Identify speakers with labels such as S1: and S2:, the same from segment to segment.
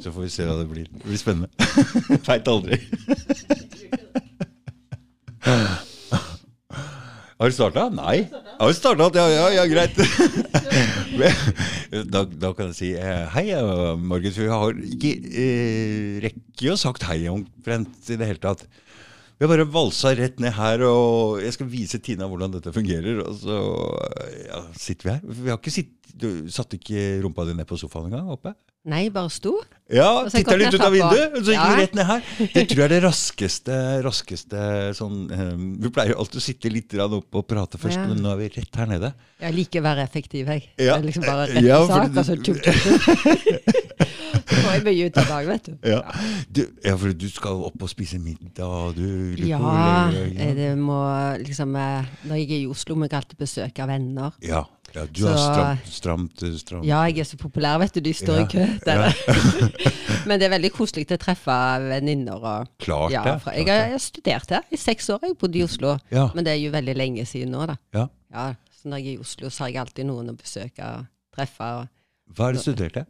S1: Så får vi se hva det blir. Det blir spennende. Veit aldri. Har du starta? Nei. Har du starta? Ja, ja, ja, greit. Da, da kan jeg si eh, hei, eh, Margit. Vi har ikke eh, rekker jo sagt hei omtrent i det hele tatt. Vi har bare valsa rett ned her, og jeg skal vise Tina hvordan dette fungerer. Og så eh, ja, sitter vi her. Vi har ikke sitt, du satte ikke rumpa di ned på sofaen engang? oppe?
S2: Nei, bare sto.
S1: Ja,
S2: Og så
S1: titter
S2: kom
S1: litt
S2: jeg
S1: ut av
S2: etterpå.
S1: vinduet, og så gikk vi
S2: Ja.
S1: rett ned her. Det tror jeg er det raskeste, raskeste sånn eh, Vi pleier jo alltid å sitte litt grann oppe og prate først,
S2: Ja.
S1: men nå er vi rett her nede.
S2: Jeg liker å være effektiv, jeg.
S1: Ja.
S2: Det er Liksom bare rett i
S1: Ja, for
S2: sak,
S1: det-
S2: og så tjukk, tjukk, tjukk. Så får jeg mye ut av dag, vet du.
S1: Ja, du, ja for du skal opp og spise middag, og du lurer på
S2: Ja,
S1: hvor lenge-
S2: eh, det må liksom eh, Når jeg er i Oslo, må jeg alltid besøke venner.
S1: ja. ja, du har
S2: Så-
S1: stramt, stramt, stramt.
S2: Ja, jeg er så populær, vet du. De står
S1: Ja,
S2: i kø. Der. Men det er veldig koselig å treffe venninner. Og,
S1: Klart
S2: ja,
S1: det,
S2: fra,
S1: klart
S2: jeg, har- jeg har studert her i seks år. Jeg bodde i Oslo.
S1: Ja.
S2: Men det er jo veldig lenge siden nå, da.
S1: Ja.
S2: Ja, så når jeg er i Oslo, så har jeg alltid noen å besøke og treffe. Og,
S1: Hva er det du studerte?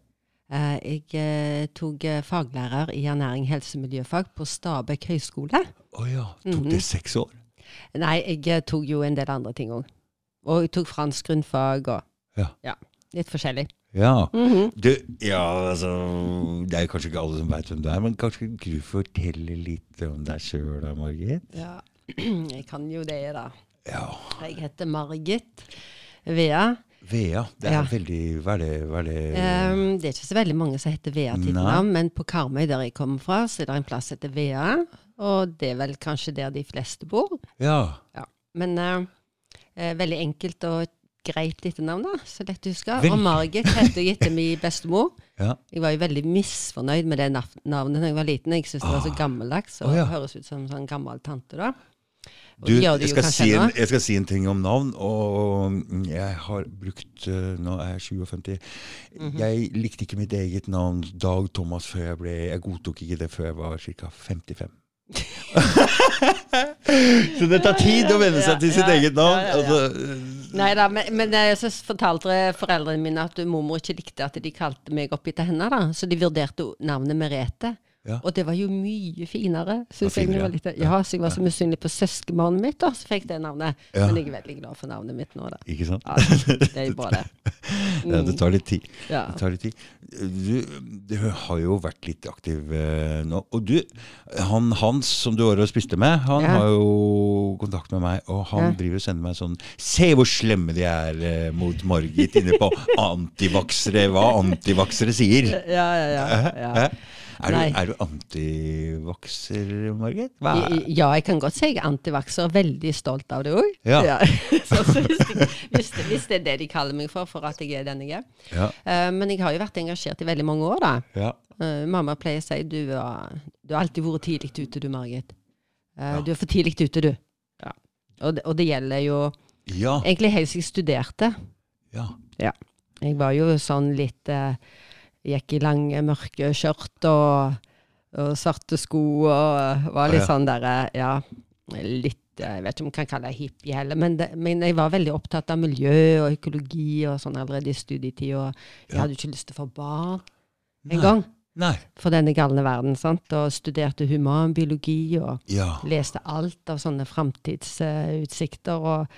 S2: eh, jeg eh, tok eh, faglærer i ernæring, helse, miljøfag på Stabekk høgskole.
S1: Å ja,
S2: Mhm.
S1: tok det seks år?
S2: Nei, jeg eh, tok jo en del andre ting òg. Og jeg tok fransk grunnfag og
S1: Ja.
S2: ja, litt forskjellig.
S1: Ja. du, ja, altså Det er jo kanskje ikke alle som veit hvem du er, men kanskje du forteller litt om deg sjøl da, Margit?
S2: Ja. Jeg kan jo det, da.
S1: Ja.
S2: Jeg heter Margit Vea.
S1: Vea. Det er
S2: Ja.
S1: veldig Hva er det, hva er det?
S2: Ehm, det er ikke så veldig mange som heter Vea til
S1: Nei.
S2: navn, men på Karmøy, der jeg kommer fra, så er det en plass som heter Vea. Og det er vel kanskje der de fleste bor.
S1: Ja.
S2: Ja. Men eh, eh, veldig enkelt og et greit lite navn, da. Så lett å huske.
S1: Veldig.
S2: Og Margit heter jeg etter min bestemor.
S1: ja.
S2: Jeg var jo veldig misfornøyd med det naf- navnet da jeg var liten. Jeg syntes det var så gammeldags og
S1: Ah. Å, ja.
S2: høres ut som en sånn gammel tante, da. Og
S1: Du,
S2: det gjør
S1: jeg
S2: det jo
S1: skal,
S2: kanskje
S1: si en,
S2: ennå.
S1: jeg skal si en ting om navn, og mm, jeg har brukt eh, Nå er jeg 57.
S2: Mhm.
S1: Jeg likte ikke mitt eget navn, Dag Thomas, før jeg ble Jeg godtok ikke det før jeg var ca. 55. Så det tar tid å venne seg til sitt
S2: Ja, ja,
S1: eget navn.
S2: ja, ja, ja.
S1: altså,
S2: Nei da, men, men eh, så fortalte foreldrene mine at mormor ikke likte at de kalte meg opp etter henne, da. Så de vurderte o- navnet Merete.
S1: Ja.
S2: Og det var jo mye finere,
S1: Det
S2: syns
S1: var
S2: jeg. når jeg
S1: finere,
S2: Var litt, ja, så jeg var så misunnelig på søskenbarnet mitt, da, så fikk det navnet.
S1: Ja.
S2: Men jeg er veldig glad for navnet mitt nå, da.
S1: eh, ikke sant?
S2: Ja, det er jo bra, det.
S1: Ja, det tar litt tid.
S2: Mm. Ja.
S1: Det tar litt tid. Du, du har jo vært litt aktiv eh, nå. Og du, han Hans som du var og spiste med, han
S2: Ja.
S1: har jo kontakt med meg, og han
S2: Ja.
S1: driver og sender meg sånn Se hvor slemme de er eh, mot Margit inne på antivaksere, hva antivaksere sier.
S2: Ja, ja, ja. ja.
S1: Hæ? Er du,
S2: Nei.
S1: er du antivakser, Margit? Hva
S2: I-
S1: er
S2: i- Ja, jeg kan godt si jeg er antivakser. Veldig stolt av det òg.
S1: Ja.
S2: hvis, hvis, det- hvis det er det de kaller meg for, for at jeg er den jeg er.
S1: Ja.
S2: Eh, men jeg har jo vært engasjert i veldig mange år, da.
S1: ja.
S2: Eh, mamma pleier å si du, er- du har alltid vært tidlig ute, du, Margit. Eh, Du er for tidlig ute, du. Og, det, og det gjelder jo
S1: Ja.
S2: egentlig helt siden jeg studerte.
S1: ja.
S2: Ja. Jeg var jo sånn litt eh, Gikk i lange, mørke skjørt og, og svarte sko og var litt
S1: Ja.
S2: sånn derre Ja, litt eh, Jeg vet ikke om jeg kan kalle det hippie heller, men, det, men jeg var veldig opptatt av miljø og økologi og sånn allerede i studietid, og jeg hadde jo ikke lyst til å få barn
S1: Nei.
S2: engang.
S1: Nei.
S2: For denne galne verden, sant, og studerte humanbiologi og
S1: Ja.
S2: leste alt av sånne framtidsutsikter og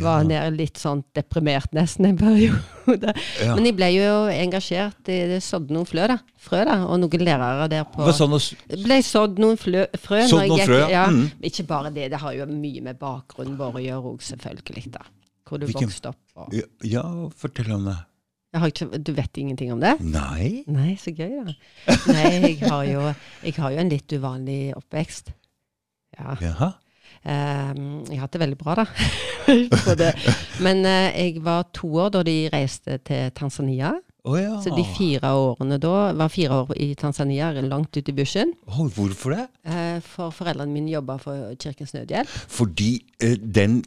S2: var nede litt sånn deprimert nesten en periode.
S1: Ja.
S2: Men jeg ble jo engasjert. i- Det sådde noen flø, da. frø, da, og noen lærere der på
S1: Hva sa han? hos-
S2: Det ble sådd noen flø, frø.
S1: Sådd noen frø, ja.
S2: ja.
S1: Mm.
S2: Ikke bare det, det har jo mye med bakgrunnen vår å gjøre òg, selvfølgelig. da. Hvor du
S1: Hvilken-
S2: vokste opp. Og...
S1: Ja, Ja, fortell om det.
S2: Jeg har ikke, du vet ingenting om det?
S1: Nei?
S2: Nei, så gøy, da. Nei, jeg har jo, jeg har jo en litt uvanlig oppvekst. Ja.
S1: Jaha.
S2: Ehm, jeg har hatt det veldig bra, da. På det. Men eh, jeg var to år da de reiste til Tanzania.
S1: Å ja.
S2: Så de fire årene da var fire år i Tanzania, langt ute i bushen.
S1: Å, hvorfor det?
S2: Eh, for foreldrene mine jobba for Kirkens Nødhjelp.
S1: Fordi eh, den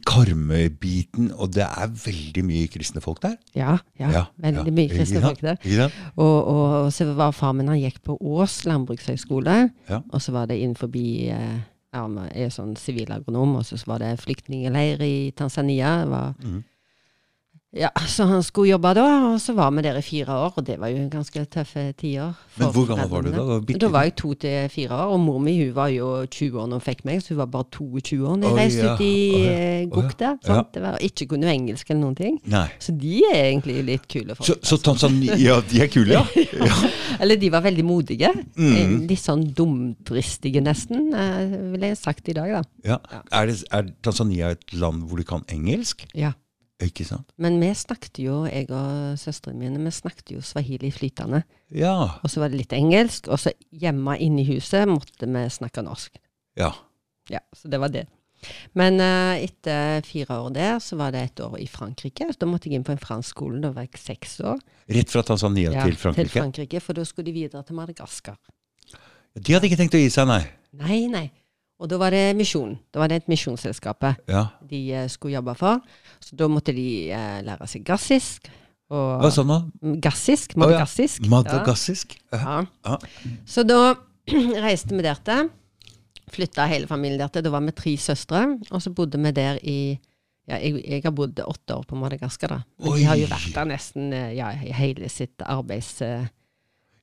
S1: karmøybiten, og det er veldig mye kristne folk der.
S2: Ja, ja, veldig mye
S1: Ikke
S2: kristne
S1: sant?
S2: folk der.
S1: Ikke sant?
S2: Og, og, og så var far min, han gikk på Ås landbrukshøgskole,
S1: Ja.
S2: og så var det innenfor eh, ja, han
S1: Mm.
S2: er sånn sivilagronom, og så var det flyktningeleir i Tanzania. Det var Ja, Så han skulle jobbe da, og så var vi der i fire år, og det var jo en ganske eh, tøffe tider.
S1: Men
S2: for
S1: hvor gammel var du da?
S2: foreldrene.
S1: Da var bitte-
S2: Da var jeg to til fire år, og mor mi hun var jo 20 år da hun fikk meg, så hun var bare 22 år da
S1: Å,
S2: jeg reiste
S1: ja.
S2: ut i
S1: Å, ja.
S2: eh,
S1: Å,
S2: Gok
S1: ja.
S2: der. sant? Det var, ikke kunne jo engelsk eller noen ting.
S1: Nei.
S2: Så de er egentlig litt kule folk.
S1: Så, så Tanzania Ja, de er kule, ja. Mm. ja.
S2: Eller de var veldig modige. Eh, Litt sånn dumdristige, nesten, eh, ville jeg sagt i dag, da.
S1: ja. Er, det, er Tanzania et land hvor de kan engelsk?
S2: Ja.
S1: Ikke sant?
S2: Men vi snakket jo, jeg og søstrene mine, vi snakket jo swahili flytende.
S1: Ja.
S2: Og så var det litt engelsk, og så hjemme inne i huset måtte vi snakke norsk.
S1: ja.
S2: Ja, så det var det. Men eh, etter fire år der, så var det et år i Frankrike. Da måtte jeg inn på en fransk skole, da var jeg seks år.
S1: Rett fra Tanzania
S2: Ja,
S1: til Frankrike?
S2: Til Frankrike, For da skulle de videre til Madagaskar.
S1: De hadde ikke tenkt å gi seg, nei.
S2: Nei, nei. Og da var det misjon. Da var det et misjonsselskapet
S1: Ja.
S2: de eh, skulle jobbe for. Så da måtte de eh, lære seg gassisk. Og, mm,
S1: Hva sa han da? Å,
S2: Gassisk?
S1: ja.
S2: Madagassisk.
S1: Madagassisk? Ja.
S2: Ja.
S1: Ja.
S2: Så da reiste vi der til. Flytta hele familien der til. Da var vi tre søstre, og så bodde vi der i ja, jeg, jeg har bodd åtte år på Madagaskar, da. Men
S1: Oi.
S2: de har jo vært der nesten eh, ja, i hele sitt arbeids... eh,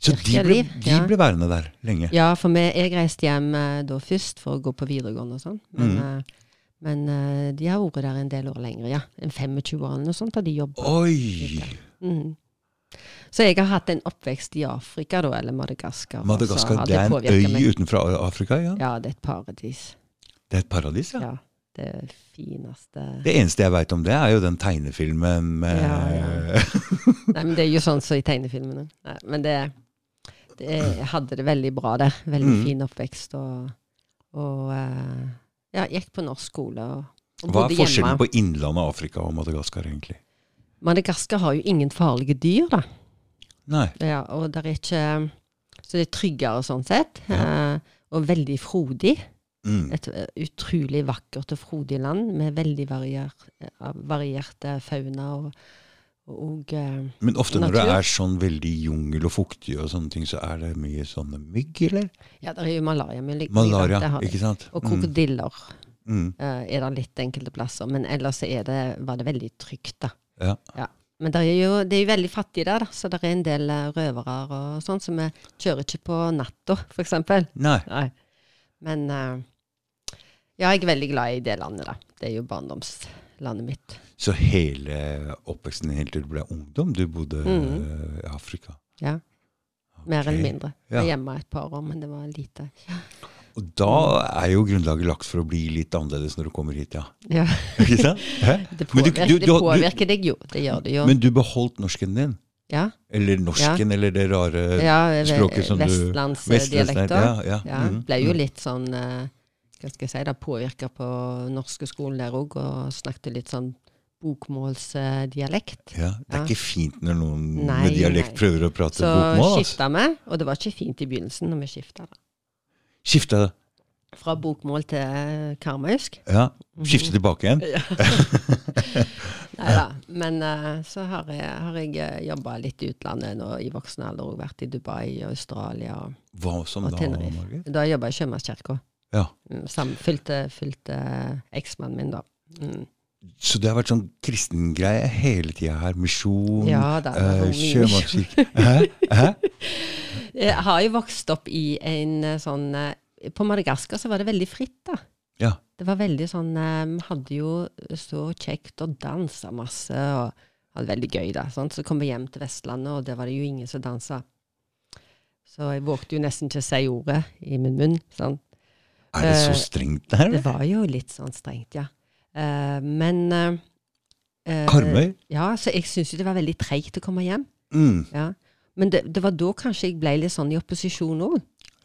S1: Så de ble,
S2: Kirkeliv,
S1: de
S2: ja.
S1: ble værende der lenge?
S2: Ja, for vi, jeg reiste hjem eh, da først for å gå på videregående og sånn. Men,
S1: Mm.
S2: eh, men eh, de har vært der en del år lenger, ja. En 25 år eller noe sånt har de jobba.
S1: Oi!
S2: Mhm. Så jeg har hatt en oppvekst i Afrika, da, eller Madagaskar. og så
S1: Madagaskar
S2: har
S1: det er en
S2: påvirket meg.
S1: øy utenfor Afrika? ja.
S2: Ja, det er et paradis.
S1: Det er et paradis, ja.
S2: Ja. Det fineste
S1: Det eneste jeg veit om det, er jo den tegnefilmen med
S2: Ja, Nei, men det er jo sånn som i tegnefilmene. Nei, men det, det Jeg hadde det veldig bra der. Veldig
S1: Mm.
S2: fin oppvekst og, og eh, Ja, gikk på norsk skole og, og
S1: Hva
S2: bodde
S1: er forskjellen
S2: hjemme.
S1: på innlandet av Afrika og Madagaskar, egentlig?
S2: Madagaskar har jo ingen farlige dyr, da.
S1: Nei.
S2: Ja, og der er ikke Så det er tryggere sånn sett. eh, og veldig frodig.
S1: Mm.
S2: Et eh, utrolig vakkert og frodig land med veldig varier, eh, varierte fauna og, og eh,
S1: Men ofte når det
S2: Natur.
S1: er sånn veldig jungel og fuktig, og sånne ting, så er det mye sånne mygg, eller?
S2: Ja, det er jo malaria. Men like, det
S1: Malaria,
S2: har de.
S1: ikke sant?
S2: Og krokodiller
S1: Mm. Mm.
S2: eh, er det litt enkelte plasser. Men ellers er det, var det veldig trygt, da.
S1: Ja.
S2: Ja. Men det er jo, det er jo veldig fattig der, da. så det er en del eh, røvere og sånn. Så vi kjører ikke på natta, for eksempel.
S1: Nei.
S2: Nei. Men eh, ja, jeg er veldig glad i det landet, da. Det er jo barndomslandet mitt.
S1: Så hele oppveksten din helt til du ble ungdom, du bodde
S2: Mhm.
S1: eh, i Afrika?
S2: Ja. Mer
S1: Ok.
S2: eller mindre. Jeg
S1: Ja.
S2: var Hjemme et par år, men det var lite.
S1: Og da er jo grunnlaget lagt for å bli litt annerledes når du kommer hit, ja.
S2: Ja.
S1: Ikke sant? Hæ?
S2: Det
S1: Men du-
S2: påvirker,
S1: du-
S2: det
S1: du-
S2: påvirker deg jo. Det gjør det jo.
S1: Men du beholdt norsken din?
S2: ja.
S1: Eller norsken, eller det rare
S2: ja,
S1: Eh, språket som du-
S2: Vestlandsdialekter. Ja,
S1: Ja, ja. mhm.
S2: Ble jo litt sånn eh, hva skal jeg si, da, påvirka på norske skolen der òg, og snakket litt sånn bokmålsdialekt.
S1: ja. Det er
S2: Ja.
S1: ikke fint når noen
S2: Nei,
S1: med dialekt
S2: nei.
S1: prøver å prate
S2: Så
S1: bokmål. Altså.
S2: skifta vi, og det var ikke fint i begynnelsen når vi skifta.
S1: Skifta,
S2: Fra bokmål til eh, karmøysk.
S1: ja.
S2: Mhm.
S1: Skifte tilbake igjen.
S2: Nei da. Men eh, så har jeg, har jeg jobba litt i utlandet nå i voksen alder, og vært i Dubai og Australia. Og,
S1: Hva som
S2: Og
S1: da,
S2: Tenerife.
S1: Margit?
S2: da jobba jeg i Sjømannskirka.
S1: Ja.
S2: Mm, sam- Fulgte fulgte eksmannen min, da. Mm.
S1: Så det har vært sånn kristengreie hele tida her. Misjon,
S2: Ja da. det var
S1: eh,
S2: mye misjon.
S1: sjømannskirke Hæ? Hæ?
S2: Jeg har jo vokst opp i en eh, sånn eh, På Madagaskar så var det veldig fritt, da.
S1: Ja.
S2: Det var veldig sånn eh, Vi hadde jo så kjekt og dansa masse og hadde det veldig gøy, da. Sant? Så kom vi hjem til Vestlandet, og der var det jo ingen som dansa. Så jeg vågte jo nesten ikke å si ordet i min munn. Sant?
S1: Er det så
S2: Eh,
S1: strengt der?
S2: Det
S1: eller?
S2: var jo litt sånn strengt, ja. Eh, men eh, eh,
S1: Karmøy?
S2: Ja, så jeg syns jo det var veldig treigt å komme hjem.
S1: Mm.
S2: Ja. Men det, det var da kanskje jeg ble litt sånn i opposisjon òg.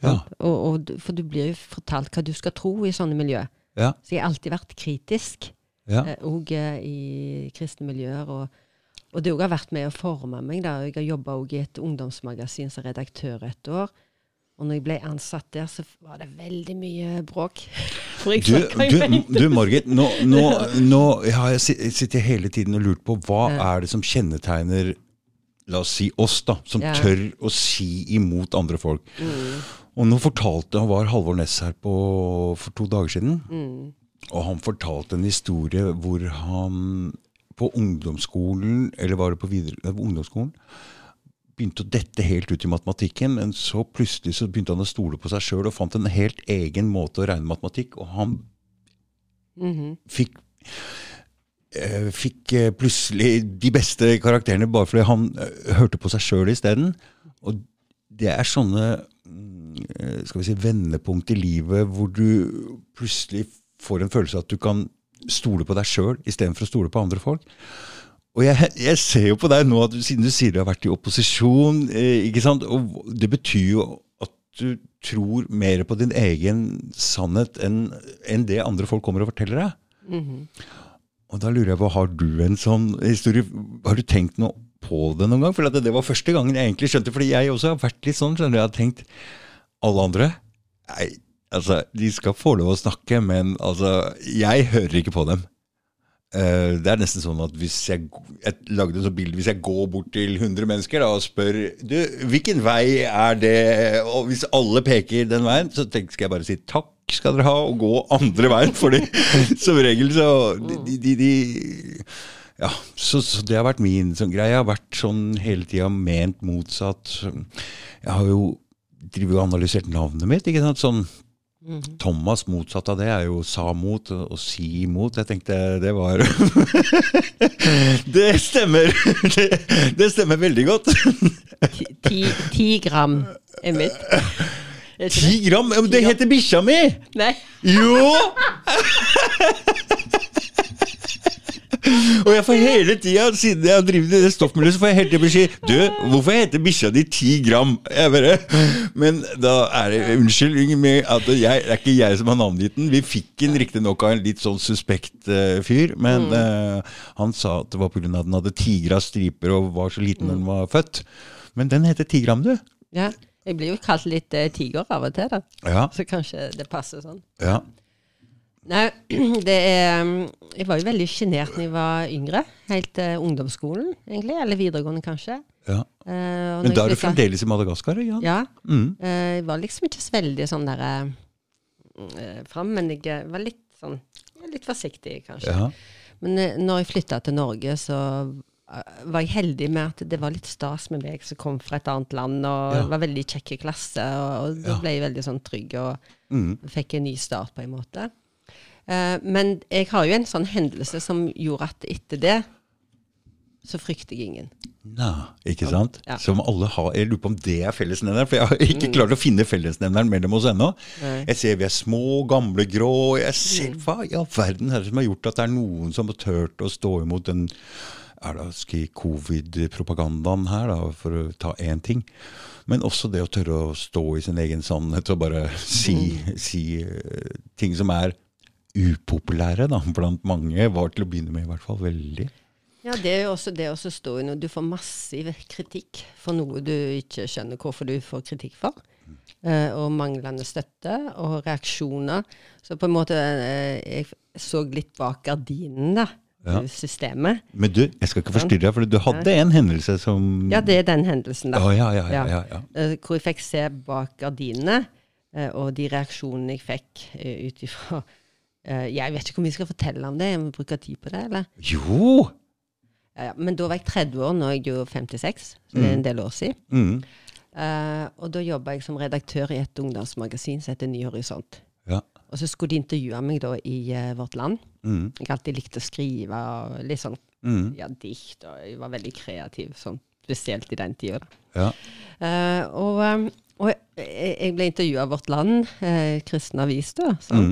S1: Ja.
S2: Og, og, du- for du blir jo fortalt hva du skal tro i sånne miljø.
S1: Ja.
S2: Så jeg har alltid vært kritisk,
S1: Ja.
S2: eh, og eh, i kristne miljøer. Og, og det òg har vært med å forme meg. Da. Jeg har jobba i et ungdomsmagasin som redaktør et år. Og når jeg ble ansatt der, så var det veldig mye bråk. For jeg
S1: Du,
S2: snakket jo
S1: du,
S2: helt-
S1: du Margit, nå, nå, nå har jeg si- sittet hele tiden og lurt på hva er det som kjennetegner La oss si oss, da, som
S2: Ja. Mm.
S1: tør å si imot andre folk. Og nå fortalte han var Halvor Ness her på,
S2: Mm.
S1: for to dager siden, og han fortalte en historie hvor han på ungdomsskolen, eller var det på, videre, nei, på ungdomsskolen, begynte å dette helt ut i matematikken, men så plutselig så begynte han å stole på seg sjøl og fant en helt egen måte å regne matematikk, og han
S2: Mhm.
S1: fikk eh, Fikk eh, plutselig de beste karakterene bare fordi han eh, hørte på seg sjøl isteden. Og det er sånne mm, eh, skal vi si, vendepunkt i livet hvor du plutselig får en følelse av at du kan stole på deg sjøl istedenfor å stole på andre folk. Og jeg, jeg ser jo på deg nå, at du, siden du sier du har vært i opposisjon, eh, ikke sant? og det betyr jo at du tror mer på din egen sannhet enn enn det andre folk kommer og forteller deg.
S2: Mhm.
S1: Og da lurer jeg på, har du en sånn historie? Har du tenkt noe på det noen gang? For at det, det var første gangen jeg egentlig skjønte, fordi jeg også har vært litt sånn, skjønner du, jeg har tenkt, alle andre, nei, altså, de skal få lov å snakke, men altså, jeg hører ikke på dem. Eh, det er nesten sånn at hvis jeg, jeg lagde et sånt bilde, hvis jeg går bort til 100 mennesker da, og spør, du, hvilken vei er det? Og hvis alle peker den veien, så tenk, skal jeg bare si takk skal dere ha, og gå andre veien, fordi som regel så, de, de, de, de ja, så, så det har vært min sånn greie. Jeg har vært sånn hele tida ment motsatt. Jeg har jo driver jo og analysert navnet mitt. ikke sant? Sånn, Thomas motsatt av det er jo sa mot og og si mot. Jeg tenkte det var Det stemmer! Det, det stemmer veldig godt.
S2: Ti, ti- ti gram er mitt. Er ikke
S1: Ti
S2: det?
S1: gram! Ja, men Det heter bikkja mi!
S2: Nei.
S1: Jo! Og jeg får hele tida, siden jeg har drevet i det stoffmiljøet, så får jeg hele tida beskjed Du, hvorfor heter bikkja di 10 gram? Jeg bare, Men da er det unnskyld med at jeg, det er ikke jeg som har navngitt den. Vi fikk den riktignok av en litt sånn suspekt eh, fyr, men eh, han sa at det var pga. at den hadde tigra striper og var så liten da den var født. Men den heter 10 gram, du.
S2: Ja. Jeg blir jo kalt litt eh, tiger av og til, da.
S1: Ja,
S2: Så kanskje det passer sånn.
S1: ja.
S2: Nei, det er mm, Jeg var jo veldig sjenert da jeg var yngre. Helt til ungdomsskolen, egentlig. Eller videregående, kanskje.
S1: ja.
S2: Eh, og når
S1: Men da er
S2: jeg
S1: du
S2: flyttet-
S1: fremdeles i Madagaskar? Ja.
S2: Ja.
S1: Mm.
S2: eh, Jeg var liksom ikke så veldig sånn der eh, fram, men jeg eh, var litt sånn Litt forsiktig, kanskje.
S1: ja.
S2: Men eh, når jeg flytta til Norge, så eh, var jeg heldig med at det var litt stas med meg som kom fra et annet land, og
S1: Ja.
S2: det var veldig kjekk i klasse, og, og da
S1: Ja.
S2: ble jeg veldig sånn trygg og
S1: Mm.
S2: fikk en ny start på en måte. Eh, men jeg har jo en sånn hendelse som gjorde at etter det så frykter jeg ingen.
S1: Nei, ikke sant?
S2: Ja. Mm.
S1: Som alle har, Jeg lurer på om det er fellesnevneren, for jeg har ikke klart å finne fellesnevneren mellom oss ennå.
S2: Nei. Mm.
S1: Jeg ser vi er små, gamle, grå. og Jeg ser, Hva i all verden er det som har gjort at det er noen som har turt å stå imot den er det å skri- covid-propagandaen her, da, for å ta én ting? Men også det å tørre å stå i sin egen sannhet og bare si,
S2: Mm.
S1: si eh, ting som er upopulære da, blant mange. Var til å begynne med i hvert fall veldig.
S2: Ja, det er jo også det å stå i noe. Du får massiv kritikk for noe du ikke skjønner hvorfor du får kritikk for.
S1: Mm.
S2: eh, og manglende støtte og reaksjoner. Så på en måte eh, Jeg så litt bak gardinen, da.
S1: Ja.
S2: i Systemet.
S1: Men du, jeg skal ikke forstyrre deg, for du hadde en hendelse som
S2: Ja, det er den hendelsen, da.
S1: Å, Mm. ja, ja, ja, ja,
S2: Ja.
S1: ja.
S2: Eh, hvor jeg fikk se bak gardinene, eh, og de reaksjonene jeg fikk uh, ut ifra eh, Jeg vet ikke hvor mye jeg skal fortelle om det. Jeg må bruke tid på det, eller?
S1: Jo!
S2: Ja, ja. Men da var jeg 30 år, nå er jeg jo 56, så det er en del år siden.
S1: Mm.
S2: Eh, og da jobba jeg som redaktør i et ungdomsmagasin som heter Ny horisont.
S1: Ja.
S2: Og så skulle de intervjue meg da i eh, Vårt Land.
S1: Mm.
S2: Jeg har alltid likt å skrive og litt sånn
S1: Mm.
S2: ja, dikt, og jeg var veldig kreativ, sånn spesielt i den tida.
S1: Ja.
S2: Eh, og eh, og jeg, jeg ble intervjua av Vårt Land, eh, kristen avis, da. Sånn.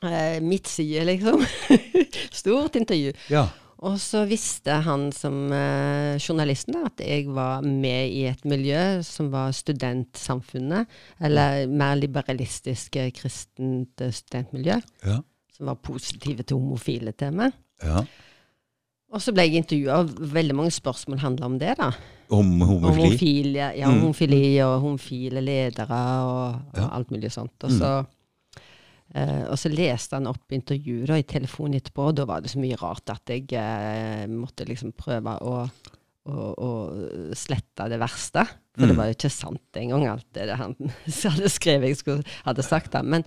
S1: Mm.
S2: Eh, midtside, liksom. Stort intervju.
S1: ja.
S2: Og så visste han som eh, journalisten da, at jeg var med i et miljø som var studentsamfunnet, eller mer liberalistisk eh, kristent eh, studentmiljø,
S1: Ja.
S2: som var positive til homofile tema.
S1: ja.
S2: Og så ble jeg intervjua, og veldig mange spørsmål handla om det. da.
S1: Om
S2: Om
S1: homofili?
S2: homofile, ja,
S1: Mm.
S2: homofili og homofile ledere og, og
S1: Ja. Mm.
S2: alt mulig sånt. Og så, eh, og så leste han opp intervjuet da, i telefonen etterpå, og da var det så mye rart at jeg eh, måtte liksom prøve å, og, og slette det verste. For
S1: Mm.
S2: det var jo ikke sant engang, alt det der han hadde skrevet jeg skulle, hadde sagt. Da. Men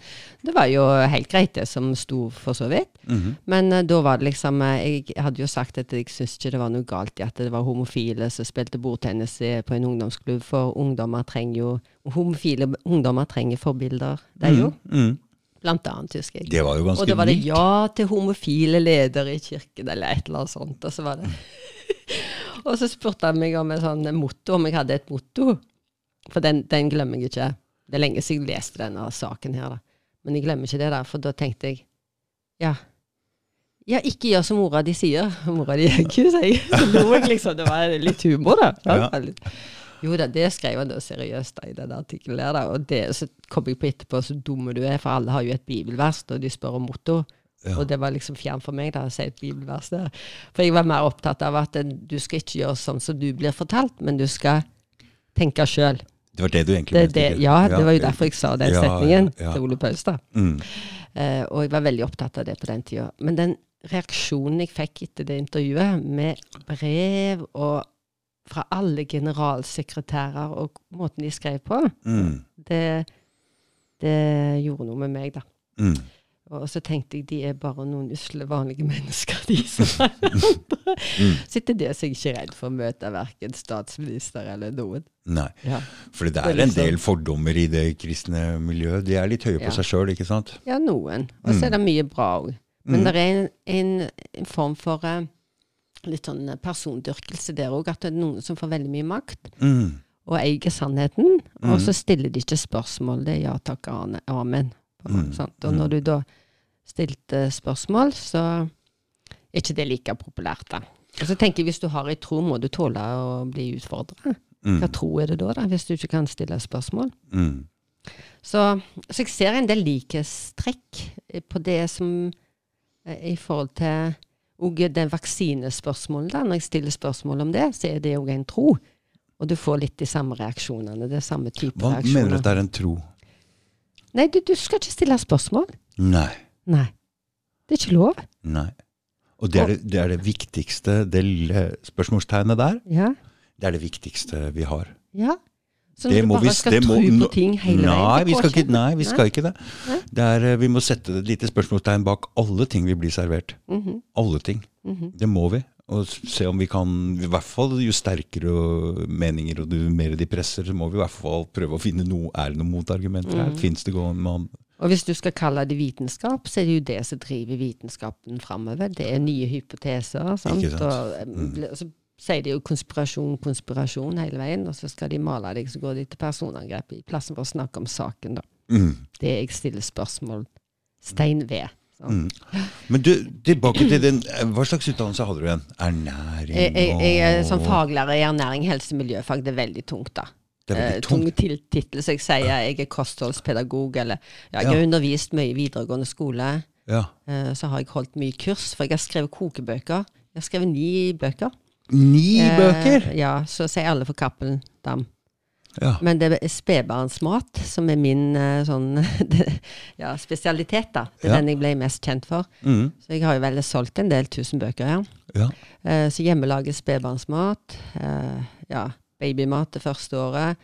S2: det var jo helt greit, det som sto, for så vidt.
S1: Mhm.
S2: Men eh, da var det liksom eh, Jeg hadde jo sagt at jeg syntes ikke det var noe galt i at det var homofile som spilte bordtennis i- på en ungdomsklubb, for ungdommer trenger jo Homofile ungdommer trenger forbilder. Det er jo
S1: Mhm.
S2: blant annet, husker jeg.
S1: Det var jo ganske
S2: Og da var det
S1: mildt.
S2: ja til homofile ledere i kirken, eller et eller annet sånt. Og så var det
S1: Mm.
S2: Og så spurte han meg om et sånn motto, om jeg hadde et motto. For den, den glemmer jeg ikke. Det er lenge siden jeg leste denne saken her, da. Men jeg glemmer ikke det, da, for da tenkte jeg ja. Ja, ikke gjør som mora di sier. Mora di er ikke, sier jeg. Så lo jeg liksom. Det var litt humor, da.
S1: Ja.
S2: Det var litt- Jo da, det skrev han da seriøst da, i den artikkelen her, da. Og det, så kom jeg på etterpå så dumme du er, for alle har jo et bibelvers når de spør om motto.
S1: Ja.
S2: Og det var liksom fjern for meg da, å si et bibelvers der. For jeg var mer opptatt av at eh, du skal ikke gjøre sånn som du blir fortalt, men du skal tenke sjøl.
S1: Det var det du egentlig
S2: Det,
S1: mente?
S2: det,
S1: ikke?
S2: ja, det var jo derfor jeg sa den
S1: Ja,
S2: setningen
S1: ja, ja.
S2: til Ole Paustad.
S1: Mm.
S2: Eh, og jeg var veldig opptatt av det på den tida. Men den reaksjonen jeg fikk etter det intervjuet, med brev og fra alle generalsekretærer og måten de skrev på,
S1: Mm.
S2: det, det gjorde noe med meg, da.
S1: Mm.
S2: Og så tenkte jeg de er bare noen usle, vanlige mennesker, de som er andre.
S1: Mm.
S2: Sitter der så jeg ikke er redd for å møte verken statsminister eller noen.
S1: Nei.
S2: Ja,
S1: For det
S2: Det
S1: er
S2: er
S1: en
S2: liksom-
S1: del fordommer i det kristne miljøet. De er litt høye på
S2: Ja.
S1: seg sjøl, ikke sant?
S2: noen. Og
S1: Mm.
S2: så er det mye bra òg. Men det er en, en, en form for eh, litt sånn persondyrkelse der òg, at det er noen som får veldig mye makt
S1: Mm.
S2: og eier sannheten, og så stiller de ikke spørsmål. Det er ja takk, Arne, amen. på-
S1: Mm.
S2: Sant? Og når du da stilte spørsmål, så er ikke det like populært, da. Og så tenker jeg, Hvis du har ei tro, må du tåle å bli utfordra.
S1: Mm.
S2: Hva tro er det da, da, hvis du ikke kan stille spørsmål?
S1: Mm.
S2: Så, så jeg ser en del likhetstrekk eh, på det som eh, i forhold til og den vaksinespørsmålet. da, Når jeg stiller spørsmål om det, så er det òg en tro. Og du får litt de samme reaksjonene. Det er samme type
S1: Hva mener du
S2: reaksjoner.
S1: at det er en tro?
S2: Nei, du, du skal ikke stille spørsmål.
S1: Nei.
S2: Nei. Det er ikke lov.
S1: Nei. Og det er det, det, er det viktigste, det lille spørsmålstegnet der,
S2: Ja.
S1: det er det viktigste vi har.
S2: ja. Så
S1: Det
S2: når du
S1: må
S2: bare
S1: vi-
S2: skal
S1: det må-
S2: tro på
S1: nå-
S2: ting hele
S1: nei,
S2: veien
S1: vi
S2: det
S1: skal
S2: går
S1: ikke, nei, vi skal ikke det.
S2: Nei.
S1: det er, eh, vi må sette et lite spørsmålstegn bak alle ting vi blir servert.
S2: Mhm,
S1: Alle ting.
S2: mhm.
S1: Det må vi. Og s- se om vi kan I hvert fall jo sterkere meninger og jo mer de presser, så må vi i hvert fall prøve å finne noe Er det noen motargumenter
S2: Mm.
S1: her? Fins det gående man
S2: Og hvis du skal kalle det vitenskap, så er det jo det som driver vitenskapen framover. Det er nye hypoteser. Sant?
S1: Ikke sant? Mm.
S2: Og, eh, bl- så sier de jo konspirasjon, konspirasjon hele veien, og så skal de male deg, så går de til personangrep i plassen for å snakke om saken, da.
S1: mm.
S2: Det jeg stiller spørsmål stein ved. sant?
S1: Men du, tilbake til den eh, Hva slags utdannelse hadde du igjen? Ernæring
S2: Jeg, jeg, jeg er sånn som
S1: og-
S2: faglærer i ernæring, helse, miljøfag. Det er veldig tungt, da.
S1: Det er veldig
S2: Eh,
S1: tungt.
S2: Tung til- tittel, så jeg sier jeg er kostholdspedagog, eller ja, jeg har undervist mye i videregående skole.
S1: Ja.
S2: Eh, så har jeg holdt mye kurs, for jeg har skrevet kokebøker. Jeg har skrevet ni bøker.
S1: Ni bøker!
S2: Eh, ja, så sier alle for Cappelen Dam.
S1: Ja.
S2: Men det er spedbarnsmat som er min eh, sånn ja, spesialitet, da. Det
S1: Ja.
S2: er den jeg ble mest kjent for.
S1: Mm.
S2: Så jeg har jo vel solgt en del tusen bøker her.
S1: ja.
S2: Eh, så hjemmelaget spedbarnsmat. eh, ja, babymat det første året.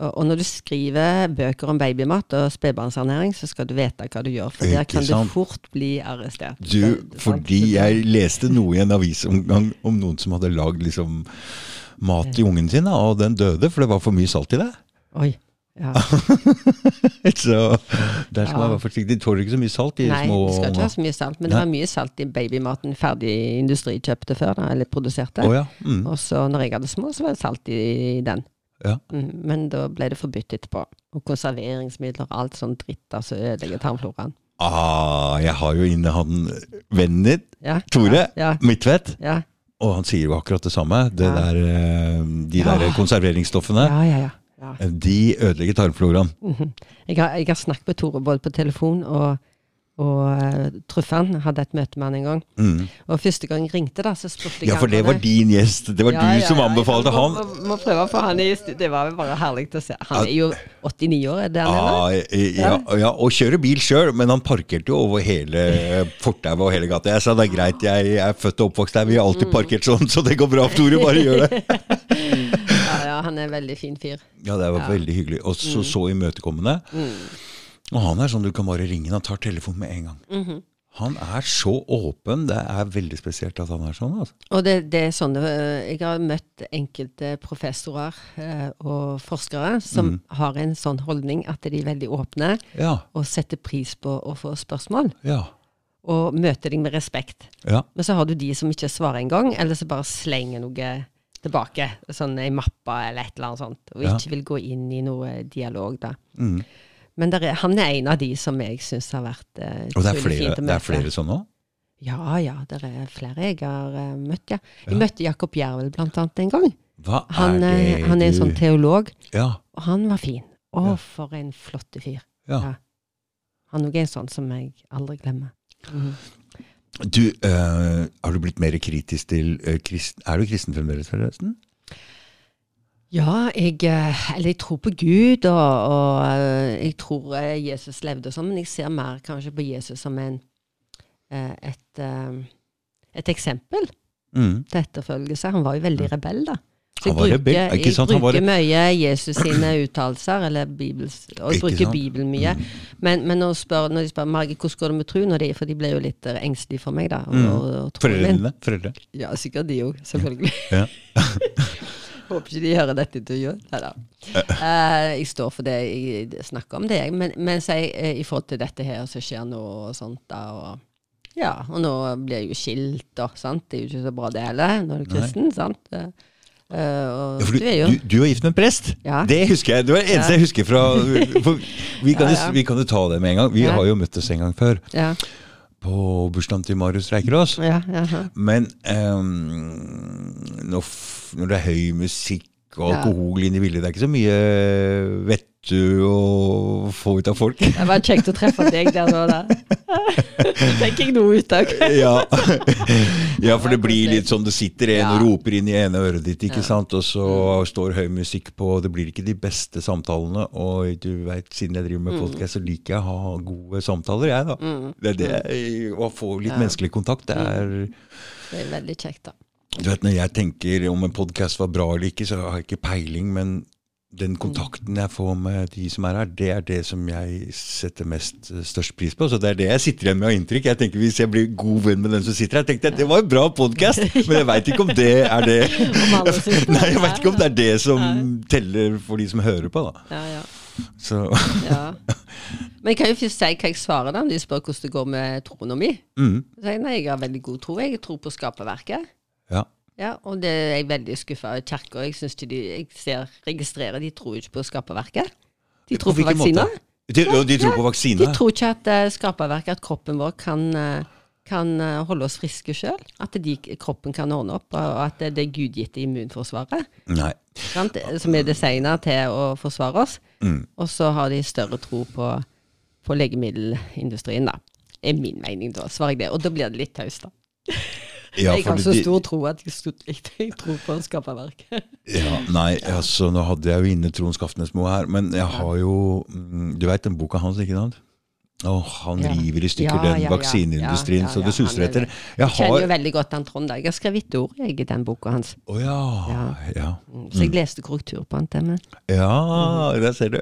S2: Og, og når du skriver bøker om babymat og spedbarnsernæring, så skal du vite hva du gjør, for der
S1: Ikke
S2: kan
S1: sant?
S2: du fort bli arrestert.
S1: Du,
S2: Det-
S1: fordi
S2: sant?
S1: jeg leste noe i en avisomgang om noen som hadde lagd liksom mat til ungen sin, da, og den døde, for det var for mye salt i det.
S2: Oi. Ja.
S1: Så der skal
S2: Ja.
S1: man være forsiktig. De tåler ikke så mye salt, de
S2: Nei,
S1: små
S2: det skal ikke
S1: unga.
S2: ha så mye salt, men
S1: Nei.
S2: det var mye salt i babymaten ferdig industri kjøpte før, da, eller produserte.
S1: Å ja. Mm.
S2: Og så når jeg hadde små, så var det salt i den.
S1: Ja.
S2: Mm, men da ble det forbudt etterpå. Og konserveringsmidler og alt sånn dritt da, som ødelegger tarmfloraen.
S1: Ah, jeg har jo inne han vennen din,
S2: Ja.
S1: Tore
S2: Ja.
S1: Midtvedt,
S2: Ja.
S1: og han sier jo akkurat det samme. Det
S2: Ja.
S1: der, eh, de der
S2: Ja.
S1: konserveringsstoffene,
S2: ja, ja, ja. ja.
S1: de ødelegger tarmfloraen.
S2: Mhm. Jeg, har, jeg har snakket med Tore både på telefon og og eh, traff han. Hadde et møte med han en gang.
S1: Mm.
S2: Og første gang jeg ringte, da, så spurte jeg
S1: Ja, for
S2: han
S1: det
S2: om
S1: var din gjest. Det var
S2: Ja,
S1: du
S2: ja,
S1: som
S2: ja,
S1: anbefalte
S2: jeg
S1: han.
S2: Må, må, må prøve å få han i stu- Det var jo bare herlig å se. Han er jo 89 år, er det han er? nå?
S1: Ah, eh, ja, ja, og kjører bil sjøl, men han parkerte jo over hele eh, fortauet og hele gata. Jeg sa det er greit, jeg er født og oppvokst her, vi har alltid
S2: Mm.
S1: parkert sånn, så det går bra, Tore, bare gjør det.
S2: Ja, ja, han er en veldig fin fyr.
S1: Ja, det var veldig hyggelig. Og
S2: Mm.
S1: så så imøtekommende. Og han er sånn du kan bare ringe, han tar telefonen med en gang.
S2: Mm-hmm.
S1: Han er så åpen, det er veldig spesielt at han er sånn. Altså.
S2: Og det, det er sånne øh, Jeg har møtt enkelte professorer øh, og forskere som
S1: Mm.
S2: har en sånn holdning at de er veldig åpne
S1: Ja,
S2: og setter pris på å få spørsmål,
S1: ja,
S2: og møter deg med respekt.
S1: ja.
S2: Men så har du de som ikke svarer engang, eller som bare slenger noe tilbake, sånn ei mappe eller et eller annet sånt, og
S1: Ja.
S2: ikke vil gå inn i noe dialog, da.
S1: Mm.
S2: Men der er, han er en av de som jeg syns har vært eh,
S1: Og det er
S2: utrolig
S1: flere,
S2: fint å
S1: det er
S2: møte.
S1: flere sånn òg?
S2: Ja, ja, det er flere jeg har eh, møtt, ja. Jeg møtte Jakob Jervel blant annet en gang.
S1: Hva er
S2: Han, eh,
S1: det
S2: han er en
S1: du-
S2: sånn teolog,
S1: Ja,
S2: og han var fin. Å,
S1: Ja.
S2: for en flott fyr.
S1: ja.
S2: Ja. Han er også en sånn som jeg aldri glemmer. Mhm.
S1: Du, eh, har du blitt mer kritisk til eh, krist, Er du kristen fremdeles, forresten?
S2: Ja, jeg, eh, eller jeg tror på Gud, og, og eh, jeg tror eh, Jesus levde og sånn, men jeg ser mer kanskje på Jesus som en, eh, et, eh, et eksempel
S1: Mm.
S2: til etterfølgelse. Han var jo veldig rebell, da.
S1: Han
S2: Så jeg
S1: var rebell,
S2: bruker-
S1: ikke sant?
S2: Jeg
S1: Han var
S2: bruker mye Jesus sine uttalelser, eller Bibels, og jeg
S1: Ikke
S2: bruker
S1: sant? Mm.
S2: Bibelen mye. Men, men når, spør, når de spør Margit, hvordan går det med troen, og de- for de blir jo litt eh, engstelige for meg, da. Og,
S1: Mm.
S2: og, og troen min.
S1: Foreldrene? Foreldre.
S2: Ja, sikkert de òg, selvfølgelig.
S1: Ja.
S2: Håper ikke de hører dette intervjuet. Nei da. Eh, jeg står for det jeg snakker om, det jeg. Men, men så jeg, eh, i forhold til dette her som skjer nå, og sånt da, og ja, og nå blir jeg jo skilt, og sant. Det er jo ikke så bra, det heller, når du er
S1: Nei.
S2: kristen, sant. Eh, eh, og
S1: Ja, for
S2: du,
S1: du,
S2: er jo
S1: du, du var gift med en prest!
S2: Ja.
S1: Det husker jeg. Det var det eneste jeg husker fra for vi, kan
S2: Ja,
S1: jo-
S2: ja.
S1: vi kan jo ta det med en gang. Vi
S2: Ja.
S1: har jo møttes en gang før,
S2: ja,
S1: på bursdagen til Marius Reikerås.
S2: ja, ja, ja.
S1: Men ehm, når, f når det er høy musikk og
S2: Ja.
S1: alkohol inn i bildet, det er ikke så mye vettu å få ut av folk.
S2: Det var kjekt å treffe deg der nå, da. Fikk jeg noe ut av det?
S1: ja. ja, for det blir litt sånn det sitter en
S2: Ja. Mm.
S1: og roper inn i ene øret ditt, ikke sant, og så står høy musikk på, og det blir ikke de beste samtalene. Og du veit, siden jeg
S2: Mm.
S1: driver med podkast, så liker jeg å ha gode samtaler, jeg, da. Det er det
S2: Mm.
S1: jeg- å få litt menneskelig kontakt. Det er
S2: Det er veldig kjekt, da.
S1: Du vet, Når jeg tenker om en podkast var bra eller ikke, så har jeg ikke peiling, men
S2: Mm.
S1: den kontakten jeg får med de som er her, det er det som jeg setter mest eh, størst pris på. Så det er det jeg sitter igjen med av inntrykk. Jeg tenker Hvis jeg blir god venn med den som sitter her, tenkte jeg det var en bra podkast, men jeg veit ikke om det er det
S2: Om alle synes det.
S1: Nei, jeg vet ikke om det er det som teller for de som hører på, da.
S2: Ja, ja.
S1: Så
S2: Ja. Men jeg kan jo først si hva jeg svarer da, når de spør hvordan det går med troen min.
S1: mm,
S2: Så sier jeg nei, jeg har veldig god tro. Jeg tror på skaperverket.
S1: ja.
S2: Ja, og det er jeg veldig skuffa over kirka. Jeg, synes ikke de, jeg ser, registrerer de tror ikke på skaperverket. De tror på,
S1: hvilken måte?
S2: vaksiner.
S1: De, og de tror på
S2: De
S1: vaksine?
S2: tror ikke at eh, skaperverket, at kroppen vår kan eh, kan eh, holde oss friske sjøl. At de, kroppen kan ordne opp, og at det- det gudgitte immunforsvaret
S1: Nei.
S2: sant? som er designa til å forsvare oss.
S1: Mm.
S2: Og så har de større tro på, på legemiddelindustrien, da. Er min mening, da. Svarer jeg det. Og da blir det litt taust, da.
S1: Ja,
S2: jeg har
S1: fordi
S2: så
S1: de-
S2: stor tro at jeg, sto- jeg tror på en skaperverk.
S1: Ja, nei, altså nå hadde jeg jo inne Trond Skaftnesmo her, men jeg har jo mm, Du veit den boka hans, ikke sant? Åh, han
S2: Ja.
S1: river i stykker
S2: Ja,
S1: den
S2: ja, ja.
S1: vaksineindustrien
S2: Ja, ja,
S1: så det
S2: ja,
S1: suser
S2: han er
S1: etter.
S2: det.
S1: Jeg
S2: Jeg kjenner
S1: har
S2: jo veldig godt han Trond. da. Jeg har skrevet et ord jeg, i den boka hans.
S1: Å ja. ja.
S2: Mm, Så jeg leste korrektur på han til meg.
S1: Ja, der ser du.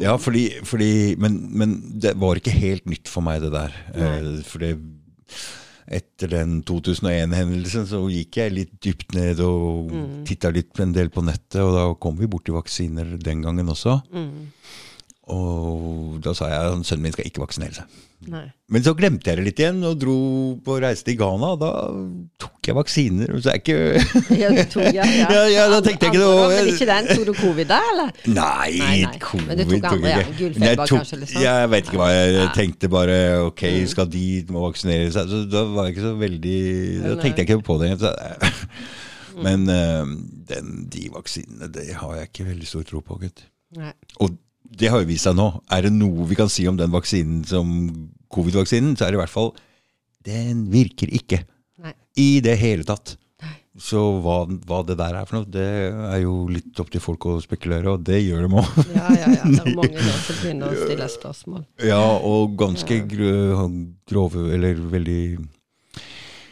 S1: Ja, fordi, fordi men, men det var ikke helt nytt for meg, det der. Eh, For det etter den 2001-hendelsen så gikk jeg litt dypt ned og titta litt en del på nettet, og da kom vi borti vaksiner den gangen også. Og da sa jeg at sønnen min skal ikke vaksinere seg.
S2: Nei.
S1: Men så glemte jeg det litt igjen og dro på reise til Ghana. og Da tok jeg vaksiner. Så jeg er ikke
S2: Ja, du tok, ja, ja.
S1: Ja, ja, da tenkte jeg ikke det
S2: Andre da,
S1: over.
S2: Men ikke den. Tok du covid da, eller?
S1: Nei,
S2: Nei, nei.
S1: covid
S2: Men du tok andre, ja.
S1: jeg.
S2: Gulfeber
S1: Men jeg tok-
S2: kanskje, liksom.
S1: Jeg vet ikke hva jeg
S2: Nei. Mm.
S1: tenkte. Bare ok, skal de må vaksinere seg. Så da var jeg ikke så veldig Da
S2: Nei. Mm.
S1: tenkte jeg ikke på det. Så- Men eh, den, de vaksinene, det har jeg ikke veldig stor tro på, gutt.
S2: Nei.
S1: Og det har jo vist seg nå. Er det noe vi kan si om den vaksinen som covid-vaksinen, så er det i hvert fall Den virker ikke.
S2: Nei.
S1: I det hele tatt.
S2: Nei.
S1: Så hva, hva det der er for noe, det er jo litt opp til folk å spekulere, og det gjør de òg.
S2: Ja, ja, ja. Det er mange nå som begynner å stille spørsmål.
S1: Ja, og ganske gro- grove, eller veldig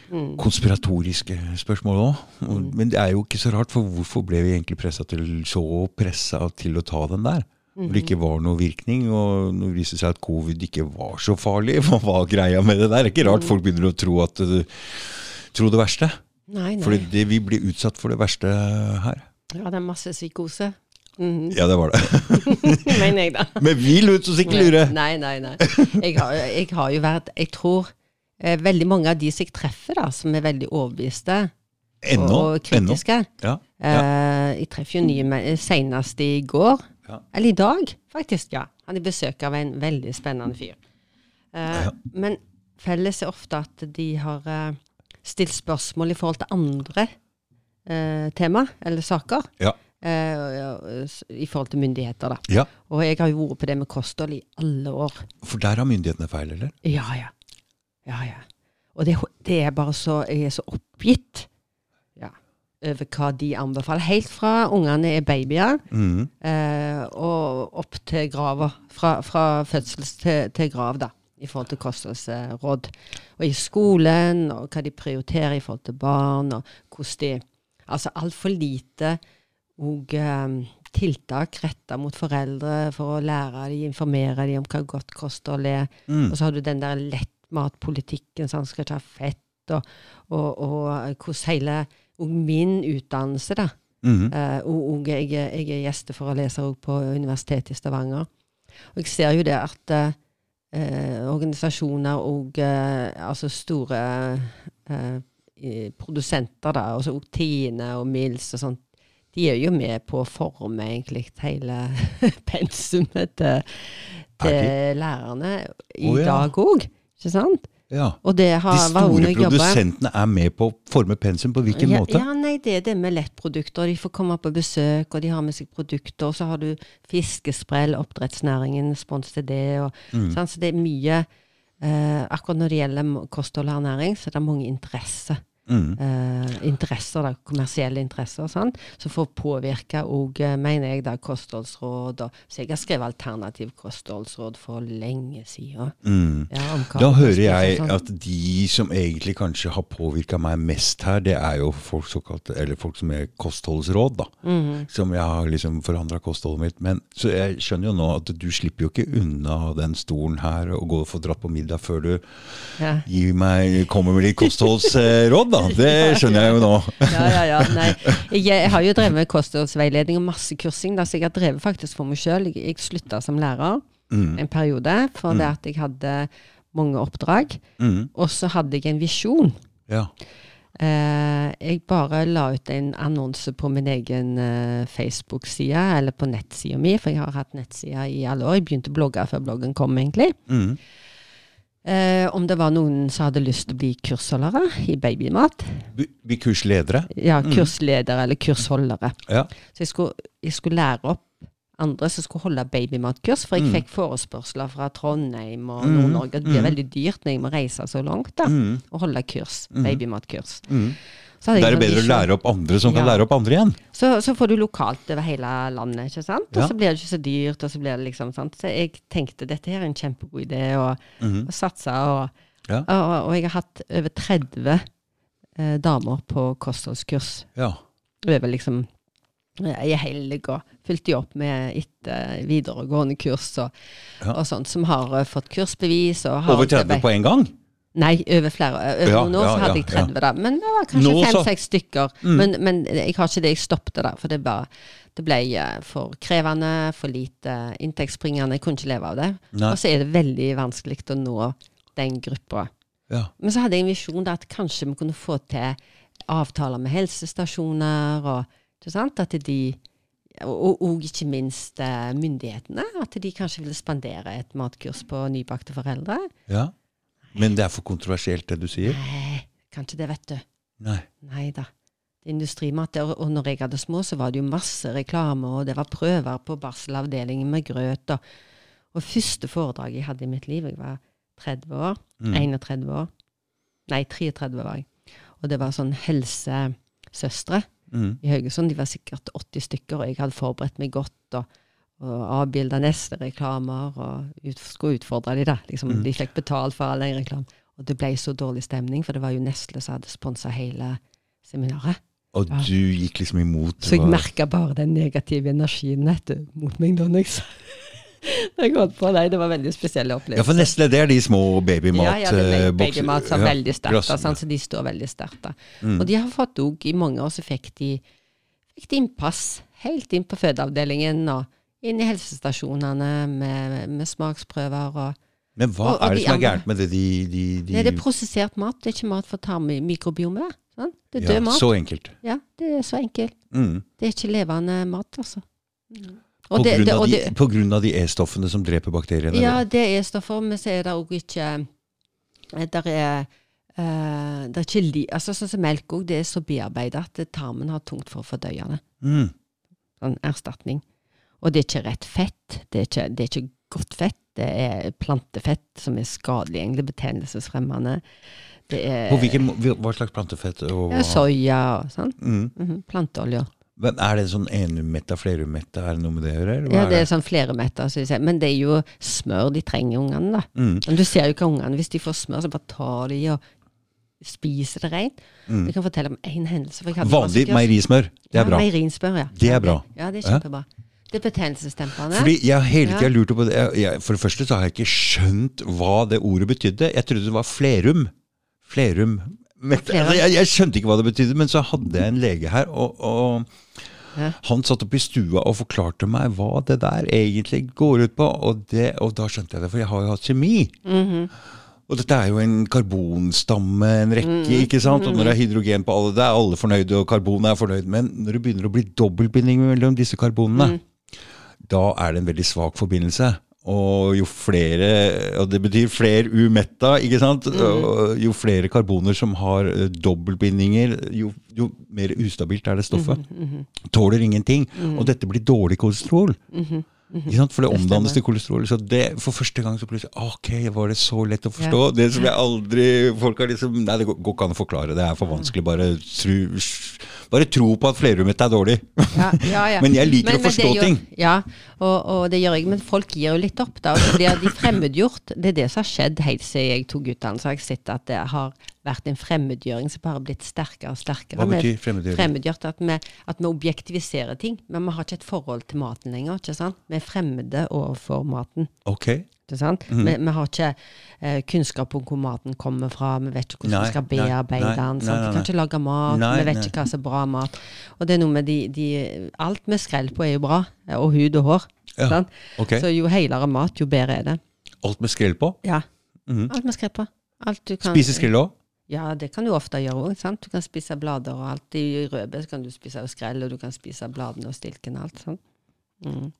S2: Mm.
S1: konspiratoriske spørsmål òg.
S2: Mm.
S1: Men det er jo ikke så rart, for hvorfor ble vi egentlig pressa til så pressa til å ta den der? Når det
S2: Mm-hmm.
S1: ikke var noe virkning, og når det viste seg at covid ikke var så farlig. Hva var greia med det der? Det er ikke rart
S2: Mm.
S1: folk begynner å tro, at, eh, tro det verste.
S2: Nei, nei.
S1: Fordi det, vi blir utsatt for det verste her.
S2: Ja, det er masse psykose. Mhm.
S1: Ja, det var det.
S2: Mener jeg, da.
S1: Men vi lot oss ikke lure!
S2: Nei, nei, nei. Jeg har, jeg har jo vært Jeg tror eh, veldig mange av de som jeg treffer, da, som er veldig overbeviste og,
S1: Ennå.
S2: og
S1: Ennå.
S2: kritiske
S1: Ja. ja.
S2: eh, Jeg treffer jo nye men- senest i går.
S1: Ja.
S2: Eller i dag, faktisk. ja. Han er besøk av en veldig spennende fyr. Eh,
S1: Ja.
S2: Men felles er ofte at de har eh, stilt spørsmål i forhold til andre eh, tema eller saker.
S1: Ja.
S2: eh, og- og- s- I forhold til myndigheter, da.
S1: ja.
S2: Og jeg har jo vært på det med kosthold i alle år.
S1: For der har myndighetene feil, eller?
S2: Ja, ja. Ja, ja. Og det, det er bare så Jeg er så oppgitt ja, over hva de anbefaler. Helt fra ungene er babyer
S1: Mhm.
S2: eh, og opp til grava. Fra, fra fødsel til, til grav, da. I forhold til kostholdsråd. Og i skolen, og hva de prioriterer i forhold til barn, og hvordan de Altså altfor lite og eh, tiltak retta mot foreldre for å lære dem, informere dem om hva godt kosthold er.
S1: Mm.
S2: Og så har du den der lettmatpolitikken, så han skal ta fett, og, og, og hvordan hele og min utdannelse, da.
S1: Mhm.
S2: Eh, og, og jeg, er- jeg er gjesteforeleser også på Universitetet i Stavanger. Og jeg ser jo det at eh, eh, organisasjoner og eh, altså store eh, i- produsenter, da, altså og Tine og Mills og sånt, de er jo med på å forme egentlig hele pensumet til, til lærerne i
S1: Å, ja.
S2: dag òg. Ikke sant?
S1: Ja.
S2: Og det har
S1: De
S2: var
S1: store
S2: under jobben.
S1: produsentene er med på å forme pensum. På hvilken
S2: ja,
S1: måte?
S2: Ja, nei, det er det med lettprodukter. De får komme på besøk, og de har med seg produkter. Og så har du fiskesprell, oppdrettsnæringen, spons til det. Og,
S1: Mm.
S2: sant, Så det er mye eh, Akkurat når det gjelder m- kosthold og ernæring, så er det mange interesser.
S1: Mhm.
S2: eh, interesser, da, kommersielle interesser, sant? som får påvirke òg, mener jeg, da, kostholdsråd. Og, så jeg har skrevet alternativ kostholdsråd for lenge siden.
S1: Mhm.
S2: Ja, om hva
S1: Da
S2: man
S1: hører
S2: spiser,
S1: jeg
S2: sånn.
S1: at de som egentlig kanskje har påvirka meg mest her, det er jo folk, såkalt, eller folk som er kostholdsråd, da.
S2: Mm,
S1: Som jeg har liksom forandra kostholdet mitt. Men, så jeg skjønner jo nå at du slipper jo ikke unna den stolen her og gå og få dratt på middag før du
S2: ja.
S1: gir meg, kommer med litt kostholdsråd, da. Det skjønner jeg jo nå.
S2: Ja, ja, ja. Nei. Jeg, jeg har jo drevet med kostholdsveiledning og masse kursing, da, så jeg har drevet faktisk for meg sjøl. Jeg, jeg slutta som lærer
S1: Mm.
S2: en periode for det at jeg hadde mange oppdrag.
S1: Mm.
S2: Og så hadde jeg en visjon.
S1: Ja.
S2: Eh, jeg bare la ut en annonse på min egen eh, Facebook-side, eller på nettsida mi, for jeg har hatt nettside i alle år. Jeg begynte å blogge før bloggen kom, egentlig.
S1: Mm.
S2: Eh, om det var noen som hadde lyst til å bli kursholdere i babymat.
S1: Bli- Bli kursledere.
S2: Ja, kursledere eller kursholdere.
S1: Ja.
S2: Så jeg skulle, jeg skulle lære opp andre som skulle holde babymatkurs, for
S1: Mm.
S2: jeg fikk forespørsler fra Trondheim og Nord-Norge. Det blir veldig dyrt når jeg må reise så langt da,
S1: Mm.
S2: og holde kurs, babymatkurs.
S1: Mm.
S2: Så, hadde
S1: Da
S2: jeg
S1: er det
S2: en
S1: bedre å
S2: visjon.
S1: lære opp andre som kan
S2: sånn Ja.
S1: lære opp andre igjen.
S2: så, så får du lokalt over hele landet, ikke sant? Og
S1: Ja.
S2: så blir det ikke så dyrt, og så blir det liksom sant? Så jeg tenkte dette her er en kjempegod idé, og,
S1: Mhm.
S2: og satsa. Og,
S1: Ja.
S2: og, og, og jeg har hatt over 30 eh, damer på kostholdskurs
S1: Ja.
S2: øver liksom eh, i helg og fulgte de opp med etter videregående kurs og,
S1: Ja.
S2: og sånt, som har eh, fått kursbevis. Og har
S1: Over 30 på en gang?
S2: Nei, over flere. eh, Over
S1: Ja,
S2: noen år
S1: ja,
S2: så hadde
S1: ja,
S2: jeg 30, da. Men det var kanskje
S1: Nå så- Mm.
S2: fem-seks stykker. Men, men jeg har ikke det. Jeg stoppet der, for det, bare, det ble eh, for krevende, for lite inntektsbringende. Jeg kunne ikke leve av det.
S1: Nei.
S2: Og så er det veldig vanskelig å nå den gruppa.
S1: Ja.
S2: Men så hadde jeg en visjon da, at kanskje vi kunne få til avtaler med helsestasjoner, og, ikke sant? At de, og, og, og ikke minst eh, myndighetene. At de kanskje ville spandere et matkurs på nybakte foreldre.
S1: ja. Men det er for kontroversielt, det du sier?
S2: Nei, kanskje det, vet du.
S1: Nei.
S2: Nei da. Det er Industrimat. Og og når jeg hadde små, så var det jo masse reklame, og det var prøver på barselavdelingen med grøt. Og, og første foredrag jeg hadde i mitt liv, jeg var 30 år.
S1: Mm.
S2: 31 år. Nei, 33 var jeg. Og det var sånn helsesøstre
S1: Mm.
S2: i Haugesund. De var sikkert 80 stykker, og jeg hadde forberedt meg godt. og og avbilda neste reklamer, og ut, skulle utfordre de da. Liksom,
S1: Mm.
S2: De fikk betalt for all den reklamen. Og det ble så dårlig stemning, for det var jo Nestle som hadde sponsa hele seminaret.
S1: Og
S2: Ja.
S1: du gikk liksom imot. det
S2: Så jeg
S1: var-
S2: merka bare den negative energien vet du, mot meg da når jeg sa- når jeg holdt på. Nei, det var veldig spesielle
S1: Ja, for
S2: opplevelser.
S1: Nestle, det er de små eh,
S2: Ja, ja, det er
S1: babymatboksene.
S2: begge mat som er veldig sterkt, sånn, så de står veldig sterkt. da.
S1: Mm.
S2: Og de har fått òg, i mange år så fikk de, fikk de innpass helt inn på fødeavdelingen og inn i helsestasjonene med, med smaksprøver og
S1: Men hva
S2: og- og
S1: er
S2: de
S1: det som er
S2: andre-
S1: gærent med det? De, de, de,
S2: Nei, det er prosessert mat, det er ikke mat for tarmmikrobiome. Sånn? Det er død
S1: ja,
S2: mat.
S1: Så enkelt.
S2: Ja, det er så enkelt.
S1: Mm.
S2: Det er ikke levende mat, altså. Og
S1: På,
S2: det-
S1: grunn
S2: det-
S1: av
S2: og
S1: de,
S2: det-
S1: på grunn av de E-stoffene som dreper bakteriene?
S2: Ja,
S1: eller?
S2: det er stoffer, men så er det òg ikke eh, Der er eh, det er ikke li, altså Sånn som melk òg, det er så bearbeida at tarmen har tungt for å fordøye det.
S1: Mm.
S2: Sånn erstatning. Og det er ikke rett fett. Det er ikke, det er ikke godt fett. Det er plantefett som er skadelig, egentlig betennelsesfremmende. Det er
S1: På hvilken, må- hvil- hva slags plantefett? Og,
S2: ja, soya og sånn.
S1: Mm.
S2: Mhm, Planteolje.
S1: Men er det sånn enumetta, flerumetta, er det noe med det å gjøre? eller hva
S2: Ja,
S1: er
S2: det er sånn flere meter, som de sier. Men det er jo smør de trenger, ungene, da.
S1: Mm.
S2: Men du ser jo ikke ungene. Hvis de får smør, så bare tar de og spiser det rent.
S1: Mm.
S2: Jeg kan fortelle om én hendelse. For jeg hadde
S1: Vanlig
S2: vaskers-
S1: meierismør, det er bra.
S2: Ja, Meierinsmør, ja.
S1: Det er bra.
S2: Ja, det er
S1: Ja.
S2: kjempebra. Det er betennelsesdempende.
S1: Fordi jeg har hele tida
S2: Ja.
S1: lurt på det. Jeg, jeg, for det første så har jeg ikke skjønt hva det ordet betydde. Jeg trodde det var flerum. Flerum. Men,
S2: Flerum.
S1: altså, jeg, jeg skjønte ikke hva det betydde, men så hadde jeg en lege her, og, og
S2: Ja.
S1: han satt oppe i stua og forklarte meg hva det der egentlig går ut på. Og, det, og da skjønte jeg det, for jeg har jo hatt kjemi.
S2: Mhm.
S1: Og dette er jo en karbonstamme, en rekke,
S2: Mm.
S1: ikke sant? Og når det er hydrogen på alle, det er alle fornøyde, og karbon er fornøyd. Men når det begynner å bli dobbeltbinding mellom disse karbonene,
S2: Mm.
S1: da er det en veldig svak forbindelse. Og jo flere, og det betyr flere umetta, ikke sant? Og Jo flere karboner som har eh, dobbeltbindinger, jo, jo mer ustabilt er det stoffet. Tåler ingenting. Og dette blir dårlig kolesterol. Ikke sant? For det omdannes til kolesterol. Så det, for første gang så plutselig Ok, var det så lett å forstå? Det som jeg aldri Folk har liksom Nei, det går går ikke an å forklare. Det er for vanskelig. Bare tro, bare tro på at flerumetta er dårlig.
S2: Ja, ja, ja.
S1: Men jeg liker å
S2: det
S1: forstå
S2: gjør-
S1: ting.
S2: Ja, og, og det gjør jeg. Men folk gir jo litt opp, da. Og så blir de fremmedgjort. Det er det som har skjedd helt siden jeg tok utdannelse. Har jeg sett at det har vært en fremmedgjøring som bare har blitt sterkere og sterkere.
S1: Hva
S2: Vi-
S1: betyr fremmedgjøring?
S2: Fremmedgjort at vi, at vi objektiviserer ting. Men vi har ikke et forhold til maten lenger. ikke sant? Vi er fremmede overfor maten.
S1: Ok.
S2: Ikke sant?
S1: Mhm.
S2: Vi, vi har ikke eh, kunnskap om hvor maten kommer fra, vi vet ikke hvordan
S1: Nei,
S2: vi skal
S1: nei,
S2: bearbeide
S1: nei,
S2: den.
S1: nei,
S2: sant?
S1: nei,
S2: Vi kan ikke lage mat,
S1: Nei,
S2: vi vet
S1: nei.
S2: ikke hva som er bra mat. Og det er noe med de, de Alt med skrell på er jo bra, og hud og hår.
S1: Ja,
S2: sant?
S1: ok.
S2: Så jo helere mat, jo bedre er det.
S1: Alt med skrell på?
S2: Ja.
S1: Mhm.
S2: Alt med skrell på. Alt du kan,
S1: Spise skrell òg?
S2: Ja, det kan du ofte gjøre òg. Du kan spise blader og alt. I rødbet så kan du spise skrell, og du kan spise bladene og stilken og alt. sånn. Mm.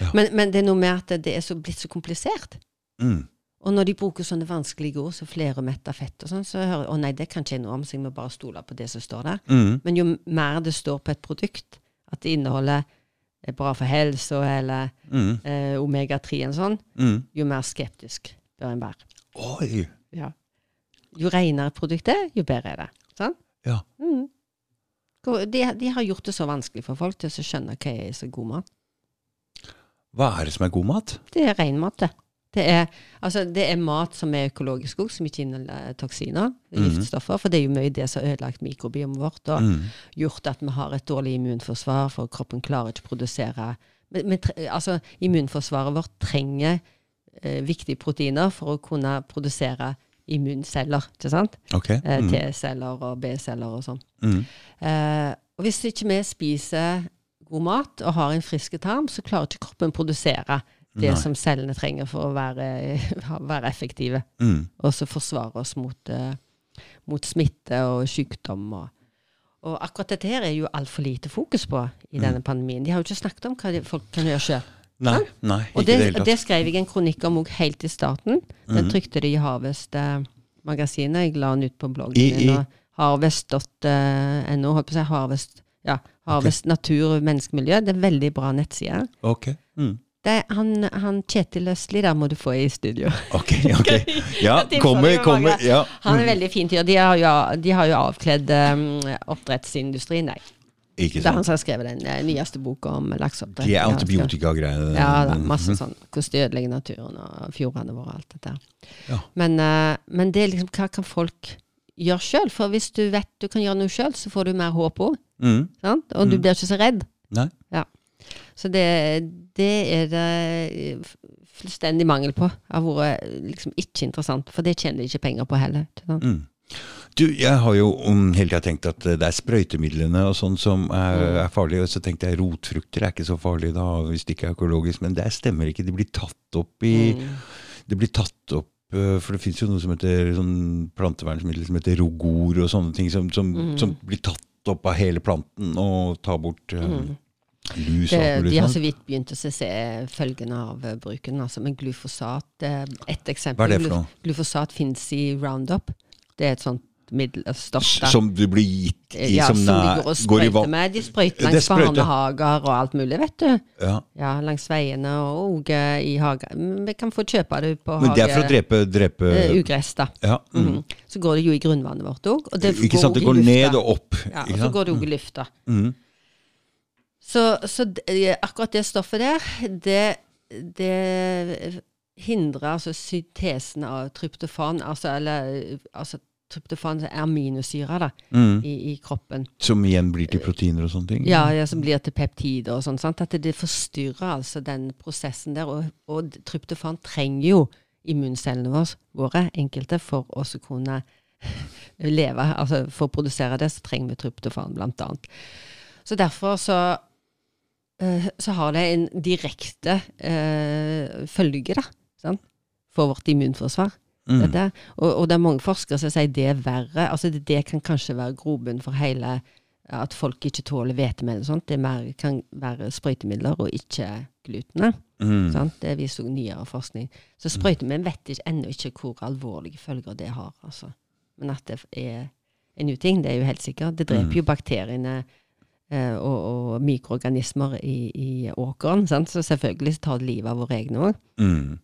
S1: Ja.
S2: Men, men det er noe med at det- det er så, blitt så komplisert.
S1: Mm.
S2: Og når de bruker sånne vanskelige ord, så flere metta fett og sånn, så hører jeg å nei, det kan ikke jeg noe om, så jeg må bare stole på det som står der.
S1: Mm.
S2: Men jo mer det står på et produkt, at det inneholder eh, bra for helsa eller
S1: Mm.
S2: eh, omega-3 og sånn,
S1: Mm.
S2: jo mer skeptisk bør en være.
S1: Oi!
S2: Jo renere produktet er, jo bedre er det. Sånn?
S1: Ja.
S2: Mm. Hvor- De, de har gjort det så vanskelig for folk til å skjønne hva er så god mat.
S1: Hva er det som er god mat?
S2: Det er ren mat, det. Det er, altså, det er mat som er økologisk òg, som ikke inneholder eh, toksiner, giftstoffer. For det er jo mye det som har ødelagt mikrobiomet vårt og
S1: Mhm. Mm.
S2: gjort at vi har et dårlig immunforsvar, for kroppen klarer ikke å produsere men, men, tre- altså, Immunforsvaret vårt trenger eh, viktige proteiner for å kunne produsere immunceller, ikke sant?
S1: Ok.
S2: Eh,
S1: Mm.
S2: T-celler og B-celler og sånn.
S1: Mm.
S2: Eh, og hvis ikke vi spiser god mat og har en frisk tarm, så klarer ikke kroppen produsere det
S1: Nei.
S2: som cellene trenger for å være, ha- være effektive.
S1: Mm.
S2: Og så forsvare oss mot, eh, mot smitte og sykdom. Og, og akkurat dette her er jo altfor lite fokus på i denne pandemien. De har jo ikke snakket om hva de, folk kan gjøre sjøl.
S1: Nei, nei, ikke
S2: Og
S1: i det
S2: det,
S1: hele
S2: det
S1: tatt. Mhm.
S2: skrev jeg en kronikk om òg helt i starten. Den trykte de i Harvest-magasinet. Jeg la den ut på bloggen
S1: I- i-
S2: min. og Harvest.no, holdt på å si. Harvest, ja, Harvest natur og menneskemiljø. Det er en veldig bra nettside.
S1: Ok. Mm.
S2: Det, han, han Kjetil Østli, der må du få i studio.
S1: Ok, ok. Ja,
S2: Jeg tipser
S1: kommer,
S2: det var
S1: kommer.
S2: mange.
S1: Ja.
S2: Han
S1: Mm.
S2: er veldig fin fyr. De har jo, de har jo avkledd eh, oppdrettsindustrien, nei.
S1: Ikke
S2: Det er
S1: sant.
S2: han som har skrevet den eh, nyeste boka om lakseoppdrett.
S1: De er
S2: Ja, han skal-
S1: antibiotikagreiene.
S2: Ja, da,
S1: Mm-hmm.
S2: masse sånn. Hvordan de ødelegger naturen og fjordene våre og alt dette.
S1: Ja.
S2: Men, eh, men det er liksom, hva kan folk gjøre sjøl? For hvis du vet du kan gjøre noe sjøl, så får du mer håp òg.
S1: Mm.
S2: Og du blir ikke så redd.
S1: Nei.
S2: Så det, det er det eh, f- fullstendig mangel på. Har vært eh, liksom ikke interessant, for det tjener de ikke penger på heller. ikke sant?
S1: Du, jeg har jo om hele tida tenkt at eh, det er sprøytemidlene og sånn som er,
S2: Mm.
S1: er farlige. Og så tenkte jeg rotfrukter er ikke så farlige da, hvis det ikke er økologisk. Men det stemmer ikke. De blir tatt opp i
S2: Mm.
S1: Det blir tatt opp eh, for det fins jo noe som heter sånn plantevernmiddel som heter rogor og sånne ting, som, som,
S2: Mm.
S1: som blir tatt opp av hele planten og tar bort eh, lus og alt mulig sånn,
S2: Mm. Det, de har
S1: sånt.
S2: så vidt begynt å se, se følgene av eh, bruken, altså. Men glufosat eh, Ett eksempel.
S1: Hva er det for noe?
S2: Glu- Glufosat fins i Roundup. Det er et sånt middel, eh, stoff da.
S1: Som du blir gitt i
S2: ja, som de
S1: nær-
S2: går
S1: går
S2: og
S1: i
S2: sprøyter
S1: vann.
S2: med. De sprøyter
S1: Det
S2: langs
S1: sprøyter.
S2: barnehager og alt mulig, vet du.
S1: Ja.
S2: Ja, langs veiene og eh, i hager. Men Vi kan få kjøpe det på
S1: Men det er for å drepe, drepe
S2: eh, ugress, da.
S1: ja. mm.
S2: Mhm. Så går det jo i grunnvannet vårt òg. Og det
S1: Ikke sant, det
S2: også
S1: går
S2: i lufta.
S1: ned og opp.
S2: Ja, og
S1: ikke
S2: så
S1: sant?
S2: går det òg i lufta.
S1: Mhm.
S2: Så, så d- eh, akkurat det stoffet der, det, det hindrer altså syntesen av tryptofan, altså, eller, altså tryptofan er aminosyrer da,
S1: Mhm.
S2: i, i kroppen.
S1: Som igjen blir til proteiner og sånne ting?
S2: Ja, ja, som blir til peptider og sånn. sant? At det forstyrrer altså den prosessen der. Og, og tryptofan trenger jo immuncellene våre, våre enkelte, for å så kunne leve. Altså for å produsere det, så trenger vi tryptofan, blant annet. Så derfor så eh, så har det en direkte eh, følge, da, sant? for vårt immunforsvar.
S1: Mm.
S2: Dette. Og, og det er mange forskere som sier det er verre. Altså det, det kan kanskje være grobunn for hele at folk ikke tåler hvetemel og sånt. Det er mer, kan være sprøytemidler og ikke glutenet.
S1: Mm.
S2: Sant? Det viser jo nyere forskning. Så sprøytemidler vet ikke, ennå ikke hvor alvorlige følger det har. Altså. Men at det er en uting, det er jo helt sikkert. Det
S1: Mm.
S2: dreper jo bakteriene eh, og, og mikroorganismer i, i åkeren. Sant? Så selvfølgelig så tar det livet av våre egne òg.
S1: Mm.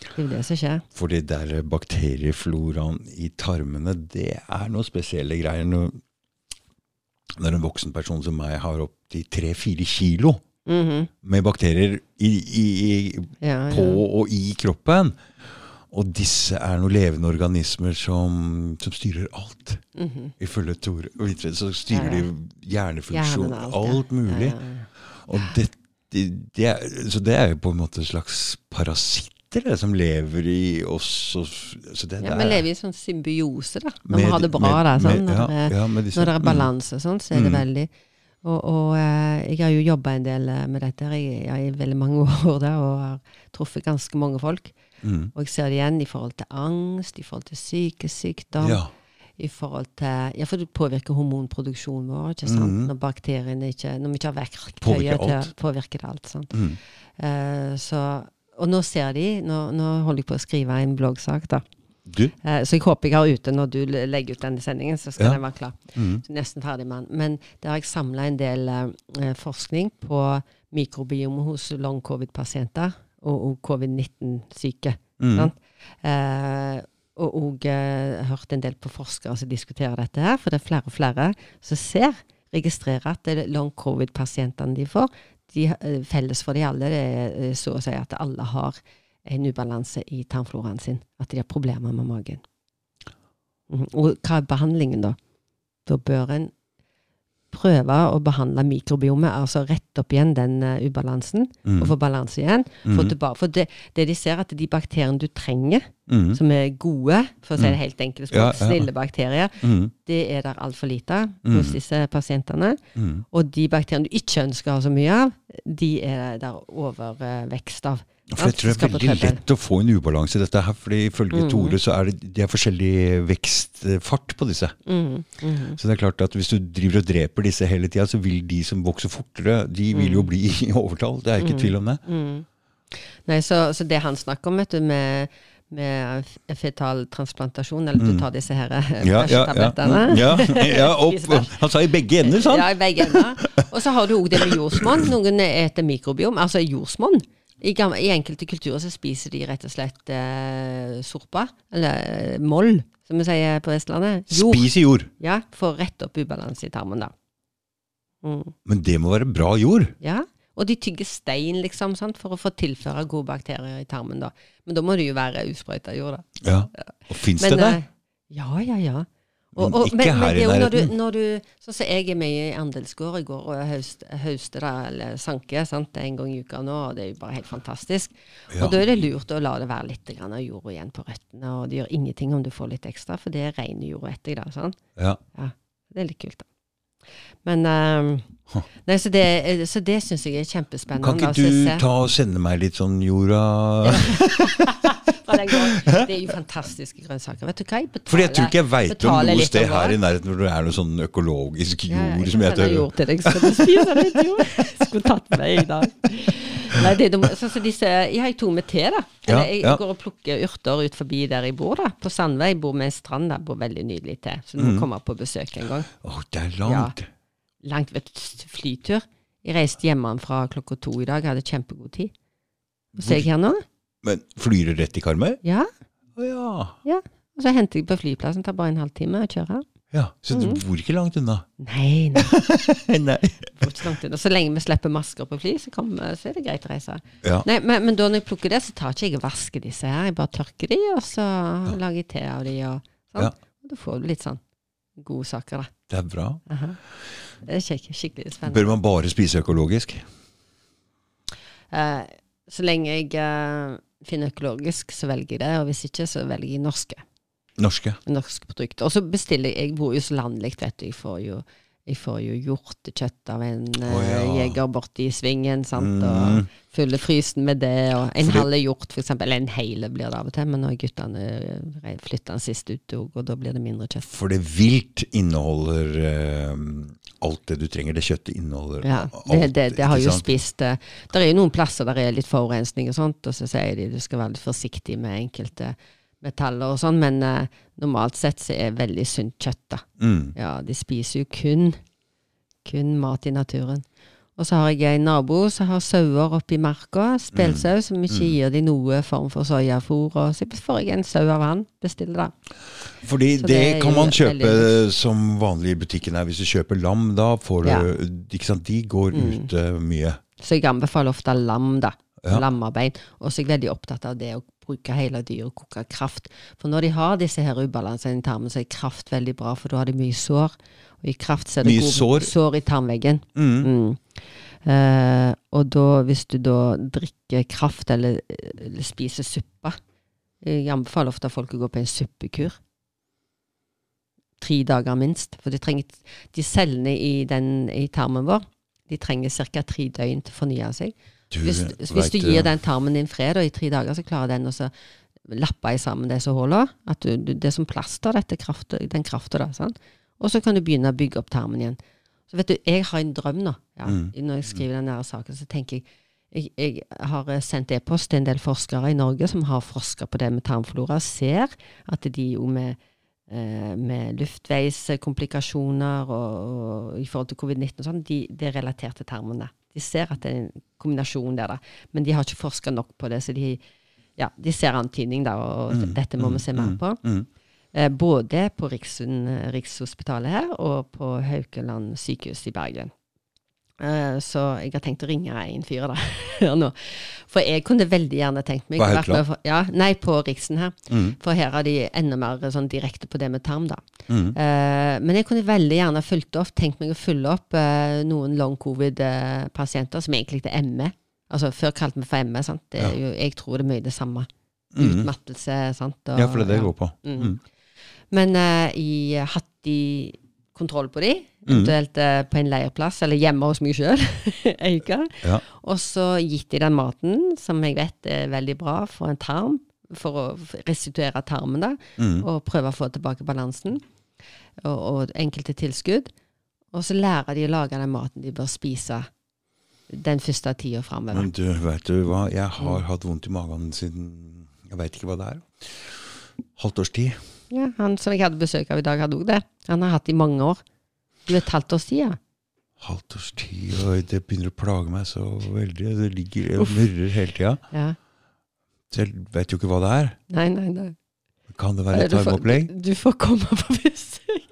S2: Det er jo det som skjer.
S1: For de der bakteriefloraen i tarmene, det er noen spesielle greier. Når, når en voksen person som meg har opptil tre-fire kilo
S2: Mhm.
S1: med bakterier i, i, i,
S2: ja, ja.
S1: på og i kroppen Og disse er noen levende organismer som, som styrer alt.
S2: Mhm.
S1: Ifølge Tore og Vitre så styrer
S2: Ja, ja.
S1: de hjernefunksjon,
S2: Hjernen og alt, ja.
S1: alt mulig.
S2: Ja, ja, ja.
S1: Og det, det, det er, så det er jo på en måte slags parasitter det, som lever i oss. Og, så det,
S2: Ja,
S1: det
S2: vi
S1: er-
S2: lever i sånn symbiose, da. Når
S1: med-
S2: vi har det bra,
S1: med-
S2: da. Sånn,
S1: med- ja,
S2: når, det-
S1: ja, med disse-
S2: når det er
S1: mm.
S2: balanse og sånn, så er det veldig Og, og eh, jeg har jo jobba en del eh, med dette her i, ja, i veldig mange år da, og har truffet ganske mange folk.
S1: Mm.
S2: Og jeg ser det igjen i forhold til angst, i forhold til sykesykdom,
S1: Ja.
S2: i forhold til Ja, for det påvirker hormonproduksjonen vår, ikke sant? Når bakteriene ikke Når vi ikke har verktøyet
S1: Mm. Påvirker
S2: til å
S1: alt.
S2: påvirke det alt. Sånn.
S1: Mm.
S2: Eh, så Og nå ser de Nå, nå holder jeg på å skrive en bloggsak, da.
S1: Du?
S2: Eh, Så jeg håper jeg har ute når du le- legger ut denne sendingen, så skal
S1: Ja.
S2: den være klar.
S1: Mm.
S2: Så Nesten ferdig med den. Men der har jeg samla en del eh, forskning på mikrobiom hos long covid-pasienter og, og covid-19-syke.
S1: mm,
S2: sant? Eh, og og eh, hørt en del på forskere som diskuterer dette her, for det er flere og flere som ser, registrerer at det er long covid-pasientene de får, de, eh, felles for de alle, det er eh, så å si at alle har en ubalanse i tarmfloraen sin. At de har problemer med magen. Mhm. Og hva er behandlingen, da? Da bør en prøve å behandle mikrobiomet, altså rette opp igjen den eh, ubalansen,
S1: Mm.
S2: og få balanse igjen. Få
S1: Mm.
S2: tilbake, for det, det de ser, at de bakteriene du trenger,
S1: Mm.
S2: som er gode, for å si det helt enkelt,
S1: Ja, ja.
S2: snille bakterier,
S1: Mm.
S2: det er der altfor lite hos
S1: Mm.
S2: disse pasientene.
S1: Mm.
S2: Og de bakteriene du ikke ønsker å ha så mye av, de er der overvekst av.
S1: For jeg
S2: Sant?
S1: tror det er
S2: Skaper
S1: veldig
S2: trøbbel. Mm.
S1: lett å få en ubalanse i dette her, fordi ifølge Tore så er det, det er forskjellig vekstfart på disse.
S2: Mhm, mhm.
S1: Så det er klart at hvis du driver og dreper disse hele tida, så vil de som vokser fortere, de
S2: Mm.
S1: vil jo bli i overtall. Det er ikke tvil om det.
S2: Nei, så, så det han snakker om, vet du, med, med f- fetal transplantasjon, eller du tar disse her eh,
S1: Mm. Ja, ja, Mm, ja.
S2: bæsjetablettene.
S1: ja, ja opp, opp. Han sa i begge ender, sa han.
S2: Ja, i begge ender. Og så har du òg det med jordsmonn. Noen eter mikrobiom, altså jordsmonn. I, gam- I enkelte kulturer så spiser de rett og slett eh, sorpa, eller eh, moll, som vi sier på Vestlandet. Jord.
S1: Spis i jord.
S2: Ja, for å rette opp ubalanse i tarmen, da. Mm.
S1: Men det må være bra jord.
S2: Ja, og de tygger stein, liksom, sant, for å få tilføre gode bakterier i tarmen, da. Men da må det jo være usprøyta jord, da.
S1: Ja. Og fins
S2: Men,
S1: det det?
S2: eh, Ja, ja, ja.
S1: Men ikke her i
S2: det er jo når
S1: nærheten.
S2: Du, når du, sånn som jeg er mye i andelsgård, jeg går og høst- høster da, eller sanker sant, en gang i uka nå, og det er jo bare helt fantastisk.
S1: Ja.
S2: Og da er det lurt å la det være litt grann av jord igjen på røttene, og det gjør ingenting om du får litt ekstra, for det er ren jord etter, da, sant?
S1: Ja.
S2: Det er litt kult, da. Men ehm,
S1: Huh.
S2: Nei, så det, eh, så det syns jeg er kjempespennende.
S1: Kan ikke
S2: altså,
S1: du
S2: jeg ser-
S1: ta og sende meg litt sånn jorda
S2: fra den gården. Det er jo fantastiske grønnsaker. Vet du hva? Jeg betaler,
S1: Fordi jeg tror ikke jeg veit om
S2: betaler
S1: noe
S2: litt
S1: sted
S2: om
S1: her
S2: det.
S1: i nærheten hvor det er noe sånn økologisk
S2: Ja, ja,
S1: jord som
S2: kan sende
S1: heter
S2: jord til deg, så du spiser litt jord. Skulle tatt med i dag. Nei, det, er dumt. sånn som disse, ja, jeg tok med te, da.
S1: Ja,
S2: Eller, jeg
S1: ja.
S2: går og plukker urter ut forbi der jeg bor, da. På Sandvei bor vi en strand der, bor veldig nydelig te. Så du må komme på besøk en gang.
S1: Å, det er langt.
S2: Langt vet du, flytur. Jeg reiste hjemmefra klokka to i dag, jeg hadde kjempegod tid. Og så er jeg her nå.
S1: Men flyr det rett i Karmøy?
S2: Ja.
S1: Å ja.
S2: Og så henter jeg på flyplassen, tar bare en halvtime å kjøre.
S1: ja. Så du bor ikke langt unna?
S2: Nei, Mhm. nei,
S1: Nei.
S2: det går ikke langt unna. Så lenge vi slipper masker på fly, så, kommer- så er det greit å reise.
S1: Ja.
S2: Nei, men, men da når jeg plukker det, så tar ikke jeg og vasker disse her. Jeg bare tørker de, og så lager jeg te av de, og sånn.
S1: Ja.
S2: Og da får du litt sånn gode saker, da.
S1: Det er bra.
S2: Aha. Det er kjekk, skikkelig spennende.
S1: Bør man bare spise økologisk?
S2: Eh, så lenge jeg eh, finner økologisk, så velger jeg det, og hvis ikke, så velger jeg norske.
S1: Norske?
S2: norske produkter. Og så bestiller jeg Jeg bor jo så landlig, vet du. Jeg får jo, jeg får jo hjortekjøtt av en eh,
S1: Å, ja.
S2: jeger borte i svingen, sant.
S1: Mm.
S2: Og fyller frysen med det. Og en
S1: Fordi-
S2: halv hjort, for eksempel. Eller en hele blir det av og til. Men når guttene eh, flytter den sist ut, og og da blir det mindre kjøtt.
S1: For det vilt inneholder eh, alt det du trenger. Det kjøttet inneholder
S2: Ja,
S1: alt.
S2: det, det, det har
S1: ikke
S2: jo
S1: sant?
S2: spist eh, Det er jo noen plasser der er litt forurensning og sånt, og så sier de du skal være litt forsiktig med enkelte metaller og sånn, men eh, normalt sett så er veldig sunt kjøtt, da.
S1: Mm.
S2: Ja, de spiser jo kun, kun mat i naturen. Og så har jeg en nabo som har sauer oppi marka, spelsau, som ikke
S1: Mm.
S2: gir de noe form for soyafôr. Og så får jeg en sau av han, bestiller det.
S1: Fordi det,
S2: Så det er
S1: kan
S2: jo
S1: man kjøpe
S2: veldig
S1: som vanlig i butikken her. Hvis du kjøper lam, da får du Ikke sant, de går
S2: Mm.
S1: ute mye.
S2: Så jeg anbefaler ofte lam, da.
S1: Ja.
S2: Lammebein. Og så er jeg veldig opptatt av det å bruke hele dyret og koke kraft. For når de har disse her ubalansene i tarmen, så er kraft veldig bra, for da har de mye sår. Og i kraft så er det
S1: Mye
S2: god-
S1: sår?
S2: sår i tarmveggen.
S1: Mm.
S2: Mm. Eh, og da, hvis du da drikker kraft eller, eller spiser suppe Jeg anbefaler ofte at folk å gå på en suppekur. Tre dager minst. For de, trenger, de cellene i, den, i tarmen vår de trenger ca. tre døgn til å fornye seg.
S1: Du
S2: Hvis, hvis
S1: vet
S2: du gir den tarmen din fred da, i tre dager, så klarer den å så lappe i sammen disse hullene. At du, du, det er som plaster, dette kraft, den krafta. Og så kan du begynne å bygge opp tarmen igjen. Så vet du, jeg har en drøm nå. Ja,
S1: Mm.
S2: Når jeg skriver den der saken, så tenker jeg jeg, jeg har eh, sendt e-post til en del forskere i Norge som har forska på det med tarmflora, og ser at de jo med, eh, med luftveiskomplikasjoner og, og i forhold til covid-19 og sånn, de, det er relatert til tarmene. De ser at det er en kombinasjon der, da. men de har ikke forska nok på det. Så de, ja, de ser antydning, da, og dette må vi se mer på.
S1: mm.
S2: Eh, Både på Rikssund, eh, Rikshospitalet her og på Haukeland sykehus i Bergen. Eh, Så jeg har tenkt å ringe en fyr da, her nå. For jeg kunne veldig gjerne tenkt meg
S1: På
S2: å vært
S1: Haukeland?
S2: med for- Ja, nei, på Riksen her.
S1: Mm.
S2: For her er de enda mer sånn direkte på det med tarm, da.
S1: Mm.
S2: Eh, men jeg kunne veldig gjerne fulgt opp, tenkt meg å følge opp eh, noen long covid-pasienter som egentlig er ME. Altså, før kalte vi for ME, sant. Det er jo, jeg tror det er mye det samme.
S1: Mm.
S2: Utmattelse, sant. og-
S1: Ja, for det er det
S2: ja.
S1: det går på.
S2: Mm.
S1: Mm.
S2: Men eh, jeg har hatt de kontroll på de,
S1: Mm.
S2: eventuelt eh, på en leirplass, eller hjemme hos meg sjøl, ei uke.
S1: Ja.
S2: Og så gitt de den maten, som jeg vet er veldig bra for en tarm, for å restituere tarmen, da,
S1: Mm.
S2: og prøve å få tilbake balansen, og, og enkelte tilskudd. Og så lærer de å lage den maten de bør spise den første tida framover.
S1: Men du, vet du hva? Jeg
S2: Mm.
S1: har hatt vondt i magen siden Jeg veit ikke hva det er. Halvt års tid.
S2: Ja, han som jeg hadde besøk av i dag, hadde òg det. Han har hatt det i mange år. Du, et halvt års tid, ja.
S1: halvt års tid, og det begynner å plage meg så veldig. Det ligger og murrer hele tida.
S2: Ja.
S1: Så jeg vet jo ikke hva det er.
S2: Nei, nei, nei.
S1: Kan det være et
S2: Du får-
S1: tarmopplegg?
S2: Du får komme på besøk.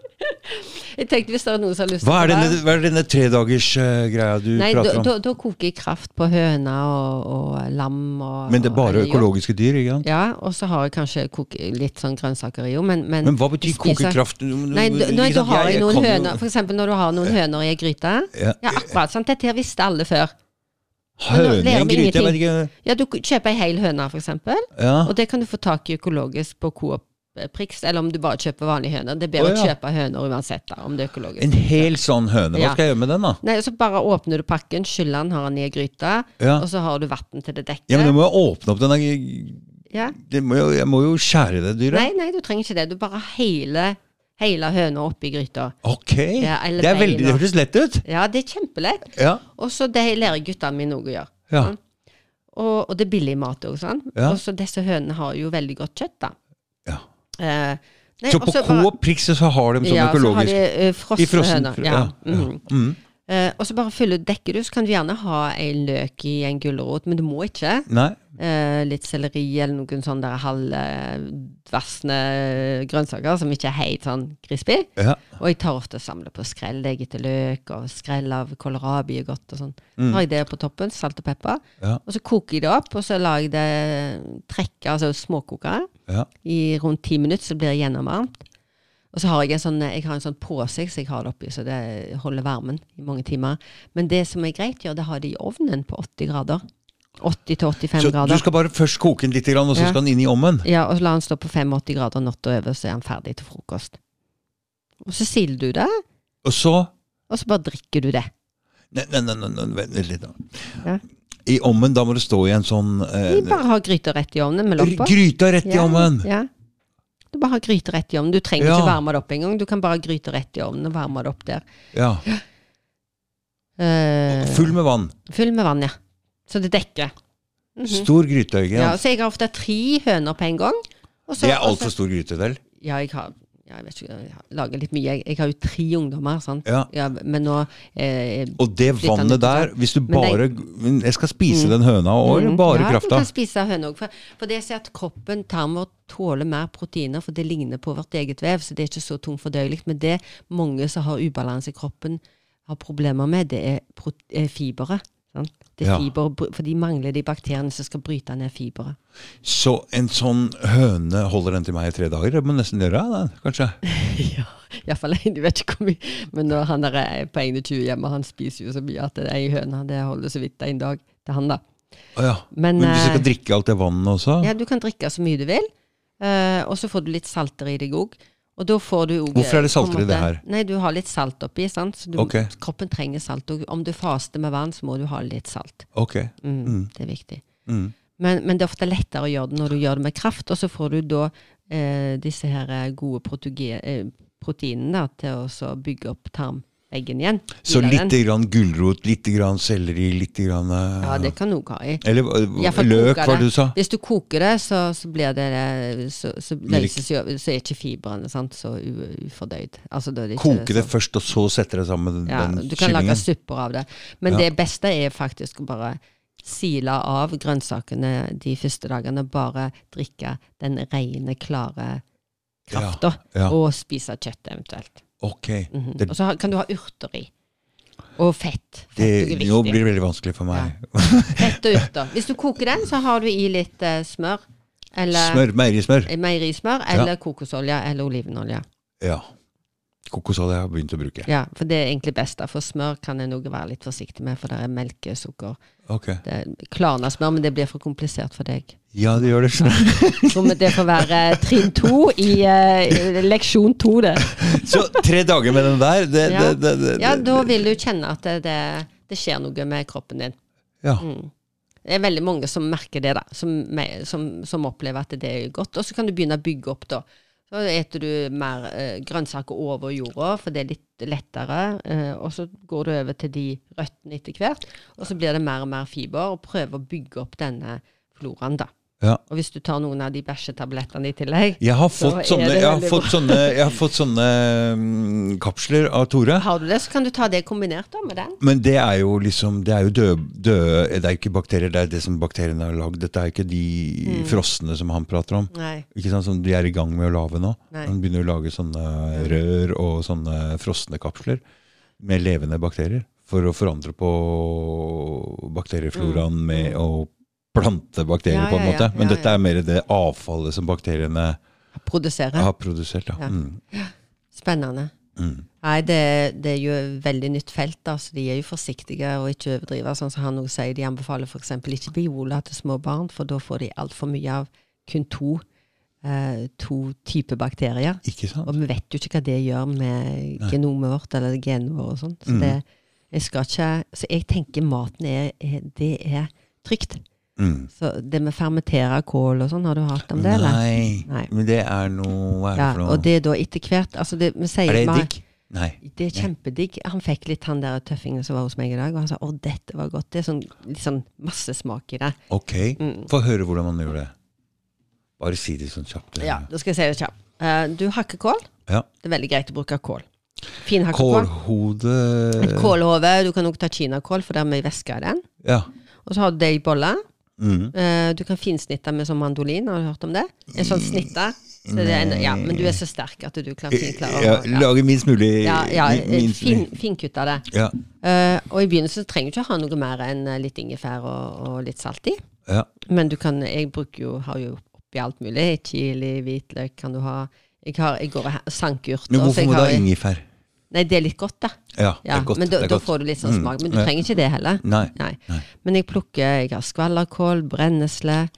S2: Jeg tenkte hvis det er noen som har lyst
S1: Hva er
S2: til det.
S1: denne, hva er denne tredagersgreia du
S2: Nei, da,
S1: prater om?
S2: da, da koker jeg kraft på høna og, og lam og
S1: Men det er bare
S2: eller hjort.
S1: økologiske dyr? ikke sant?
S2: Ja, og så har jeg kanskje kok litt sånn grønnsaker i jo, men, men,
S1: Men hva betyr
S2: jeg spiser-
S1: kokekraft?
S2: Nei, da- når du har jeg noen høner,
S1: høner
S2: for eksempel når du har noen høner i ei gryte.
S1: Ja.
S2: Ja, akkurat. sant, Dette her visste alle før. Nå
S1: Høne i
S2: lærer
S1: en
S2: vi
S1: gryte? Jeg vet ikke.
S2: Ja, Du k- kjøper ei hel høne, for eksempel,
S1: Ja.
S2: og det kan du få tak i økologisk på Coop eh, Prix, eller om du bare kjøper vanlige høner. Det er bedre
S1: Å,
S2: å
S1: ja.
S2: kjøpe høner uansett, da, om det er økologisk.
S1: En hel sånn høne. Hva
S2: Ja.
S1: skal jeg gjøre med den, da?
S2: Nei, og Så bare åpner du pakken, skyller den, har den i ei gryte,
S1: Ja.
S2: og så har du vann til det dekket.
S1: ja, men Da må jeg åpne opp denne det
S2: Ja.
S1: må jo, Jeg må jo skjære det dyret.
S2: Nei, nei, du trenger ikke det. Du bare har hele, hele høna oppi gryta.
S1: Ok!
S2: Ja, eller
S1: det, er
S2: bein
S1: veldig, det
S2: og-
S1: hørtes lett ut.
S2: Ja, det er kjempelett.
S1: Ja.
S2: Og så det lærer guttene mine òg å gjøre.
S1: ja.
S2: Og, og det er billig mat òg, sant.
S1: Ja.
S2: Og så disse hønene har jo veldig godt kjøtt, da.
S1: Ja.
S2: Eh, nei,
S1: Så på
S2: også bare-
S1: Coop Prix så har de sånn
S2: ja, så har
S1: økologisk
S2: de eh,
S1: I frossen-
S2: frosne høner. Ja.
S1: ja,
S2: mhm.
S1: mm.
S2: Eh, og så bare fyller dekker du, så kan du gjerne ha en løk i en gulrot, men du må ikke.
S1: Nei.
S2: Eh, litt selleri eller noen sånne der halvvassende grønnsaker som ikke er helt sånn crispy.
S1: Ja.
S2: Og jeg tar ofte og samler på skrell jeg etter løk, og skrell av kålrabi er godt og sånn.
S1: Mm.
S2: Så har jeg det på toppen, salt og pepper.
S1: Ja.
S2: Og så koker jeg det opp, og så lar jeg det trekke, altså småkoke,
S1: ja.
S2: i rundt ti minutter, så blir det gjennomvarmt. Og så har jeg en sånn, jeg har en sånn påse som jeg har det oppi, så det holder varmen i mange timer. Men det som er greit, gjør, det har det i ovnen på 80 grader. 80-85
S1: Så du
S2: grader.
S1: skal bare først koke den litt, grann, og så
S2: Ja.
S1: skal den inn i ovnen?
S2: Ja, og så lar den stå på 85 grader natta over, så er den ferdig til frokost. Og så siler du det,
S1: Og så
S2: og så bare drikker du det.
S1: Nei, nei, nei, nei, nei vent litt, da.
S2: Ja.
S1: I ovnen, da må det stå i en sånn
S2: Vi
S1: eh,
S2: bare har gryter rett i ovnen med lokk på.
S1: Gryta rett i
S2: Ja,
S1: ovnen!
S2: Ja. Du bare har gryter rett i ovnen. Du trenger
S1: Ja.
S2: ikke varme det opp engang. Du kan bare ha gryter rett i ovnen og varme det opp der.
S1: Ja.
S2: Eh,
S1: Full med vann.
S2: full med vann, ja. Så det dekker. Mhm.
S1: Stor gryte, ikke
S2: Ja,
S1: sant?
S2: så jeg har ofte tre høner på en gang. og så- altså-
S1: Det er
S2: og så-
S1: altfor stor gryte, vel?
S2: Ja, jeg har ja, jeg vet ikke, jeg har- lager litt mye. Jeg, jeg har jo tre ungdommer, sant.
S1: Ja.
S2: Ja, men nå eh,
S1: Og det
S2: Litt av
S1: vannet
S2: nytte,
S1: der, hvis du
S2: Men
S1: bare men Jeg skal spise den høna og
S2: Mm.
S1: bare
S2: ja,
S1: krafta.
S2: den kan spise høne òg. For, for det ser at kroppen, tarmen vår, tåler mer proteiner, for det ligner på vårt eget vev, så det er ikke så tungt fordøyelig. Men det mange som har ubalanse i kroppen, har problemer med, det er, pro- er fiberet. Sant? Det er
S1: Ja.
S2: fiber, br- for de mangler de bakteriene som skal bryte ned fiberet.
S1: Så en sånn høne holder den til meg i tre dager? Det må nesten gjøre det, kanskje.
S2: ja, iallfall en. Jeg vet ikke hvor mye. Men når han der er på 21 hjemme, han spiser jo så mye at ei høne det holder så vidt en dag til han, da.
S1: Å ja.
S2: Men,
S1: Men hvis jeg
S2: eh,
S1: skal drikke alt det vannet også?
S2: Ja, du kan drikke så mye du vil, eh, og så får du litt salter i deg òg. Og da får du også, eh,
S1: Hvorfor er det salter
S2: på en
S1: i det
S2: måte-
S1: her?
S2: Nei, du har litt salt oppi, sant. Så du,
S1: Ok.
S2: kroppen trenger salt. Og om du faster med vann, så må du ha litt salt.
S1: Ok.
S2: Mm, Det er viktig.
S1: Mm.
S2: Men, men det er ofte lettere å gjøre det når du gjør det med kraft, og så får du da eh, disse her eh, gode protoge- eh, proteinene da, til å så bygge opp tarmveggen igjen.
S1: Så
S2: Gir deg den.
S1: lite grann gulrot, lite grann selleri, lite grann eh,
S2: Ja, det kan du også ha i.
S1: Eller
S2: Ja,
S1: eh,
S2: for koker
S1: løk,
S2: det.
S1: hva var det du sa?
S2: Hvis du koker det, så, så blir det så, så,
S1: Men det-
S2: løses, jo- så er ikke fibrene sant, så u, ufordøyd. Altså, da er det ikke
S1: Koke det
S2: så-
S1: først, og så sette det sammen med
S2: ja,
S1: den
S2: Du kan lage
S1: kyllingen?
S2: supper av det. Men
S1: Ja.
S2: det beste er faktisk å bare sile av grønnsakene de første dagene. Bare drikke den rene, klare krafta,
S1: ja.
S2: og spise kjøtt eventuelt.
S1: Ok.
S2: Mhm.
S1: Det-
S2: Og så har- kan du ha urter i. Og fett. Fett
S1: Det,
S2: er jo viktig.
S1: nå blir det veldig vanskelig for meg.
S2: Fett og urter. Hvis du koker den, så har du i litt eh, smør. Eller
S1: Smør, meierismør.
S2: meierismør eller kokosolje eller olivenolje.
S1: Ja. Kokosolje har jeg begynt å bruke.
S2: Ja, For det er egentlig best. da. For smør kan en også være litt forsiktig med, for det er melkesukker.
S1: Ok.
S2: Det er klarna smør, men det blir for komplisert for deg.
S1: Ja, det gjør det. skjønner jeg.
S2: Så må det får være eh, trinn to i eh, leksjon to, det.
S1: Så tre dager med den der, det,
S2: Ja.
S1: det, det, det,
S2: Ja, da vil du kjenne at det, det, det skjer noe med kroppen din.
S1: ja.
S2: Mm. Det er veldig mange som merker det, da. Som, me- som, som opplever at det er godt. Og så kan du begynne å bygge opp, da. Så eter du mer eh, grønnsaker over jorda, for det er litt lettere. Eh, og så går du over til de røttene etter hvert, og så blir det mer og mer fiber. Og prøver å bygge opp denne floraen, da.
S1: Ja.
S2: Og hvis du tar noen av de bæsjetablettene i tillegg
S1: Jeg har
S2: Så
S1: fått,
S2: er
S1: sånne,
S2: det
S1: jeg har
S2: veldig
S1: fått, sånne, jeg har fått sånne mm, kapsler av Tore.
S2: Har du det, så kan du ta det kombinert da med den.
S1: Men det er jo liksom Det er jo døde, døde Det er jo ikke bakterier, det er det som bakteriene har lagd. Dette er jo ikke de
S2: Mm.
S1: frosne som han prater om.
S2: Nei.
S1: Ikke sant, Som de er i gang med å lage nå.
S2: Nei.
S1: Han begynner å lage sånne rør og sånne frosne kapsler med levende bakterier. For å forandre på bakteriefloraen med å plante bakterier,
S2: Mm. Ja,
S1: på en
S2: ja,
S1: måte.
S2: ja,
S1: Men
S2: ja,
S1: dette er mer det avfallet som bakteriene
S2: Produsere.
S1: har produsert. Ja.
S2: Ja.
S1: Mm.
S2: Spennende.
S1: Mm.
S2: Nei, det, det er jo et veldig nytt felt, da, så de er jo forsiktige og ikke overdrive. Sånn som han også sier, de anbefaler f.eks. ikke Biola til små barn, for da får de altfor mye av kun to, eh, to typer bakterier.
S1: Ikke sant?
S2: Og vi vet jo ikke hva det gjør med genomet vårt eller genene våre og sånn. Så,
S1: Mm.
S2: det, jeg skal ikke, så jeg tenker maten er, er Det er trygt.
S1: Mm.
S2: Så det med fermentere kål og sånn, har du hørt om det, eller?
S1: Nei,
S2: Nei.
S1: men det er noe Hva er
S2: Ja,
S1: det for noe?
S2: og det er da etter hvert altså det, vi sier,
S1: er det
S2: vi har-
S1: digg? Nei.
S2: Det er kjempedigg. Han fikk litt han der tøffingen som var hos meg i dag, og han sa 'Å, dette var godt'. Det er sånn, litt sånn masse smak i det.
S1: Ok,
S2: Mm.
S1: få høre hvordan man gjør det. Bare si det sånn kjapt.
S2: Ja, Da skal jeg si det kjapt. Eh, du hakker kål.
S1: Ja.
S2: Det er veldig greit å bruke kål. Finhakka kål. eh. Et
S1: Kålhode
S2: kålhove. Du kan også ta kinakål, for det er mye væske i den.
S1: Ja.
S2: Og så har du det i boller.
S1: Mm.
S2: Eh, du kan finsnitte med sånn mandolin, har du hørt om det? En sånn snitte. Så det er en, ja, men du er så sterk at du kan fint klare
S1: Ja,
S2: å
S1: lage minst mulig
S2: ja, ja,
S1: mi- minst mulig.
S2: fin, Finkutte det.
S1: Ja,
S2: Eh, og i begynnelsen trenger du ikke ha noe mer enn eh, litt ingefær og, og litt salt i.
S1: ja.
S2: Men du kan, jeg bruker jo, har jo oppi alt mulig. Chili, hvitløk kan du ha. Jeg, har, jeg går og he- sanker urter.
S1: Men
S2: så
S1: hvorfor
S2: jeg
S1: må du
S2: har-
S1: ha ingefær?
S2: Nei, det er litt godt, da.
S1: Ja, det
S2: Ja,
S1: er godt.
S2: men da,
S1: det er
S2: da
S1: godt.
S2: får du litt sånn
S1: Mm.
S2: smak. Men du
S1: Ja.
S2: trenger ikke det heller.
S1: Nei.
S2: Nei.
S1: Nei.
S2: Men jeg plukker jeg har skvallerkål, brennesle,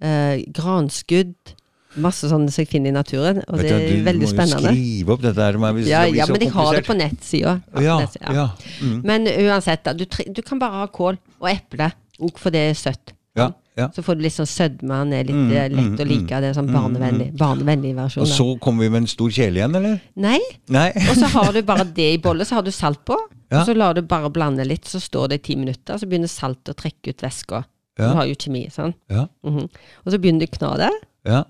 S2: eh, granskudd. Masse sånne som jeg finner i naturen, og
S1: Vet
S2: det er
S1: du, du
S2: veldig
S1: Du må jo
S2: spennende.
S1: skrive opp dette her, men hvis
S2: Ja,
S1: det blir
S2: ja,
S1: så
S2: men jeg har det på
S1: komplisert.
S2: nettsida.
S1: Ja, ja. Mm.
S2: Men uansett, da. Du, tre- du kan bare ha kål og eple, òg for det er søtt.
S1: ja, ja.
S2: Så får du litt sånn sødme. Han er litt
S1: Mm,
S2: eh, lett å like. Det er sånn barnevennlig, barnevennlig versjon.
S1: Og
S2: da.
S1: så kommer vi med en stor kjele igjen, eller?
S2: Nei,
S1: Nei.
S2: og så har du bare det i bolle, så har du salt på.
S1: Ja.
S2: Og så lar du bare blande litt, så står det i ti minutter, så begynner saltet å trekke ut væska.
S1: Ja.
S2: Du har jo kjemi, sånn.
S1: Ja,
S2: Og så begynner du å kna det,
S1: ja,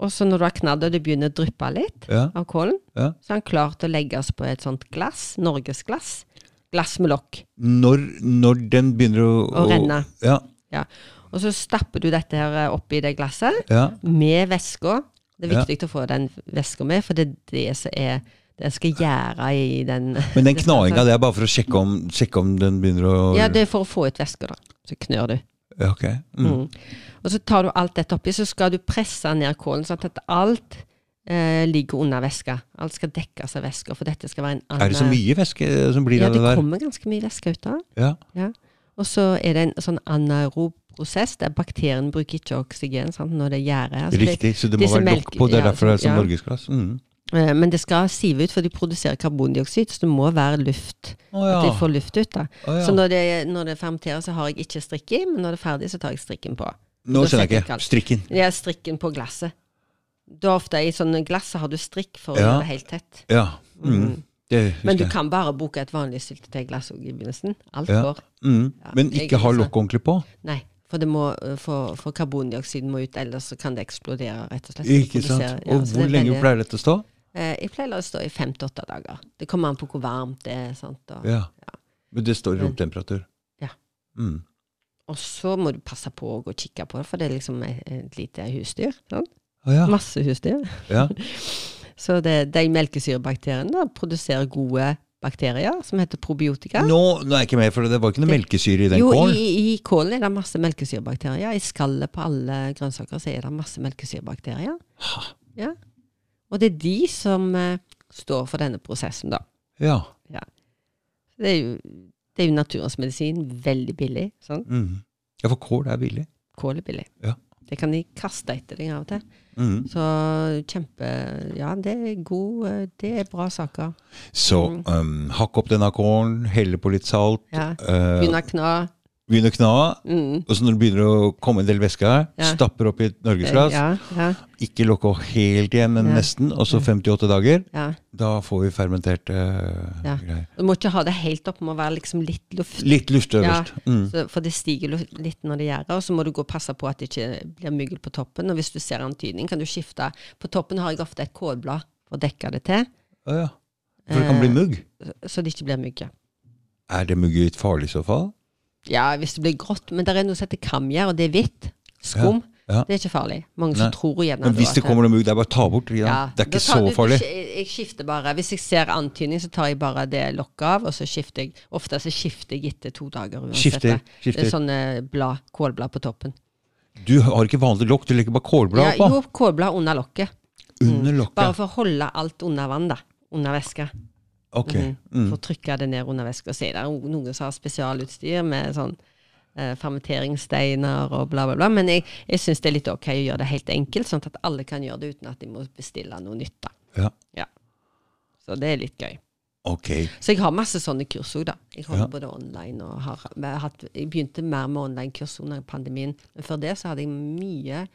S2: og så når du har knadd det, og det begynner å dryppe litt
S1: ja.
S2: av kålen,
S1: Ja.
S2: så er han klar til å legges på et sånt glass, norgesglass. Glass med lokk.
S1: Når, når den begynner å,
S2: Å renne.
S1: Ja,
S2: Ja. Og så stapper du dette her eh, oppi det glasset,
S1: ja.
S2: med væska. Det er
S1: Ja.
S2: viktig å få den væska med, for det er det som er den skal gjære i den
S1: Men den knainga, det er bare for å sjekke om, sjekke om den begynner å
S2: Ja, det er for å få ut væska, da. Så knør du.
S1: Ja, ok. Mm.
S2: Og så tar du alt dette oppi, så skal du presse ned kålen, sånn at alt eh, ligger under væska. Alt skal dekkes av væska, for dette skal være en annen
S1: Er det så mye væske som blir
S2: Ja,
S1: av
S2: det
S1: det der?
S2: kommer ganske mye væske ut av det.
S1: Ja.
S2: Ja. Og så er det en sånn anaerob prosess, der bakterien bruker ikke oksygen sant, når det gjærer. Altså, det-
S1: Riktig, så det må
S2: disse
S1: være lokk
S2: melk-
S1: på. Det er
S2: ja,
S1: derfor det er
S2: ja.
S1: som norgesglass. Mm.
S2: Eh, Men det skal sive ut, for de produserer karbondioksid, så det må være luft.
S1: Å ja.
S2: At de får luft ut. da.
S1: Å ja.
S2: Så når det, når det fermenterer, så har jeg ikke strikk i, men når det er ferdig, så tar jeg strikken på.
S1: Nå
S2: Da
S1: skjønner
S2: setter
S1: jeg
S2: jeg
S1: ikke.
S2: alt.
S1: Strikken.
S2: Det er strikken på glasset. Da ofte I sånne glass så har du strikk for å
S1: Ja.
S2: gjøre det helt tett.
S1: Ja. Mm. Det
S2: Men
S1: husker
S2: du
S1: jeg.
S2: kan bare bruke et vanlig syltetøyglass også i begynnelsen. Alt
S1: Ja.
S2: går.
S1: Mm.
S2: Ja,
S1: Men
S2: jeg-
S1: ikke ha lokket ordentlig på?
S2: Nei, for, det må, eh, for, for karbondioksiden må ut, ellers så kan det eksplodere, rett og slett. Det
S1: Ikke sant.
S2: produserer- ja,
S1: Og
S2: så det
S1: hvor
S2: er
S1: lenge
S2: veldig-
S1: pleier dette å stå?
S2: Eh, Jeg pleier å stå i fem til åtte dager. Det kommer an på hvor varmt det er. sant? Og,
S1: Ja. Men det står i romtemperatur?
S2: Ja.
S1: Mm.
S2: Og så må du passe på å gå og kikke på det, for det er liksom et, et lite husdyr. sant?
S1: Å ja.
S2: Masse husdyr.
S1: ja.
S2: Så det, de melkesyrebakteriene da, produserer gode bakterier som heter probiotika.
S1: Nå, nå er jeg ikke med, for det var ikke noe melkesyre i den
S2: jo,
S1: kålen.
S2: i, i kålen er det masse melkesyrebakterier. I skallet på alle grønnsaker så er det masse melkesyrebakterier. Ja. Og det er de som eh, står for denne prosessen, da.
S1: Ja.
S2: Det er jo, det er jo naturens medisin. Veldig billig. sant?
S1: Mm. ja, for kål er billig.
S2: Kål er billig.
S1: Ja.
S2: Det kan de kaste etter deg av og til.
S1: Mm.
S2: Så kjempe Ja, det er god eh, Det er bra saker.
S1: Så um, hakk opp denne kålen, helle på litt salt.
S2: Mm. Ja.
S1: eh,
S2: Begynne å kna.
S1: begynner å kna,
S2: Mm.
S1: og så når det begynner å komme en del væske her,
S2: Ja.
S1: stapper opp i et norgesglass,
S2: Ja, ja,
S1: ikke lokke helt igjen, men
S2: Ja.
S1: nesten, og så 58 dager,
S2: ja.
S1: da får vi fermenterte eh,
S2: Ja.
S1: greier.
S2: Du må ikke ha det helt opp, det må være liksom litt luft.
S1: Litt luft
S2: Ja,
S1: øverst. Mm.
S2: så, for det stiger lu- litt når det gjærer, og så må du gå og passe på at det ikke blir mygl på toppen. Og hvis du ser antydning, kan du skifte. På toppen har jeg ofte et kålblad for å dekke det til,
S1: Å ja. For det kan
S2: Eh.
S1: bli mugg.
S2: så det ikke blir mygg.
S1: Er det mugg i et farlig i så fall?
S2: Ja, hvis det blir grått, men det er noe som heter kamgjær, og det er hvitt. Skum.
S1: Ja, ja.
S2: Det er ikke farlig. Mange som
S1: Nei.
S2: tror gjerne
S1: Men hvis det kommer noe mugg, det er bare å ta bort. Ja. Det er
S2: da
S1: ikke så
S2: tar du- du
S1: farlig.
S2: sk- Jeg, jeg skifter bare. Hvis jeg ser antydning, så tar jeg bare det lokket av, og så skifter jeg. Ofte så skifter jeg etter to dager uansett.
S1: Skifter,
S2: Det er
S1: skifter.
S2: sånne blad, kålblad på toppen.
S1: Du har ikke vanlig lokk, du legger bare kålblad
S2: ja,
S1: oppå.
S2: jo, kålblad under lokket.
S1: Under
S2: Bare
S1: lokket.
S2: for å holde alt under vann, da. Under væska.
S1: Ok.
S2: Mhm.
S1: Mm.
S2: For å trykke det ned under væska. Så er det jo noen som har spesialutstyr med sånn eh, fermenteringssteiner og bla, bla, bla. Men jeg, jeg syns det er litt ok å gjøre det helt enkelt, sånn at alle kan gjøre det uten at de må bestille noe nytt. da.
S1: Ja.
S2: Så det er litt gøy.
S1: Ok.
S2: Så jeg har masse sånne kurs òg, da. Jeg holder
S1: Ja.
S2: både online og har, jeg har hatt, Jeg begynte mer med online-kurs under pandemien. Men før det så hadde jeg mye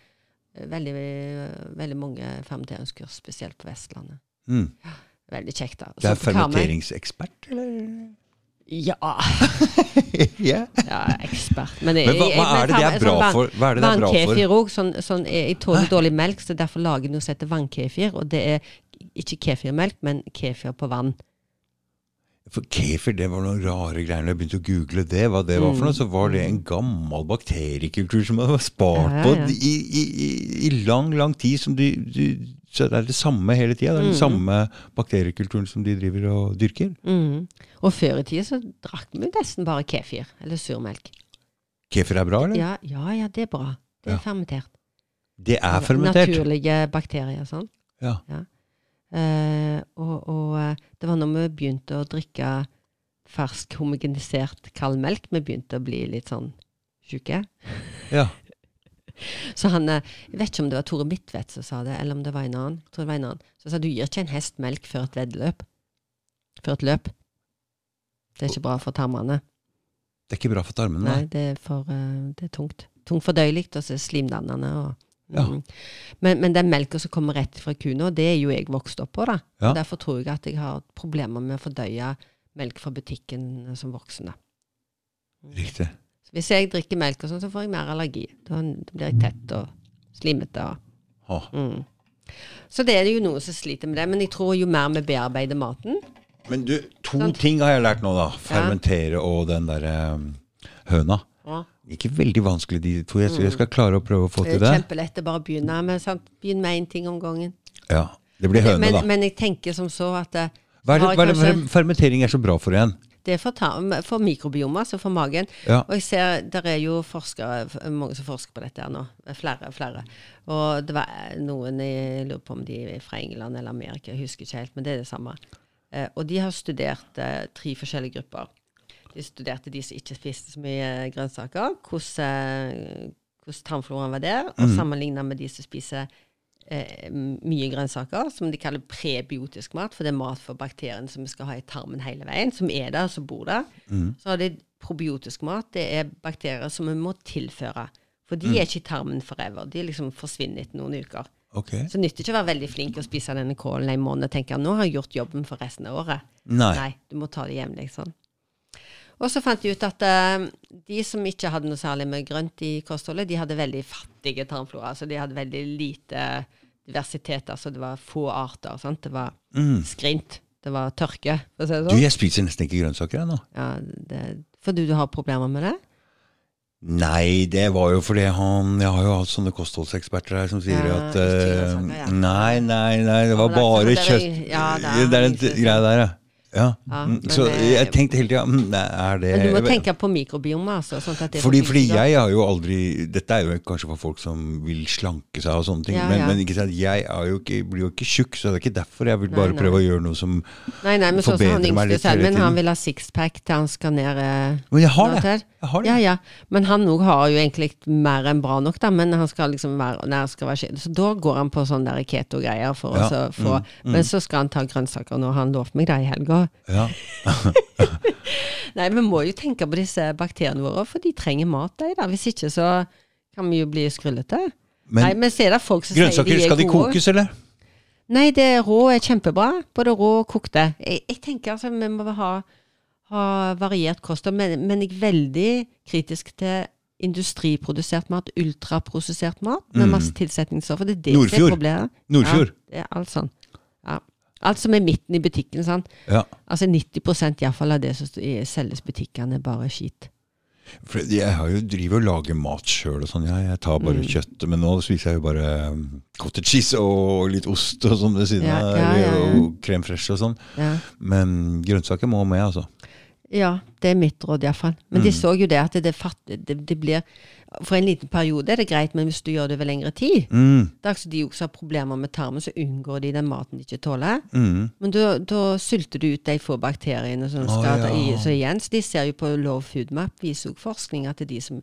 S2: eh, Veldig, veldig mange fermenteringskurs, spesielt på Vestlandet.
S1: Mm.
S2: Veldig kjekt, da.
S1: Det
S2: Så
S1: er
S2: på Karmøy-
S1: fermenteringsekspert, eller?
S2: Ja,
S1: ja.
S2: ja, ekspert. Men, jeg-
S1: Men hva,
S2: jeg-
S1: hva
S2: men
S1: er det det
S2: Karmøy
S1: er bra
S2: sånn vann-
S1: for? Hva er det det er bra for?
S2: Vannkefir òg. Sånn, sånn, jeg jeg tåler dårlig melk, så derfor lager jeg noe som heter vannkefir. Og det er ikke kefirmelk, men kefir på vann.
S1: For kefir, det var noen rare greier. Når jeg begynte å google det, hva det var
S2: Mm.
S1: for noe, så var det en gammel bakteriekultur som man var spart
S2: Ja,
S1: på i,
S2: ja.
S1: i, i- i lang, lang tid. Som de, de, så det er det samme hele tida. Det er den
S2: Mm.
S1: samme bakteriekulturen som de driver og dyrker.
S2: Mhm. Og før i tida så drakk vi nesten bare kefir, eller surmelk.
S1: Kefir er bra, eller?
S2: Ja, ja, ja, det er bra. Det er
S1: Ja.
S2: fermentert.
S1: Det er fermentert.
S2: Naturlige bakterier. sånn.
S1: Ja.
S2: Eh, og, og eh, det var når vi begynte å drikke fersk, homogenisert kald melk, vi begynte å bli litt sånn sjuke.
S1: ja.
S2: Så han, eh, jeg vet ikke om det var Tore Midtvedt som sa det, eller om det var en annen. Jeg tror det var en annen. Så sa du gir ikke en hest melk før et veddeløp. Før et løp. Det er ikke bra for tarmene.
S1: Det er ikke bra for tarmene.
S2: Nei,
S1: nei.
S2: det er, for, eh, det er tungt. Tungt fordøyelig, og så er det slimdannende. Og,
S1: Ja.
S2: Mm. men, men den melka som kommer rett fra kua, det er jo jeg vokst opp på. da.
S1: Ja.
S2: Og derfor tror jeg at jeg har problemer med å fordøye melk fra butikken eh, som voksen. da.
S1: Riktig.
S2: Så hvis jeg drikker melk, og sånn, så får jeg mer allergi. Da blir
S1: Mm.
S2: jeg tett og slimete. og...
S1: Ha.
S2: Mm. Så det er jo noen som sliter med det, men jeg tror jo mer vi bearbeider maten
S1: Men du, to
S2: Sant.
S1: ting har jeg lært nå, da. Fermentere og den derre høna.
S2: Eh,
S1: Ikke veldig vanskelig, de to. Jeg, jeg skal klare å prøve å få
S2: Mm. Det
S1: til
S2: er
S1: det.
S2: kjempelett å bare begynne med. Sant? Begynn med én ting om gangen.
S1: Ja, Det blir høne,
S2: men,
S1: da.
S2: men jeg tenker som så at eh,
S1: Hva er det,
S2: har jeg
S1: hva er det
S2: kanskje-
S1: fer- fermentering er så bra for igjen?
S2: Det er for, tarm- for mikrobioma, altså for magen.
S1: Ja.
S2: Og jeg ser, der er jo forskere, f- mange som forsker på dette her nå. Flere, flere. Og det var eh, noen, jeg lurer på om de er fra England eller Amerika, jeg husker ikke helt, men det er det samme. Eh, og de har studert eh, tre forskjellige grupper. De studerte de som ikke spiste så mye eh, grønnsaker, hvordan, eh, hvordan tarmfloraen var der, og sammenlignet med de som spiser eh, mye grønnsaker, som de kaller prebiotisk mat, for det er mat for bakteriene som vi skal ha i tarmen hele veien, som er der, som bor der. Så har de probiotisk mat, det er bakterier som vi må tilføre. For de er ikke i tarmen forever, de liksom forsvinner etter noen uker.
S1: Ok.
S2: Så det nytter ikke å være veldig flink og spise denne kålen en måned og tenke nå har jeg gjort jobben for resten av året.
S1: Nei.
S2: Nei, du må ta det jevnlig. Sånn. Og så fant de ut at eh, de som ikke hadde noe særlig med grønt i kostholdet, de hadde veldig fattige tarmflora. Altså de hadde veldig lite diversitet. Altså det var få arter. Sant? Det var skrint. Det var tørke, for å si det
S1: Mm. Du,
S2: sånn.
S1: jeg spiser nesten ikke grønnsaker jeg, nå.
S2: Ja, det, fordi du har problemer med det?
S1: Nei, det var jo fordi han Jeg har jo hatt sånne kostholdseksperter her som sier
S2: Ja,
S1: at
S2: ikke
S1: eh,
S2: grønnsaker, ja.
S1: Nei, nei, nei, det var
S2: men det er
S1: bare
S2: ikke
S1: kjøtt.
S2: sånn der- ja, det er
S1: det er den
S2: liksom-
S1: greia der, ja. ja.
S2: Ja,
S1: Mm,
S2: men
S1: Så
S2: det-
S1: jeg tenkte hele tida Er det
S2: Men du må tenke på mikrobiomet, altså. Sånn at det
S1: Eh, Fordi, fordi
S2: forbindelser.
S1: jeg har jo aldri Dette er jo kanskje for folk som vil slanke seg og sånne ting,
S2: Ja,
S1: men,
S2: ja.
S1: men ikke sant, jeg er jo ikke, blir jo ikke tjukk, så det er ikke derfor. Jeg vil
S2: Nei,
S1: bare
S2: nei.
S1: prøve å gjøre noe som
S2: Nei, nei, men sånn som han
S1: forbedre meg
S2: yngste
S1: litt hele
S2: Selmin,
S1: tiden.
S2: han vil ha sixpack til han skal ned eh,
S1: Men jeg har
S2: nå
S1: det!
S2: til.
S1: Jeg har det.
S2: Ja, ja. Men han òg har jo egentlig mer enn bra nok, da. Men han skal liksom være, nei, han skal være skje- Så da går han på sånne der keto-greier for
S1: Ja, Mm.
S2: å så få Men så skal han ta grønnsaker nå, har han lovt meg det i helga.
S1: Ja.
S2: Nei, vi må jo tenke på disse bakteriene våre, for de trenger mat, de, da. Hvis ikke så kan vi jo bli skrullete. Nei,
S1: Men
S2: men så er det folk som sier de
S1: grønnsaker,
S2: er
S1: skal de
S2: gode.
S1: kokes, eller?
S2: Nei, det rå er kjempebra. Både rå og kokte. Jeg, jeg tenker altså vi må ha, ha variert kosthold, men, men jeg er veldig kritisk til industriprodusert mat, ultraprosessert mat med
S1: Mm.
S2: masse tilsetningsstoffer. Det er det som
S1: Nordfjord.
S2: er problemet.
S1: Nordfjord.
S2: Ja, det er alt sånn. Ja. Alt som er midten i butikken. sant?
S1: Ja.
S2: Altså 90 iallfall av det som st- selges i butikkene, er bare skit.
S1: For jeg har jo driver og lager mat sjøl og sånn. Jeg, jeg tar bare
S2: Mm.
S1: kjøttet, men nå spiser jeg jo bare um, cottage cheese og litt ost og sånn ved siden
S2: Ja,
S1: av.
S2: ja,
S1: eller-
S2: ja, ja.
S1: Og krem fresh og sånn.
S2: Ja.
S1: Men grønnsaker må med, altså.
S2: Ja, det er mitt råd iallfall. Men de
S1: Mm.
S2: så jo det at det, fatt, det, det blir For en liten periode er det greit, men hvis du gjør det over lengre tid
S1: Mm,
S2: Det er altså de også har problemer med tarmen, så unngår de den maten de ikke tåler.
S1: mm.
S2: Men da da sulter du ut de få bakteriene som
S1: Å,
S2: skader
S1: ja.
S2: i. Så igjen, så de ser jo på Low Food Map, viser jo forskning at de som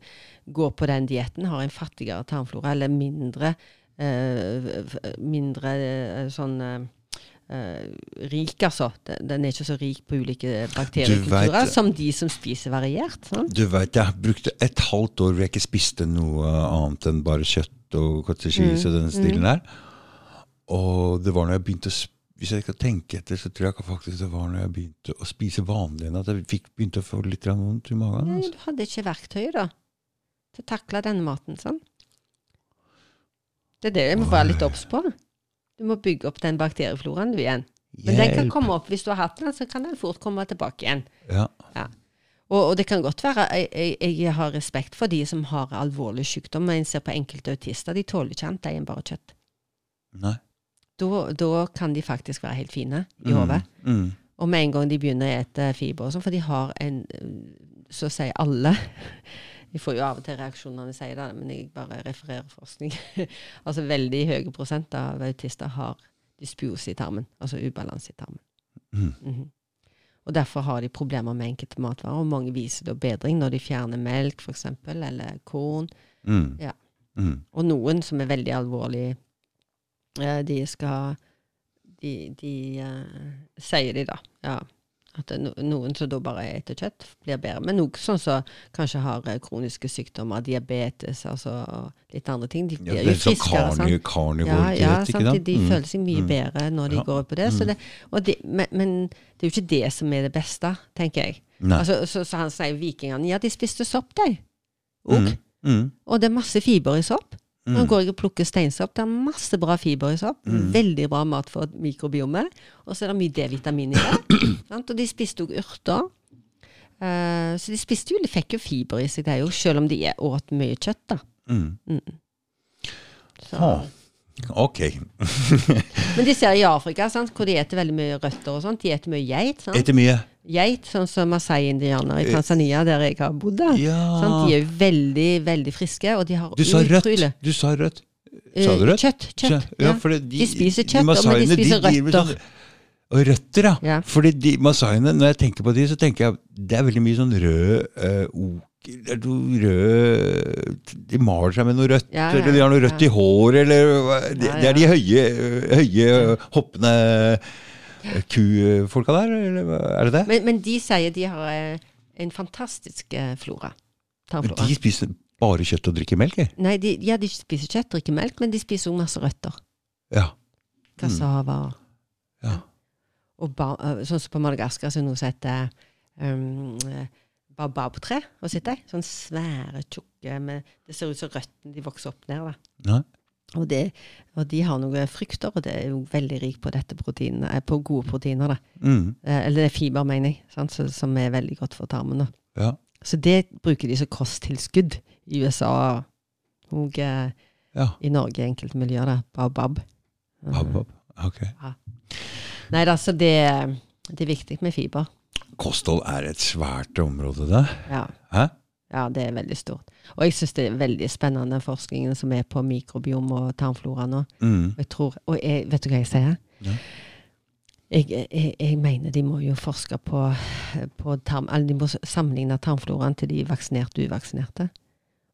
S2: går på den dietten, har en fattigere tarmflora, eller mindre eh, f- mindre eh, sånn eh, eh, rik, altså. Den, den er ikke så rik på ulike
S1: Du
S2: bakteriekulturer
S1: vet-
S2: som de som spiser variert. Sånn.
S1: Du veit, jeg brukte et halvt år hvor jeg ikke spiste noe annet enn bare kjøtt og cottage
S2: Mm,
S1: cheese og den stilen der. Og det var når jeg begynte å sp- hvis jeg skal tenke etter, så tror jeg faktisk det var når jeg begynte å spise vanlig igjen, at jeg fikk begynte å få litt grann vondt i magen.
S2: Nei,
S1: Altså.
S2: du hadde ikke verktøyet, da, til å takle denne maten, sånn. Det er det jeg må være litt obs på. Du må bygge opp den bakteriefloraen du igjen. Men den kan
S1: Hjelp.
S2: komme opp hvis du har hatt den, så kan den fort komme tilbake igjen.
S1: Ja.
S2: Og, og det kan godt være jeg, jeg, jeg har respekt for de som har alvorlig sykdom, men en ser på enkelte autister, de tåler ikke annet de enn bare kjøtt.
S1: Nei.
S2: Da da kan de faktisk være helt fine i hodet.
S1: Mm. Mm.
S2: Og med en gang de begynner å ete fiber og sånn, for de har en eh, Så å si alle Vi får jo av og til reaksjoner når vi sier det, men jeg bare refererer forskning. altså veldig høye prosent av autister har dysbiose i tarmen, altså ubalanse i tarmen.
S1: Mm.
S2: Mhm. Og derfor har de problemer med enkelte matvarer, og mange viser da bedring når de fjerner melk, f.eks., eller korn.
S1: Mm.
S2: Ja.
S1: Mm.
S2: Og noen som er veldig alvorlige, eh, de skal De, de eh, sier de, da. Ja. At det er no, noen som da bare eter kjøtt, blir bedre. Men noen sånn som kanskje har eh, kroniske sykdommer, diabetes altså, og litt andre ting. De
S1: Ja, det
S2: blir jo
S1: er sånn
S2: friskere.
S1: karni,
S2: sant?
S1: karnivor
S2: Ja, ja
S1: diet, ikke
S2: sant? De,
S1: sant?
S2: de
S1: Mm.
S2: føler seg mye
S1: Mm.
S2: bedre når de
S1: Ja.
S2: går ut på det. Så
S1: Mm.
S2: det og de, men, men det er jo ikke det som er det beste, tenker jeg.
S1: Nei.
S2: Altså, så, så han sier vikingene ja, de spiste sopp, de. Og,
S1: Mm.
S2: og det er masse fiber i sopp.
S1: Mm.
S2: Nå går jeg og plukker steinsopp. Det er masse bra fiber i sopp.
S1: Mm.
S2: Veldig bra mat for mikrobiomet. Og så er det mye D-vitamin i det. sant? og de spiste òg urter. Eh, så de spiste jo, de fikk jo fiber i seg, det er jo, selv om de er- åt mye kjøtt. da.
S1: Mm.
S2: Så.
S1: Ah, Ok.
S2: Men de ser i Afrika, sant? hvor de eter veldig mye røtter og sånt. De eter mye geit. Sant?
S1: Etter mye.
S2: Geit, sånn som masai-indianere i Tanzania, der jeg har bodd. da. Sant?
S1: Ja.
S2: De er jo veldig, veldig friske, og de har
S1: Du sa rødt.
S2: utrolig-
S1: Du sa rødt.
S2: Eh,
S1: Sa du rødt?
S2: Kjøtt. kjøtt.
S1: Ja,
S2: Ja.
S1: for det-
S2: De spiser kjøtt, og- men de
S1: masaiene,
S2: spiser
S1: driver
S2: røtter.
S1: sånn- og røtter, ja.
S2: Ja.
S1: Fordi de masaiene, når jeg tenker på de, så tenker jeg det er veldig mye sånn rød eh, oker det er noe rød De maler seg med noe rødt,
S2: Ja, ja,
S1: eller de har noe rødt
S2: ja.
S1: i håret, eller hva- Det
S2: Ja,
S1: det er de høye, eh, høye hoppende eh, kufolka der, eller hva- er det det?
S2: Men, men de sier de har eh, en fantastisk eh, flora.
S1: Men
S2: Tarmflora.
S1: de spiser bare kjøtt og drikker melk, de.
S2: Nei, de, ja, de spiser kjøtt, drikker melk, men de spiser også masse røtter.
S1: Ja. Mm.
S2: Cassava. og-
S1: Ja.
S2: Og ba, eh, sånn som på Madagaskar, så er det noe som heter um, eh, baobabtre. Og sitter jeg. Sånn svære, tjukke med Det ser ut som røttene de vokser opp ned. da.
S1: Nei.
S2: Og, det, og de har noen frukter, og det er jo veldig rik på dette proteinet, eh, på gode proteiner. da.
S1: Mm.
S2: Eh, Eller det er fiber, mener jeg, sant? Så, som er veldig godt for tarmen. da.
S1: Ja.
S2: Så det bruker de som kosttilskudd i USA og eh,
S1: ja.
S2: i Norge i enkelte miljøer. Da. Baobab. Mm.
S1: Hopp, hopp. Ok.
S2: Nei da, så det, eh, det er viktig med fiber.
S1: Kosthold er et svært område, det.
S2: Ja.
S1: Hæ?
S2: ja, det er veldig stort. Og jeg syns det er veldig spennende forskningen som er på mikrobiom og tarmflora nå.
S1: Mm.
S2: Jeg tror, og jeg, vet du hva jeg sier?
S1: Ja.
S2: Jeg, jeg, jeg mener de må jo forske på, på tarm, eller de må sammenligne tarmfloraen til de vaksinerte og uvaksinerte.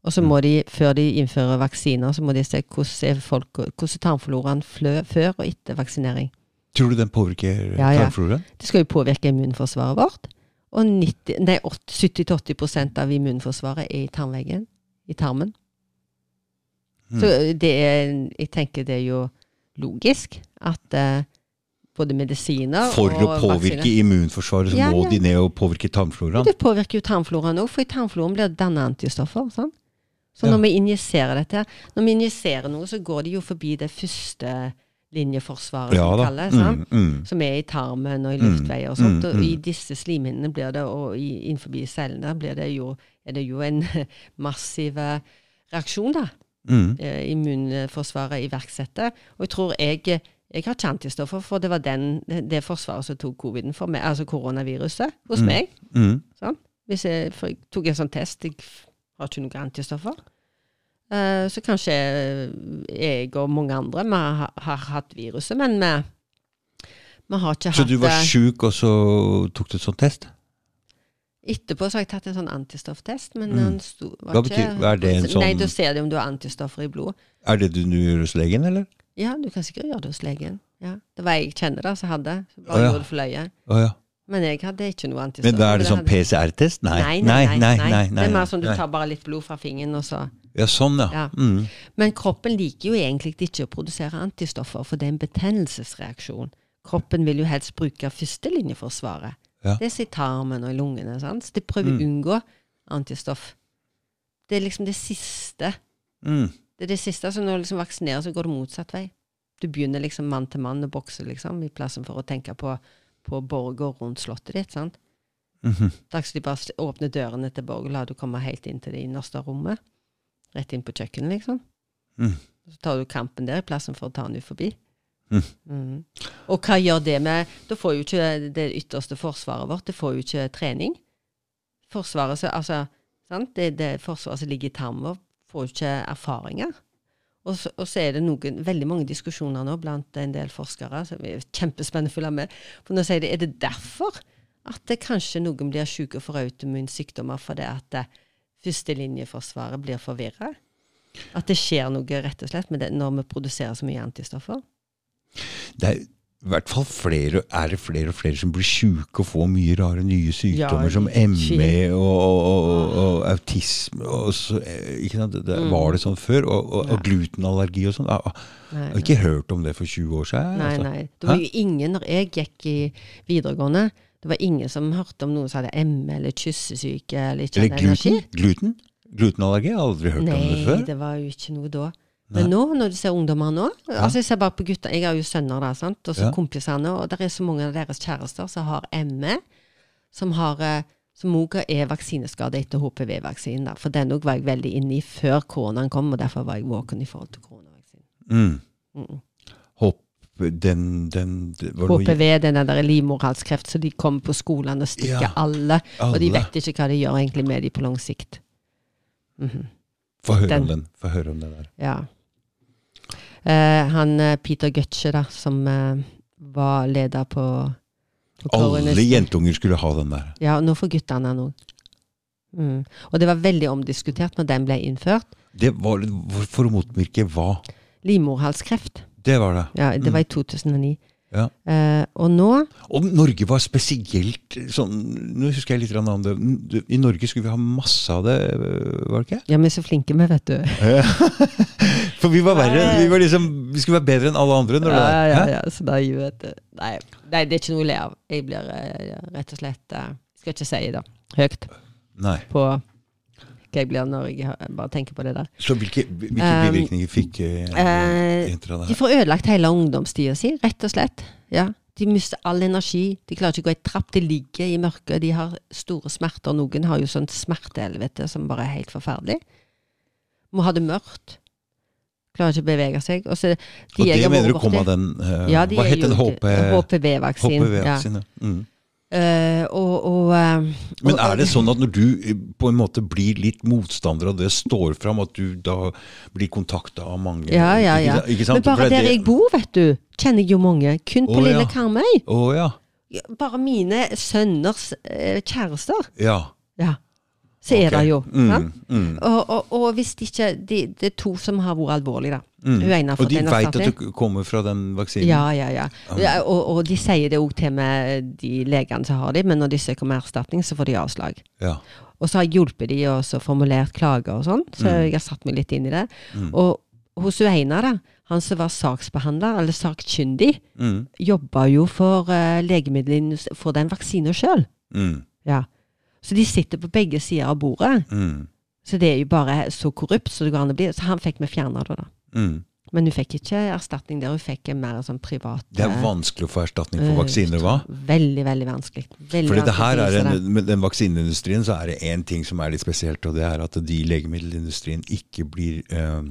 S2: Og så
S1: Mm.
S2: må de, før de innfører vaksiner, så må de se hvordan er folk- hvordan er tarmfloraen flø, før og etter vaksinering.
S1: Tror du den påvirker eh,
S2: Ja, ja.
S1: tarmfloraen?
S2: Det skal jo påvirke immunforsvaret vårt. Og 90 nei, 70-80 av immunforsvaret er i tarmveggen. I tarmen.
S1: Mm.
S2: Så eh, det er, jeg tenker det er jo logisk at eh, både medisiner
S1: For
S2: og
S1: å påvirke
S2: vaksiner-
S1: immunforsvaret så
S2: Ja,
S1: må
S2: ja.
S1: de ned og påvirke tarmfloraen?
S2: Det påvirker jo tarmfloraen òg, for i tarmfloraen blir det dannet antistoffer. sant? Så
S1: Ja.
S2: når vi injiserer dette, når vi injiserer noe, så går det jo forbi det første linjeforsvaret,
S1: Ja da.
S2: som vi kaller det. sant?
S1: Mm, mm.
S2: Som er i tarmen og i
S1: Mm,
S2: luftveier og sånt.
S1: mm,
S2: Og i
S1: mm.
S2: disse slimhinnene blir det, og i, innenfor cellene blir det jo, er det jo en massiv eh, reaksjon, da
S1: Mm.
S2: eh, immunforsvaret iverksetter. Og jeg tror jeg, jeg har ikke antistoffer, for det var den, det forsvaret som tok coviden for meg, altså koronaviruset hos
S1: Mm.
S2: meg.
S1: Mm.
S2: Hvis jeg, for jeg tok en sånn test, jeg f- har ikke noen antistoffer. Eh, Så kanskje jeg og mange andre vi har, har hatt viruset, men vi, vi har ikke
S1: Så
S2: hatt
S1: du var
S2: det.
S1: sjuk, og så tok du et sånt test?
S2: Etterpå så har jeg tatt en sånn antistofftest, men
S1: Mm.
S2: den sto, var
S1: Hva betyr-
S2: ikke
S1: hva er det en
S2: Nei,
S1: sånn-
S2: da ser de om du har antistoffer i blodet.
S1: Er det du nå gjør hos legen, eller?
S2: Ja, du kan sikkert gjøre det hos legen. Ja. Det var jeg kjenner da, som hadde. Så bare
S1: Å, ja.
S2: gjorde det for løye.
S1: Å ja.
S2: Men jeg hadde ikke noe antistoffer.
S1: Men da er det sånn
S2: hadde-
S1: PCR-test? Nei.
S2: Nei nei nei, nei, Det er
S1: nei.
S2: mer sånn du
S1: Nei.
S2: tar bare litt blod fra fingeren, og så
S1: Ja, sånn, ja.
S2: Ja.
S1: Mm.
S2: Men kroppen liker jo egentlig ikke å produsere antistoffer, for det er en betennelsesreaksjon. Kroppen vil jo helst bruke førstelinjeforsvaret.
S1: Ja.
S2: Det er så i tarmen og i lungene. Sant? Så de prøver å unngå antistoff. Det er liksom det siste.
S1: Mm.
S2: Det er det siste. Så når du liksom vaksinerer, så går det motsatt vei. Du begynner liksom mann til mann å bokse, liksom, i plassen for å tenke på, på borger rundt slottet ditt. sant?
S1: Mhm.
S2: Da skal de bare s- åpne dørene til borg og la du komme helt inn til det innerste rommet. Rett inn på kjøkkenet, liksom.
S1: Mm.
S2: Så tar du kampen der i plassen for å ta den ut forbi.
S1: Mm.
S2: Mm. Og hva gjør det med Da får jo ikke det ytterste forsvaret vårt det får jo ikke trening. Forsvaret som altså, sant? Det, det forsvaret som ligger i tarmen vår, får jo ikke erfaringer. Og så, og så er det noen, veldig mange diskusjoner nå blant en del forskere som er kjempespennende å følge med. For nå sier de, er det derfor at det kanskje noen blir syke for autoimmunsykdommer fordi at det førstelinjeforsvaret blir forvirra? At det skjer noe rett og slett med det når vi produserer så mye antistoffer?
S1: Det er i hvert fall flere, er det flere og flere som blir sjuke og får mye rare nye sykdommer
S2: Ja,
S1: som ME
S2: shit.
S1: og, og, og, og autisme. Og så, eh, ikke sant? Det- Det,
S2: Mm.
S1: Var det sånn før? Og, og,
S2: Nei.
S1: og glutenallergi og sånn. Jeg har
S2: Nei,
S1: ikke hørt om det for 20 år siden.
S2: nei,
S1: altså.
S2: nei. Det var jo ingen, når jeg gikk i videregående, det var ingen som hørte om noen som hadde ME eller kyssesyke eller ikke
S1: Eller
S2: hadde energi.
S1: gluten? gluten? Glutenallergi? Jeg har aldri hørt om det
S2: Nei,
S1: før.
S2: det var jo ikke noe da. Men nå, når du ser ungdommer nå altså Jeg ser bare på gutter, jeg har jo sønner der, sant? og så
S1: Ja.
S2: kompisene. Og det er så mange av deres kjærester som har ME, som har eh, som også er vaksineskade etter HPV-vaksinen. da. For den òg var jeg veldig inne i før koronaen kom, og derfor var jeg våken i forhold til koronavaksinen.
S1: Mm.
S2: Mm.
S1: Hopp, den, den, det var noe-
S2: HPV, den der livmorhalskreft, så de kommer på skolene og stikker
S1: Ja.
S2: alle, Og de
S1: Alle.
S2: vet ikke hva de gjør egentlig med de på lang sikt. Mhm.
S1: Få høre om
S2: Den.
S1: den. Få høre om den der.
S2: Ja. Eh, han eh, Peter Gutsche, da, som eh, var leder på, på
S1: Alle
S2: Coroner's-
S1: jentunger skulle ha den der.
S2: Ja, nå får guttene den òg. Mm. Og det var veldig omdiskutert når den ble innført.
S1: Det var for- for å motvirke hva?
S2: Livmorhalskreft.
S1: Det var det.
S2: Ja, det var i
S1: Mm.
S2: 2009.
S1: Ja.
S2: Eh, og nå
S1: Og Norge var spesielt sånn Nå husker jeg litt grann om det. I Norge skulle vi ha masse av det, eh, var det ikke?
S2: Ja, vi er så flinke vi, vet du.
S1: For vi var verre. Vi, var liksom, vi skulle være bedre enn alle andre. Når det
S2: Ja,
S1: var.
S2: ja,
S1: Hæ?
S2: ja, så da gjør jeg det. eh, Nei, nei, det er ikke noe å le av. Jeg blir eh, rett og slett eh, Skal ikke si det høyt
S1: Nei.
S2: på hva jeg blir når jeg har- bare tenker på det der.
S1: Så hvilke, hvilke
S2: Um,
S1: bivirkninger fikk eh,
S2: eh,
S1: jenter av det
S2: De
S1: her?
S2: får ødelagt hele ungdomstida si, rett og slett. Ja. De mister all energi. De klarer ikke å gå ei trapp. De ligger i mørket. De har store smerter. Noen har jo sånt smertehelvete som bare er helt forferdelig. Må ha det mørkt. Klarer ikke å bevege seg. Og så, de
S1: Og
S2: jeg
S1: det
S2: har
S1: mener du
S2: vært
S1: kom
S2: borti-
S1: av den eh,
S2: Ja, de
S1: Hva
S2: er
S1: het
S2: jo
S1: den
S2: ikke- HPV-vaksinen. ja.
S1: HPV-vaksinen? Mm.
S2: Eh, og, og, eh,
S1: Men
S2: og-
S1: er det sånn at når du eh, på en måte blir litt motstander og det står fram, at du da blir kontakta av mange?
S2: Ja, ja, ja.
S1: Ikke, ikke sant?
S2: Men bare
S1: For det-
S2: der jeg bor, vet du, kjenner jeg jo mange. Kun på
S1: Å,
S2: Lille
S1: ja.
S2: Karmøy.
S1: Å ja.
S2: Bare mine sønners eh, kjærester.
S1: ja.
S2: Ja. Så er det jo.
S1: Mm,
S2: sant?
S1: mm,
S2: Og, og, og hvis det ikke de, Det er to som har vært alvorlige, da.
S1: mm.
S2: Hun ene
S1: Og
S2: har fått
S1: de
S2: en
S1: veit
S2: erstatning.
S1: at du kommer fra den vaksinen?
S2: Ja, ja, ja.
S1: Ah.
S2: ja og, og de sier det òg til meg, de legene som har dem, men når de søker om erstatning, så får de avslag.
S1: Ja.
S2: Og så har jeg hjulpet de og så formulert klager og sånn, så
S1: Mm.
S2: jeg har satt meg litt inn i det.
S1: Mm.
S2: Og hos hun ene, da, han som var saksbehandler, eller sakkyndig,
S1: Mm,
S2: jobba jo for uh, legemiddelindustrien, for den vaksinen sjøl.
S1: mm,
S2: Ja. Så de sitter på begge sider av bordet.
S1: mm,
S2: Så det er jo bare så korrupt som det går an å bli. Så han fikk meg fjerna da, da.
S1: mm.
S2: Men hun fikk ikke erstatning der, hun fikk en mer sånn privat
S1: Det er
S2: eh,
S1: vanskelig å få erstatning
S2: eh,
S1: for vaksiner, hva?
S2: Veldig, veldig vanskelig. Veldig
S1: Fordi det her er
S2: vanskelig å
S1: en,
S2: vise det.
S1: Med den vaksineindustrien så er det én ting som er litt spesielt, og det er at de i legemiddelindustrien ikke blir eh,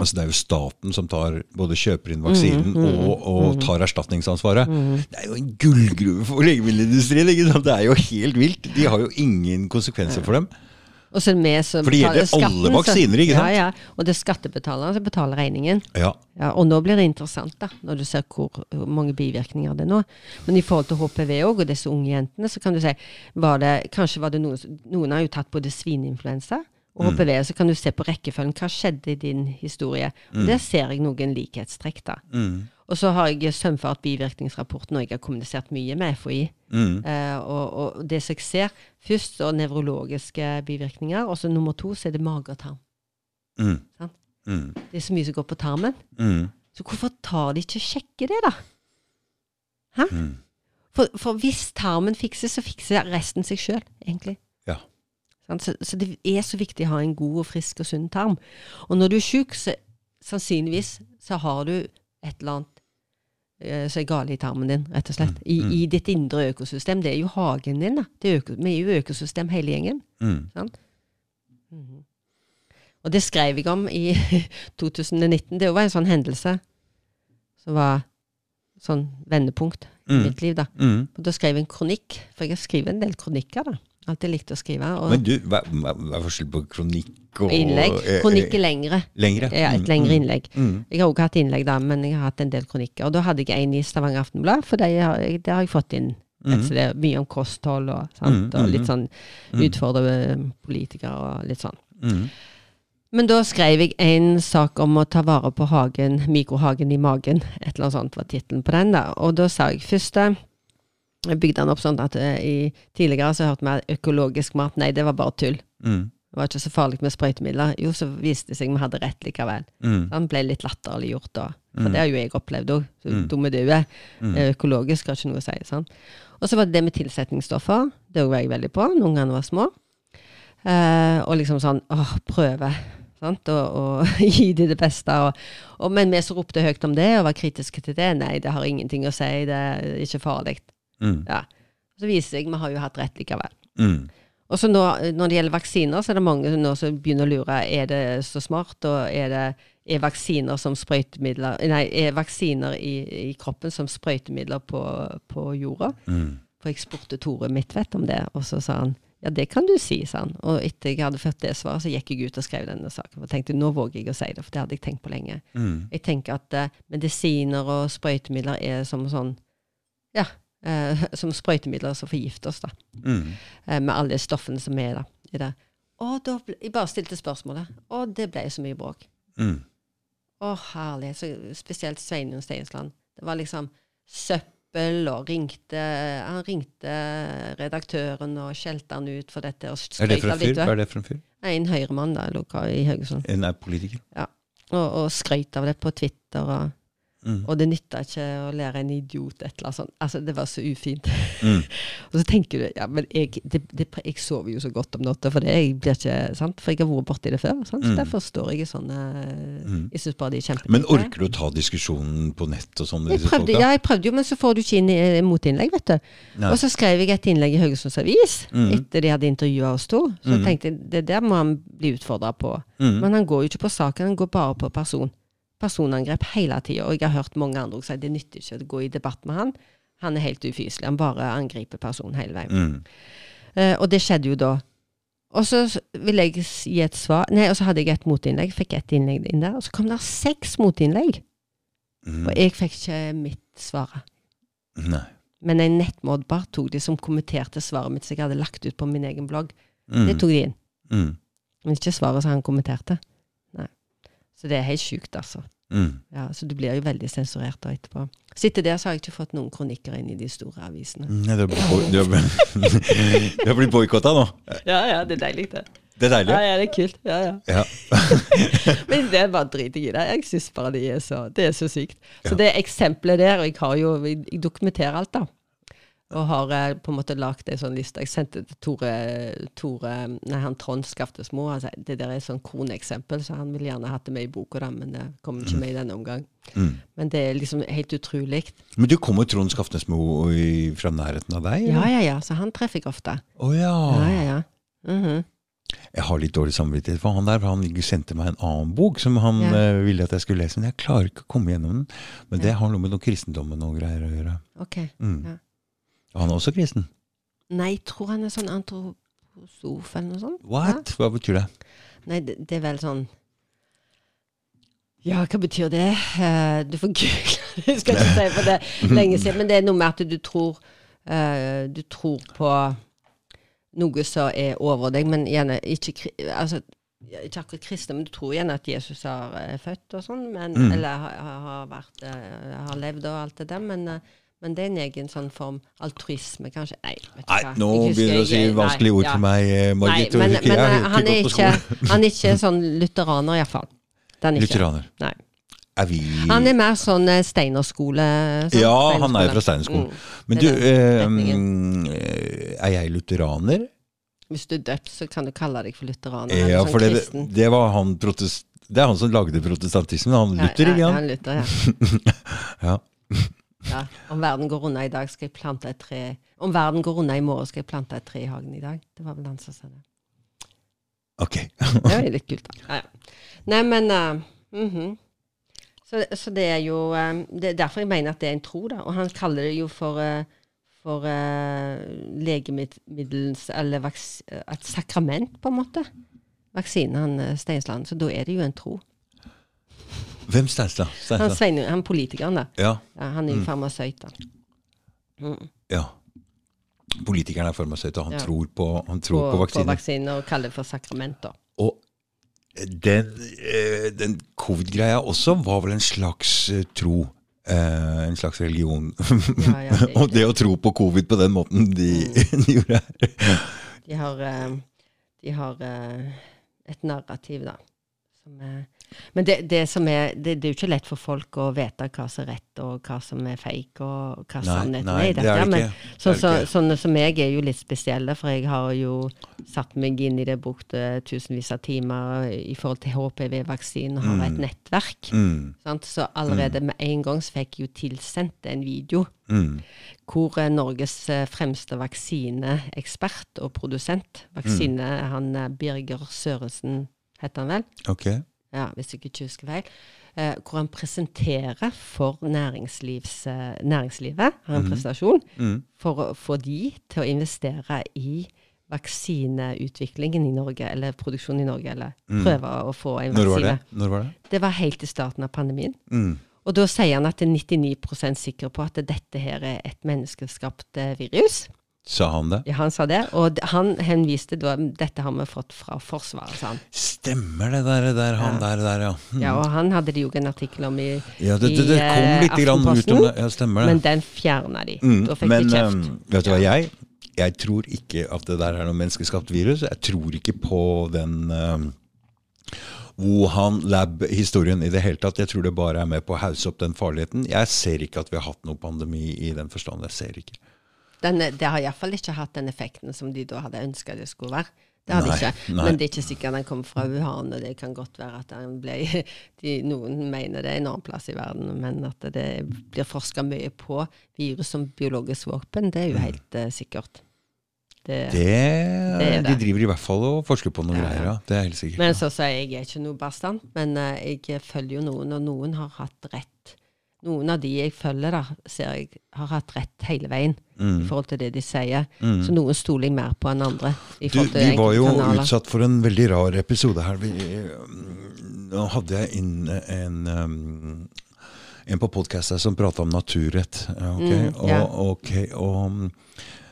S1: Altså Det er jo staten som tar, både kjøper inn
S2: Mm,
S1: vaksinen og, og tar erstatningsansvaret. Det er jo en gullgruve for legemiddelindustrien! ikke sant? liksom. Det er jo helt vilt! De har jo ingen konsekvenser for dem.
S2: Og så er det vi som
S1: For det
S2: betaler
S1: gjelder alle
S2: skatten, så-
S1: vaksiner, ikke sant?
S2: Ja, ja. Og det er skattebetalerne som betaler regningen.
S1: Ja,
S2: Ja, og nå blir det interessant, da, når du ser hvor, hvor mange bivirkninger det er nå. Men i forhold til HPV òg, og disse unge jentene, så kan du si var det, Kanskje var det noen som- Noen har jo tatt både svineinfluensa og HPV, så kan du se på rekkefølgen. Hva skjedde i din historie? Og Der ser jeg noen likhetstrekk, da. Og så har jeg sømfart bivirkningsrapporten, og jeg har kommunisert mye med FHI.
S1: Mm.
S2: Eh, og, og det som jeg ser, først så nevrologiske bivirkninger, og så nummer to så er det mage og tarm.
S1: Mm.
S2: Sant.
S1: Mm.
S2: Det er så mye som går på tarmen.
S1: Mm.
S2: Så hvorfor tar de ikke og sjekker det, da? Hæ?
S1: Mm.
S2: For, for hvis tarmen fikses, så fikser resten seg sjøl, egentlig.
S1: Ja.
S2: Sant? Så, så det er så viktig å ha en god og frisk og sunn tarm. Og når du er sjuk, så sannsynligvis så har du et eller annet eh, som er galt i tarmen din, rett
S1: Mm.
S2: og slett. I, I ditt indre økosystem. Det er jo hagen din, da. Det er øko, vi er jo økosystem hele gjengen.
S1: Mm.
S2: Og det skrev jeg om i 2019. Det var en sånn hendelse som var sånn vendepunkt i
S1: Mm.
S2: mitt liv, da.
S1: Mm.
S2: Og da skrev jeg en kronikk, for jeg har skrevet en del kronikker, da. Alltid likt å skrive. Og
S1: Men du, hva, hva hva er forskjellen på kronikk og
S2: innlegg.
S1: eh, eh,
S2: Kronikk er lengre.
S1: Lengre?
S2: Ja, et
S1: Mm,
S2: lengre
S1: mm,
S2: innlegg.
S1: Mm.
S2: Jeg har også hatt innlegg, da, men jeg har hatt en del kronikker. Og da hadde jeg en i Stavanger Aftenblad, for det har, jeg- det har jeg fått inn.
S1: Mhm.
S2: Så det er mye om kosthold og,
S1: Mhm,
S2: sant, og litt
S1: mhm.
S2: sånn utfordre politikere og litt sånn.
S1: Mm.
S2: Men da skrev jeg en sak om å ta vare på hagen, mikrohagen i magen. Et eller annet sånt var tittelen på den. da. Og da sa jeg først eh, Jeg bygde den opp sånn at eh, i, tidligere så hørte vi økologisk mat. Nei, det var bare tull.
S1: Mm.
S2: Det var ikke så farlig med sprøytemidler. Jo, så viste det seg vi hadde rett likevel.
S1: Mm.
S2: Han ble litt latterliggjort da. For
S1: Mm.
S2: det har jo jeg opplevd òg.
S1: Mm.
S2: Dumme due.
S1: Mm.
S2: Eh, Økologisk har ikke noe å si. sant? Og så var det det med tilsetningsstoffer. Det var jeg veldig på når ungene var små. Eh, og liksom sånn åh, prøve. Sant? Og, og gi de det beste. Og, og, men vi som ropte høyt om det, og var kritiske til det, nei, det har ingenting å si, det er ikke farlig.
S1: Mm.
S2: Ja. Så viser det seg, vi har jo hatt rett likevel.
S1: Mm.
S2: Og så nå, Når det gjelder vaksiner, så er det mange nå som begynner å lure er det så smart. og er det er vaksiner som sprøytemidler Nei, er vaksiner i, i kroppen som sprøytemidler på, på jorda?
S1: Mm.
S2: For jeg spurte Tore Midtvedt om det, og så sa han ja, det kan du si, sa han. Og etter jeg hadde fått det svaret, så gikk jeg ut og skrev denne saken. For jeg tenkte nå våger jeg å si det, for det hadde jeg tenkt på lenge.
S1: Mm.
S2: Jeg tenker at eh, medisiner og sprøytemidler er som sånn Ja, eh, som sprøytemidler som forgifter oss, da
S1: Mm.
S2: eh, med alle stoffene som er da, i det. Og da ble, jeg bare stilte spørsmålet, og det ble så mye bråk.
S1: Mm.
S2: Å, herlighet. Så, spesielt Sveinung Steinsland. Det var liksom søppel, og ringte, han ringte redaktøren og skjelte han ut for dette. Og
S1: Er det
S2: skrøt
S1: for
S2: av
S1: en fyr?
S2: litt.
S1: Hva er det for en fyr?
S2: Nei, En høyremann da, lokal i Haugesund.
S1: En er politiker?
S2: Og, og skrøt av det på Twitter. Og,
S1: Mm.
S2: og det nytta ikke å lære en idiot et eller annet sånt. Altså, det var så ufint.
S1: Mm.
S2: og så tenker du ja, men jeg, det, det, jeg sover jo så godt om natta, for det jeg blir ikke sant? For jeg har vært borti det før. Sant?
S1: Mm.
S2: Så derfor står jeg i sånne
S1: Mm.
S2: Jeg syns bare de er kjempefine.
S1: Men orker du å ta diskusjonen på nett og sånn med
S2: jeg
S1: disse
S2: prøvde,
S1: folka?
S2: ja, jeg prøvde jo, men så får du ikke inn eh, motinnlegg, vet du.
S1: Nei.
S2: Og så skrev jeg et innlegg i Haugesunds Avis
S1: Mm.
S2: etter de hadde intervjua oss to. Så
S1: Mm.
S2: tenkte jeg det der må han bli utfordra på.
S1: Mm.
S2: Men han går jo ikke på saken, han går bare på person. Personangrep hele tida. Og jeg har hørt mange andre også si det nytter ikke å gå i debatt med han. Han er helt ufyselig. Han bare angriper personen hele veien.
S1: Mm.
S2: Eh, og det skjedde jo da. Og så s- ville jeg s- gi et svar Nei, og så hadde jeg et motinnlegg. Fikk ett innlegg inn der. Og så kom det seks motinnlegg.
S1: Mm.
S2: Og jeg fikk ikke mitt svar.
S1: Nei.
S2: Men en nettmodbar tok de som kommenterte svaret mitt som jeg hadde lagt ut på min egen blogg.
S1: Mm.
S2: Det tok de inn.
S1: Mm.
S2: Men ikke svaret som han kommenterte. Nei. Så det er helt sjukt, altså.
S1: Mm.
S2: Ja, så du blir jo veldig sensurert da etterpå. Så etter det så har jeg ikke fått noen kronikker inn i de store avisene.
S1: Nei, Du har blitt bo- du har blitt- du har blitt boikotta nå.
S2: Ja, ja, det er deilig, det.
S1: Det er deilig.
S2: ja, det er kult. Ja, ja.
S1: Ja.
S2: Men det er bare driter jeg i det. Jeg syns bare det er så, det er så sykt. Så det eksempelet der, og jeg har jo jeg dokumenterer alt, da. Og har eh, på en måte lagd ei sånn liste. Jeg sendte det til Tore, Tore Nei, han Trond Skaftesmo. Han sa det der er et sånn kroneksempel, så han ville gjerne hatt det med i boka, da, men det kommer ikke med i denne omgang.
S1: Mm.
S2: Men det er liksom helt utrolig.
S1: Men du kommer Trond Skaftnesmo i- fra nærheten av deg?
S2: Ja,
S1: eller?
S2: ja, ja. Så han treffer jeg ofte.
S1: Å ja.
S2: Ja, ja, ja. Mhm.
S1: Jeg har litt dårlig samvittighet for han der, for han sendte meg en annen bok som han
S2: Ja.
S1: eh, ville at jeg skulle lese, men jeg klarer ikke å komme gjennom den. Men det har noe med noe kristendommen og greier å gjøre.
S2: Ok.
S1: Mm.
S2: Ja.
S1: Og Han er også kristen.
S2: Nei, jeg tror han er sånn antroposof eller noe sånt.
S1: What? Hva betyr det?
S2: Nei, det, det er vel sånn Ja, hva betyr det? Eh, du får google det, jeg skal ikke si for det er lenge siden. Men det er noe med at du tror eh, Du tror på noe som er over deg, men gjerne ikke kri- altså, ikke akkurat kristne, men du tror gjerne at Jesus har eh, født og sånn, men,
S1: Mm.
S2: eller har, har- har, vært, eh, har levd og alt det der, men, eh, men det er en egen sånn form altruisme, kanskje? Nei, vet du
S1: Nei,
S2: hva.
S1: nå
S2: Jeg husker
S1: begynner du å si
S2: jeg- nei,
S1: vanskelige ord
S2: ja.
S1: til meg, eh,
S2: Nei,
S1: Margit. og
S2: men,
S1: jeg
S2: men
S1: har
S2: eh, han, er
S1: gått på
S2: ikke,
S1: skolen.
S2: han er ikke sånn lutheraner, iallfall.
S1: Lutheraner.
S2: Nei.
S1: Er vi
S2: Han er mer sånn eh, steinerskole. Sånn,
S1: Ja, han er jo
S2: steinerskole.
S1: fra Steinerskolen.
S2: Mm.
S1: Men
S2: det
S1: du,
S2: er
S1: eh,
S2: retningen.
S1: eh, er jeg lutheraner?
S2: Hvis du er døpt, så kan du kalle deg for lutheraner.
S1: Ja,
S2: eller sånn
S1: for det,
S2: kristen.
S1: det var han protest... Det er han som lagde protestantismen, han Luther,
S2: ja,
S1: ikke
S2: ja,
S1: han?
S2: han Luther, ja.
S1: Ja.
S2: ja. Om verden går unna i dag, skal jeg plante et tre Om verden går unna i morgen, skal jeg plante et tre i hagen i dag. Det var vel han som sa det.
S1: Ok.
S2: Det er jo litt kult, da. Ja, ja. Nei, men eh, mhm. så, så det er jo eh, Det er derfor jeg mener at det er en tro, da. Og han kaller det jo for eh, for eh, legemiddelens Eller vaks, eh, et sakrament, på en måte. Vaksine, han eh, Steinsland. Så da er det jo en tro.
S1: Hvem Steinstad?
S2: Han,
S1: Steinstad?
S2: Svein, han politikeren, da.
S1: Ja.
S2: Ja, han er jo farmasøyt, da. Mm.
S1: ja. Politikeren er farmasøyt, og han
S2: Ja.
S1: tror på, han tror på,
S2: på
S1: vaksiner.
S2: vaksiner og kaller det for sakrament, da.
S1: og den, eh, den covid-greia også var vel en slags eh, tro. Eh, en slags religion.
S2: Ja, ja, det,
S1: og det å tro på covid på den måten de,
S2: Mm.
S1: de gjorde
S2: De har, eh, de har eh, et narrativ, da. Som er, men det, det, som er, det, det er jo ikke lett for folk å vite hva som er rett, og hva som er fake, og hva sannheten er i dette. ja, men
S1: det er
S2: sånn
S1: det
S2: som-
S1: ikke.
S2: sånne som meg er jo litt spesielle, for jeg har jo satt meg inn i det, brukt eh, tusenvis av timer i forhold til HPV-vaksinen, og har et nettverk.
S1: Mm,
S2: Sant? Så allerede med en gang så fikk jeg jo tilsendt en video
S1: mm,
S2: hvor eh, Norges eh, fremste vaksineekspert og produsent,
S1: Mm.
S2: vaksine, han eh, Birger Sørensen heter han vel,
S1: ok.
S2: ja, hvis jeg ikke husker feil, eh, hvor han presenterer for næringslivs, eh, næringslivet, har en presentasjon,
S1: Mm.
S2: for å få de til å investere i vaksineutviklingen i Norge, eller produksjonen i Norge, eller prøve å få en
S1: Mm. Når var det?
S2: vaksine.
S1: Når var det?
S2: Det var helt i starten av pandemien.
S1: Mm.
S2: Og da sier han at det er 99 sikker på at dette her er et menneskeskapt eh, virus.
S1: Sa han det?
S2: Ja, han sa det, og d- han henviste da dette har vi fått fra Forsvaret, sa han.
S1: Stemmer det der, det der han der, der, ja. Mm.
S2: Ja, og han hadde det jo en artikkel om i,
S1: Ja, det, det, det
S2: i,
S1: kom
S2: eh,
S1: litt grann ut om
S2: Aftenposten,
S1: det. Ja, stemmer det.
S2: men den fjerna de.
S1: Mm,
S2: da fikk
S1: men,
S2: de kjeft.
S1: eh, vet du hva jeg Jeg tror ikke at det der er noe menneskeskapt virus. Jeg tror ikke på den eh, Wuhan Lab-historien i det hele tatt. Jeg tror det bare er med på å hausse opp den farligheten. Jeg ser ikke at vi har hatt noe pandemi i den forstand. Jeg ser ikke.
S2: Den, eh, det har iallfall ikke hatt den effekten som de da hadde ønska det skulle være. Det har det
S1: Nei,
S2: ikke.
S1: nei.
S2: Men det er ikke sikkert den kommer fra Wuhan, og det kan godt være at den ble de, Noen mener det er en annen plass i verden, men at det blir forska mye på virus som biologisk våpen, det er
S1: Mm.
S2: jo helt eh, sikkert. Det,
S1: Det,
S2: Det er
S1: De
S2: det.
S1: driver i hvert fall og forsker på noen
S2: Ja, ja.
S1: greier, ja. Det er helt sikkert.
S2: men så sier jeg jeg er ikke noe bastant, men eh, jeg følger jo noen, og noen har hatt rett. Noen av de jeg følger, da, ser jeg har hatt rett hele veien
S1: Mm.
S2: i forhold til det de sier. Så noen stoler jeg mer på enn andre. i
S1: Du,
S2: forhold til
S1: vi var jo
S2: enkelte kanaler.
S1: utsatt for en veldig rar episode her. Vi, mm, nå hadde jeg inn eh, en, um, en på podkast som prata om naturrett. Ja, eh, ok?
S2: Mm, ja.
S1: og, ok, og, mm,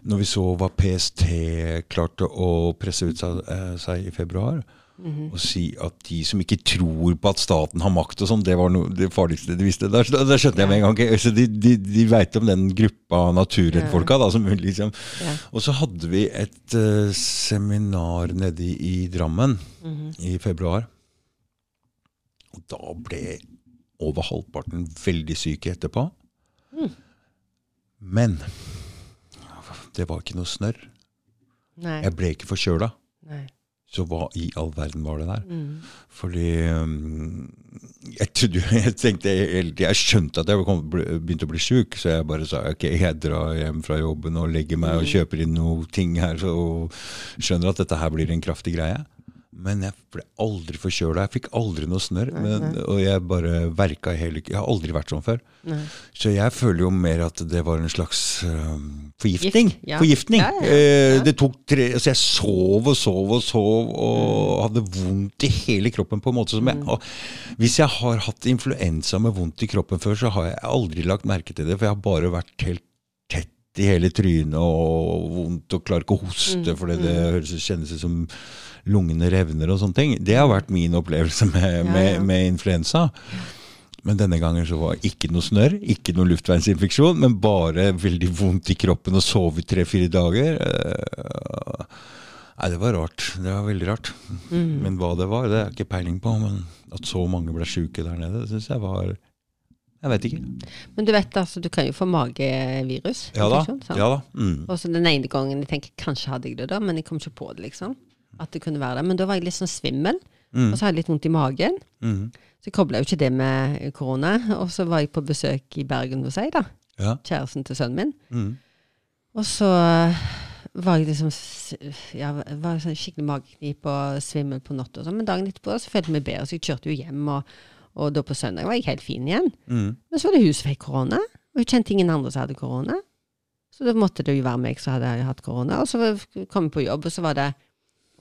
S1: når vi så hva PST klarte å presse ut seg, eh, seg i februar,
S2: Mhm.
S1: og si at de som ikke tror på at staten har makt og sånn, det var noe, det farligste de visste. Da, da skjønte jeg med en gang. ok, Så de de, de veit om den gruppa naturrettfolka da, som liksom
S2: Ja.
S1: Og så hadde vi et eh, seminar nede i Drammen
S2: Mhm.
S1: i februar. Og da ble over halvparten veldig syke etterpå. Men det var ikke noe snørr.
S2: Nei.
S1: Jeg ble ikke forkjøla.
S2: Nei.
S1: Så hva i all verden var det der?
S2: Mm.
S1: Fordi um, jeg, trodde, jo- jeg tenkte hele tiden, jeg skjønte at jeg kom, ble- begynte å bli sjuk, så jeg bare sa ok, jeg drar hjem fra jobben og legger meg og kjøper inn noe ting her, så, og skjønner at dette her blir en kraftig greie. Men jeg ble aldri forkjøla. Jeg fikk aldri noe snørr. men- Og jeg bare verka i hele Jeg har aldri vært sånn før.
S2: Nei.
S1: Så jeg føler jo mer at det var en slags um, forgiftning.
S2: Gift, ja.
S1: Forgiftning.
S2: Ja, ja, ja.
S1: Eh, det tok tre, altså jeg sov og sov og sov
S2: Mm.
S1: og hadde vondt i hele kroppen på en måte som jeg og Hvis jeg har hatt influensa med vondt i kroppen før, så har jeg aldri lagt merke til det, for jeg har bare vært helt tett i hele trynet og vondt og klarer ikke å
S2: Mm,
S1: hoste fordi det høres, kjennes ut som lungene revner og sånne ting. Det har vært min opplevelse med,
S2: ja.
S1: med, med influensa. Men denne gangen så var ikke noe snørr, ikke noe luftveisinfeksjon, men bare veldig vondt i kroppen og sove i tre-fire dager. Eh, Nei, det var rart. Det var veldig rart.
S2: Mm.
S1: Men hva det var, det er ikke peiling på. Men at så mange ble sjuke der nede, syns jeg var Jeg veit ikke.
S2: Men du vet, altså, du kan jo få magevirus.
S1: Ja da.
S2: infeksjon, sant?
S1: Ja da. Mm.
S2: Og så den ene gangen jeg tenker kanskje hadde jeg det da, men jeg kom ikke på det, liksom. At det kunne være det. Men da var jeg litt sånn svimmel, og så hadde jeg litt vondt i magen.
S1: Mm.
S2: Så jeg kobla jo ikke det med korona. Og så var jeg på besøk i Bergen hos ei, da.
S1: Ja.
S2: Kjæresten til sønnen min.
S1: Mm.
S2: Og så eh, var jeg liksom s- ja, var sånn skikkelig mageknip og svimmel på natta og sånn. Men dagen etterpå så følte jeg meg bedre, så jeg kjørte jo hjem. Og, og da på søndag var jeg helt fin igjen.
S1: Mm.
S2: Men så var det hun som fikk korona, og hun kjente ingen andre som hadde korona. Så da måtte det jo være meg som hadde hatt korona. Og så var- kom jeg på jobb, og så var det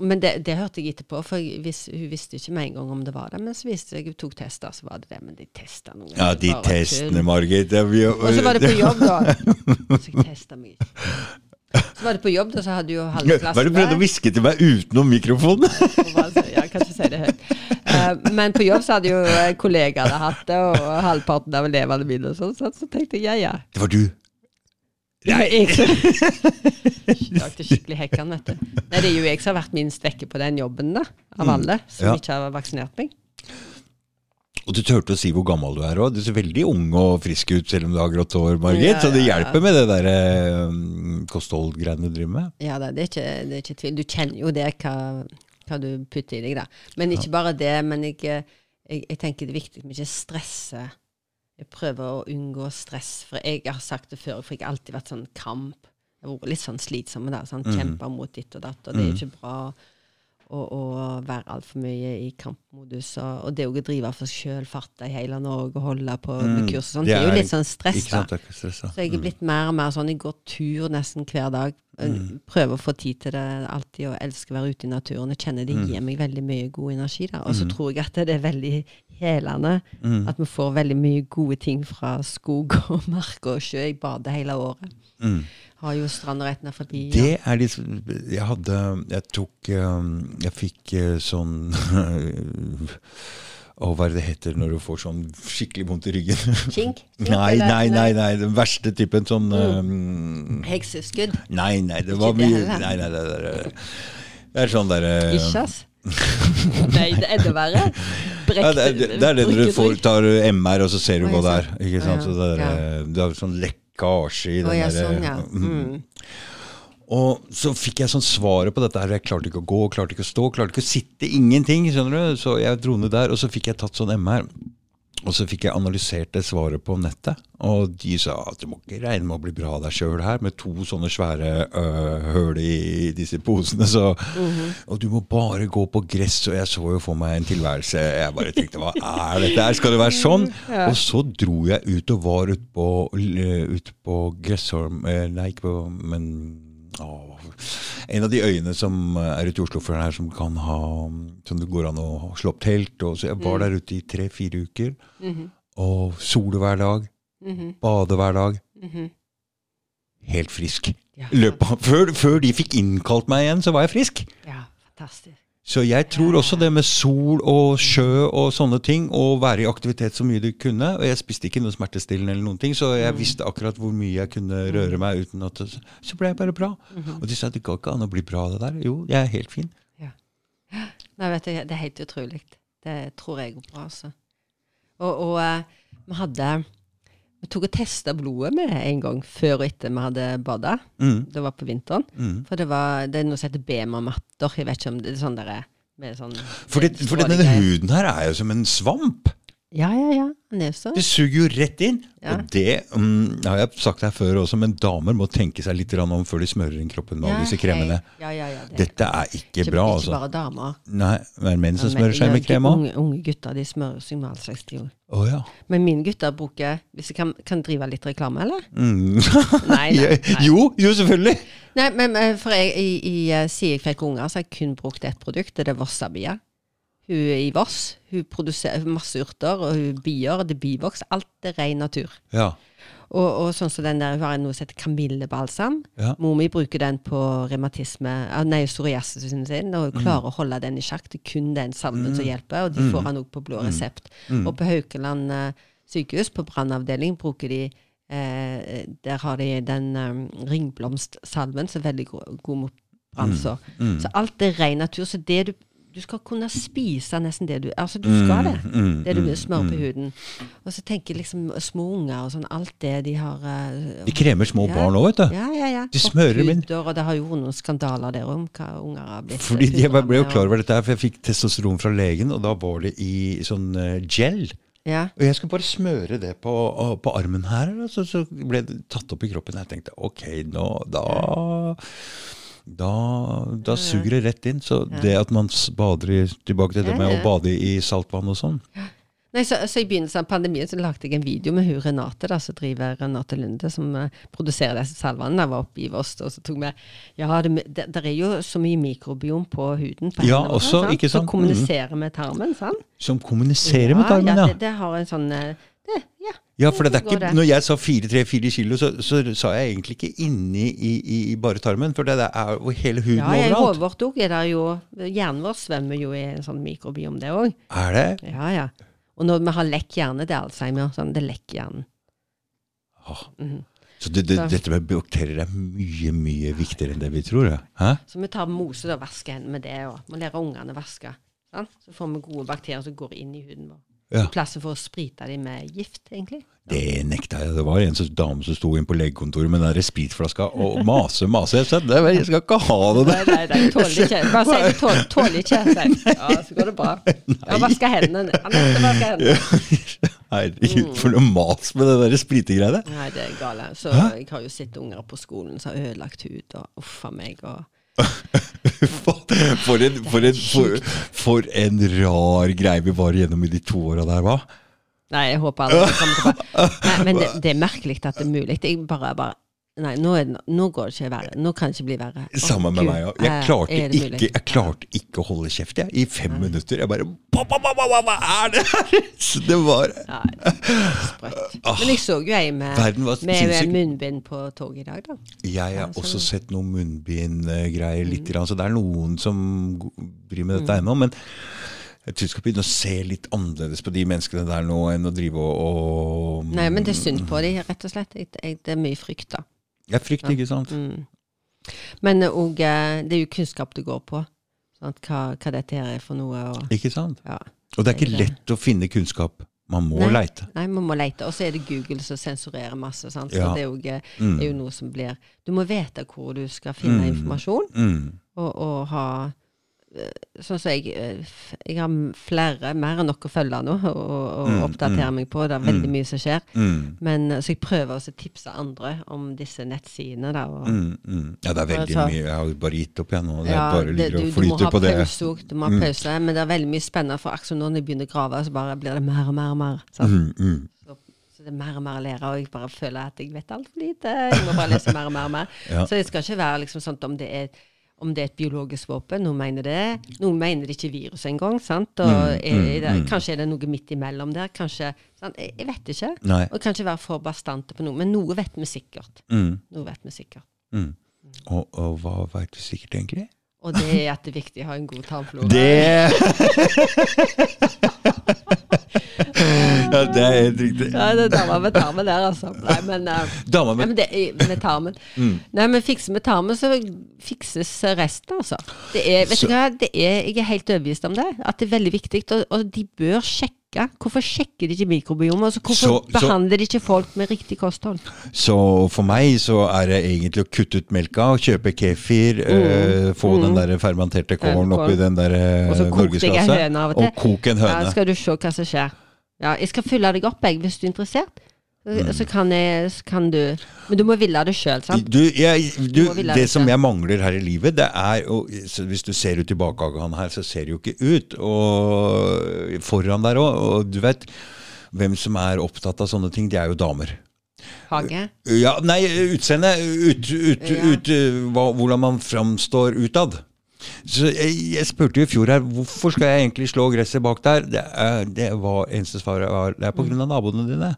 S2: Men det, det hørte jeg etterpå, for jeg vis, hun visste ikke med en gang om det var det. Men så viste jeg hun tok tester, så var det det. Men de testa noen
S1: ja,
S2: ganger,
S1: de
S2: bare
S1: testene,
S2: tull.
S1: Margit. det er vi-
S2: Og så var det på jobb, da. Så jeg testa meg ikke. Så var det på jobb, da, så hadde jo halve
S1: Hva er det du prøvde å hviske til meg utenom mikrofonen?
S2: Ja, kan ikke si det høyt. Eh, Men på jobb så hadde jo eh, kollegaer hatt det, og halvparten av elevene mine og sånn. Så så tenkte jeg ja, ja.
S1: Det var du.
S2: Det var jeg som Lagde skikkelig hekkan, vet du. Nei, det er jo jeg som har vært minst vekke på den jobben, da. Av alle som
S1: ja.
S2: ikke har vaksinert meg.
S1: Og du turte å si hvor gammel du er òg. Du ser veldig ung og frisk ut selv om du har grått hår, Margit.
S2: Ja,
S1: Så det
S2: ja, ja.
S1: hjelper med det der eh, kostholdgreiene du driver med.
S2: Ja da, det er ikke, det er ikke tvil. Du kjenner jo det, hva, hva du putter i deg, da. Men ikke bare det. Men jeg, eh, jeg, jeg tenker det er viktig at vi ikke stresser. Jeg prøver å unngå stress, for jeg har sagt det før, for jeg har alltid vært sånn kamp. Jeg har vært litt sånn slitsom med det. Sånn, Kjempa mot ditt og datt, og det er jo ikke bra å, å være altfor mye i kampmodus. Og, og det å drive for seg sjøl, farte i hele Norge og holde på med kurs og sånn, det er jo litt sånn stress,
S1: Ikke
S2: da.
S1: sant, det er ikke stressa.
S2: Så jeg er blitt mer og mer sånn. Jeg går tur nesten hver dag. Eh,
S1: Mm.
S2: Prøver å få tid til det alltid, og elsker å være ute i naturen. Jeg kjenner det
S1: Mm.
S2: gir meg veldig mye god energi. da. Og så tror jeg at det er veldig helende.
S1: Mm.
S2: At vi får veldig mye gode ting fra skog og mark og sjø. Jeg bader hele året.
S1: Mm.
S2: Har jo stranda rett ned forbi. og-
S1: Det er litt Jeg hadde Jeg tok eh, Jeg fikk eh, sånn Å, hva er det det heter når du får sånn skikkelig vondt i ryggen?
S2: Kink? Kink,
S1: Nei,
S2: eller- Mm.
S1: nei, nei, nei, den verste typen sånn eh,
S2: Hekseskudd?
S1: Nei, nei, det
S2: Ikke
S1: var
S2: det
S1: mye
S2: heller.
S1: Nei, nei, nei, nei, nei. Det er sånn derre
S2: Ikke, ass. nei, det er enda verre. Brekte,
S1: Ja, det, er- det, det er det når du får, tar MR, og så ser du
S2: Å,
S1: hva det
S2: ja,
S1: er. Ikke sant? Så det er,
S2: Ja.
S1: eh, det er sånn lekkasje i den
S2: Å ja,
S1: der, eh,
S2: sånn, ja. Mm.
S1: Og så fikk jeg sånn svaret på dette her. Jeg klarte ikke å gå, klarte ikke å stå, klarte ikke å sitte. Ingenting, skjønner du. Så jeg dro ned der, og så fikk jeg tatt sånn MR. Og så fikk jeg analysert det svaret på nettet, og de sa at du må ikke regne med å bli bra av deg sjøl her, med to sånne svære øh, høl i disse posene, så Og du må bare gå på gress, og jeg så jo for meg en tilværelse Jeg bare tenkte hva er dette her, skal det være sånn?
S2: Mm,
S1: Og så dro jeg ut og var ute på, l- ut på Gressholm eh, Nei, ikke på Men Åh. En av de øyene som er ute i Oslofjorden her, som kan ha Som det går an å slå opp telt. Og så jeg var der ute i tre-fire uker.
S2: Mhm.
S1: Og sole hver dag. Bade hver dag. Helt frisk.
S2: Ja,
S1: Løpet, før, før de fikk innkalt meg igjen, så var jeg frisk.
S2: Ja, fantastisk.
S1: Så jeg tror også det med sol og sjø og sånne ting, og være i aktivitet så mye du kunne Og jeg spiste ikke noe smertestillende eller noen ting, så jeg visste akkurat hvor mye jeg kunne røre meg uten at det- Så ble jeg bare bra.
S2: Mhm.
S1: Og de sa det går ikke an å bli bra av det der. Jo, jeg er helt fin.
S2: Nei, vet du, det er helt utrolig. Det tror jeg går bra, altså. Og, og eh, vi hadde Vi tok og testa blodet med en gang før og etter vi hadde bada.
S1: Mm,
S2: Det var på vinteren.
S1: mm.
S2: For det, var, det er noe som heter BMA-matter. Jeg vet ikke om det er sånn der med sånn
S1: For, det, for denne huden her er jo som en svamp.
S2: Ja, ja, ja. Den er jo sånn.
S1: Det suger jo rett inn.
S2: Ja.
S1: Og det mm, har jeg sagt her før også, men damer må tenke seg litt grann om før de smører inn kroppen med
S2: Ja,
S1: alle disse kremene.
S2: hei. Ja, ja, ja. Det.
S1: Dette er ikke bra,
S2: ikke
S1: altså.
S2: bare damer.
S1: Nei, det er menn som
S2: Men
S1: smører seg
S2: ja,
S1: med
S2: de
S1: krem òg.
S2: Unge, unge gutter de smører seg med all slags ting.
S1: Å ja.
S2: Men mine gutter bruker Hvis jeg kan, kan drive litt reklame, eller?
S1: Mm.
S2: Nei, nei, nei.
S1: Jo, jo, selvfølgelig!
S2: nei men eh, for jeg, i, i, eh, siden jeg fikk unger, så har jeg kun brukt ett produkt. Det er Vossabia. Hun er i Voss. Hun produserer masse urter, og hun bier. Det er bivoks. Alt er ren natur.
S1: Ja.
S2: Og, og sånn som den der, hun har noe som heter kamillebalsam.
S1: Ja.
S2: Mor mi bruker den på revmatisme, ah, nei, psoriasisen sin, og hun klarer å holde den i sjakk. Det er kun den salven som hjelper, og de får han også på blå resept.
S1: Mm.
S2: Og på Haukeland eh, sykehus, på brannavdeling, bruker de eh, Der har de den eh, ringblomstsalven som er veldig go god mot brannsår.
S1: Mm.
S2: Så alt er ren natur. Så det du du skal kunne spise nesten det du Altså, du skal det.
S1: mm,
S2: det du smører på huden. Og så tenker jeg liksom små unger og sånn, alt det de har eh,
S1: De kremer små
S2: Ja.
S1: barn òg, vet du.
S2: ja, ja, ja.
S1: De smører min.
S2: Hopphuder, Og det har jo vært noen skandaler der om hva unger har blitt.
S1: Fordi
S2: pudret
S1: Jeg ble jo
S2: med, og-
S1: klar over dette, her, for jeg fikk testosteron fra legen, og da var det i sånn eh, gel.
S2: Ja,
S1: Og jeg skulle bare smøre det på, på armen her, og så, så ble det tatt opp i kroppen. Jeg tenkte ok, nå da da, da suger det rett inn. Så det at man s- bader i Tilbake til det
S2: Ja,
S1: med å
S2: ja.
S1: bade i saltvann og sånn.
S2: Nei, så, så I begynnelsen av pandemien så lagde jeg en video med hun Renate, da, som driver Renate Lunde, som eh, produserer disse salvene. Jeg var oppe i Voss, og så tok vi Ja, det, det, der er jo så mye mikrobiom på huden. På
S1: Ja,
S2: hendene våre,
S1: også, ikke sant?
S2: Så kommuniserer med tarmen, sant?
S1: Som kommuniserer med tarmen,
S2: ja.
S1: ja.
S2: Det, det har en sånn eh, det, Ja.
S1: Ja, for det er
S2: Hvordan går
S1: ikke,
S2: det?
S1: Når jeg sa 4-3-4 kilo, så, så sa jeg egentlig ikke inni i, i, i bare tarmen, for det der er jo hele huden
S2: Ja, i hodet
S1: overalt.
S2: vårt òg er det jo Hjernen vår svømmer jo i en sånn mikrobiom, det òg.
S1: Er det?
S2: Ja, ja. Og når vi har lekk hjerne, det er Alzheimer. Sånn, det lekker hjernen.
S1: Åh.
S2: Mhm.
S1: Så det, det,
S2: Så-
S1: dette med bakterier er mye, mye viktigere enn det vi tror. Ja. Hæ?
S2: Så vi tar mose og vasker hendene med det. Og må lære ungene å vaske. Sant? Så får vi gode bakterier som går inn i huden vår.
S1: Ja.
S2: I plassen for å sprite dem med gift, egentlig.
S1: Det nekta jeg. Det var en som, dame som sto inn på legekontoret med den der spritflaska og mase, mase. Jeg sa "Nei, jeg skal ikke ha det der.
S2: Nei, nei, nei, tåler ikke. Bare si du tåler, tåler ikke. sier jeg. Ja, så går det bra. Ja, vaske hendene. Anette, vaske hendene.
S1: Herregud, for noe mas med det der spritegreiene.
S2: Nei, det er gale. Så jeg har jo sett unger på skolen som har ødelagt hud, og uff a meg. og...
S1: For en, for, en, for, for en rar greie vi var igjennom i de to åra der, hva?
S2: Nei, jeg håper aldri det kommer tilbake. Nei, men det, det er merkelig at det er mulig. Jeg bare, bare Nei, nå, er det, nå går det ikke verre. Nå kan det ikke bli verre. Å,
S1: Sammen med
S2: Gud.
S1: meg òg.
S2: Eh,
S1: Jeg, klarte
S2: er det mulig?
S1: ikke- jeg klarte ikke å holde kjeft jeg, i fem minutter. Jeg bare «Ba, ba, ba, ba, ba, Hva er det her?! Så det var
S2: Ja, det er sprøtt. Men jeg så jo ei med,
S1: Ah, Verden var
S2: med
S1: sinnssyk.
S2: munnbind på toget i dag, da.
S1: Jeg har
S2: så- Mm.
S1: også sett noen munnbindgreier litt, grann, så det er noen som go- driver med dette ennå. Men jeg tror vi skal begynne å se litt annerledes på de menneskene der nå, enn å drive og, og
S2: Nei, men det er synd på de, rett og slett. Jeg, jeg, det er mye frykt, da.
S1: Jeg frykter, ikke
S2: Mm.
S1: sant?
S2: Men òg Det er jo kunnskap det går på. Sant? Hva, hva dette her er for noe. Og,
S1: Ikke sant?
S2: ja.
S1: Og det er
S2: Det
S1: ikke
S2: er det.
S1: lett å finne kunnskap. Man må
S2: Nei.
S1: leite.
S2: Nei, man må lete. Og så er det Google som sensurerer masse. Sant? Så
S1: Ja.
S2: det er jo, ikke-
S1: Mm.
S2: er jo noe som blir Du må vite hvor du skal finne
S1: Mm.
S2: informasjon,
S1: Mm.
S2: og, og ha eh, Sånn som jeg eh, f- Jeg har m- flere, mer enn nok å følge nå, og, og
S1: Mm,
S2: oppdatere meg på. Det er veldig mye som skjer.
S1: Mm.
S2: Men, eh, så jeg prøver også å tipse andre om disse nettsidene. Da, og,
S1: Mm, mm. Ja, det er veldig
S2: Altså-
S1: mye. Jeg har jo bare gitt opp, jeg nå. Det
S2: Ja,
S1: bare
S2: det-
S1: ligger
S2: du-
S1: og flyter på det. Mm.
S2: Du må ha pause òg, du må ha pause. Men det er veldig mye spennende, for akkurat når jeg begynner å grave, så bare blir det mer og mer og mer. Sant?
S1: Mm, mm.
S2: Så, så det er mer og mer å lære, og jeg bare føler at jeg vet altfor lite. Jeg må bare lese mer og mer og mer.
S1: Ja.
S2: Så det skal ikke være liksom sånn at om det er om det er et biologisk våpen, noen mener det. Noen mener det ikke er virus engang. sant? Og
S1: Mm,
S2: er, er det, kanskje er det noe midt imellom der. kanskje, sant? Jeg, jeg vet ikke.
S1: Nei.
S2: Og kanskje være for bastante på noe. Men noe vet vi sikkert.
S1: Mm,
S2: Noe vet vi sikkert.
S1: mm. Og, og hva veit du sikkert egentlig?
S2: Og det er kjempeviktig å ha en god tarmflora.
S1: Det Ja, det er helt riktig.
S2: Ja, det er dama med tarmen der, altså. Nei, men, eh,
S1: Dama
S2: nei,
S1: med
S2: men det er med tarmen.
S1: Mm.
S2: Nei, men fikser vi tarmen, så fikses resten, altså. Det er, vet
S1: Så-
S2: du hva, det er, jeg er helt overbevist om det. At det er veldig viktig. Og, og de bør sjekke. Hvorfor sjekker de ikke mikrobiomet? Altså, hvorfor
S1: Så- så-
S2: behandler de ikke folk med riktig kosthold?
S1: Så for meg så er det egentlig å kutte ut melka, kjøpe kefir,
S2: Mm.
S1: eh, få den der fermenterte kålen
S2: Kål.
S1: oppi den der eh,
S2: Og så koker jeg en
S1: norgesglasset,
S2: høne av og til.
S1: og koke en
S2: Ja,
S1: høne.
S2: skal du se hva som skjer. Ja, jeg skal fylle deg opp, jeg, hvis du er interessert. Så,
S1: Mm.
S2: så, kan, jeg, så kan du Men du må ville det sjøl, sant?
S1: Du, jeg, du,
S2: Må vi lære
S1: det som
S2: det.
S1: jeg mangler her i livet, det er å så Hvis du ser ut i bakhagen her, så ser det jo ikke ut. Og foran der òg. Og du vet, hvem som er opptatt av sånne ting, det er jo damer.
S2: Hage?
S1: Ja, nei, utseende. Ut, ut,
S2: Ja.
S1: ut, eh, hva, hvordan man framstår utad. Så jeg, jeg spurte jo i fjor her hvorfor skal jeg egentlig slå gresset bak der. Det, er, det var eneste svaret var det er pga. naboene dine.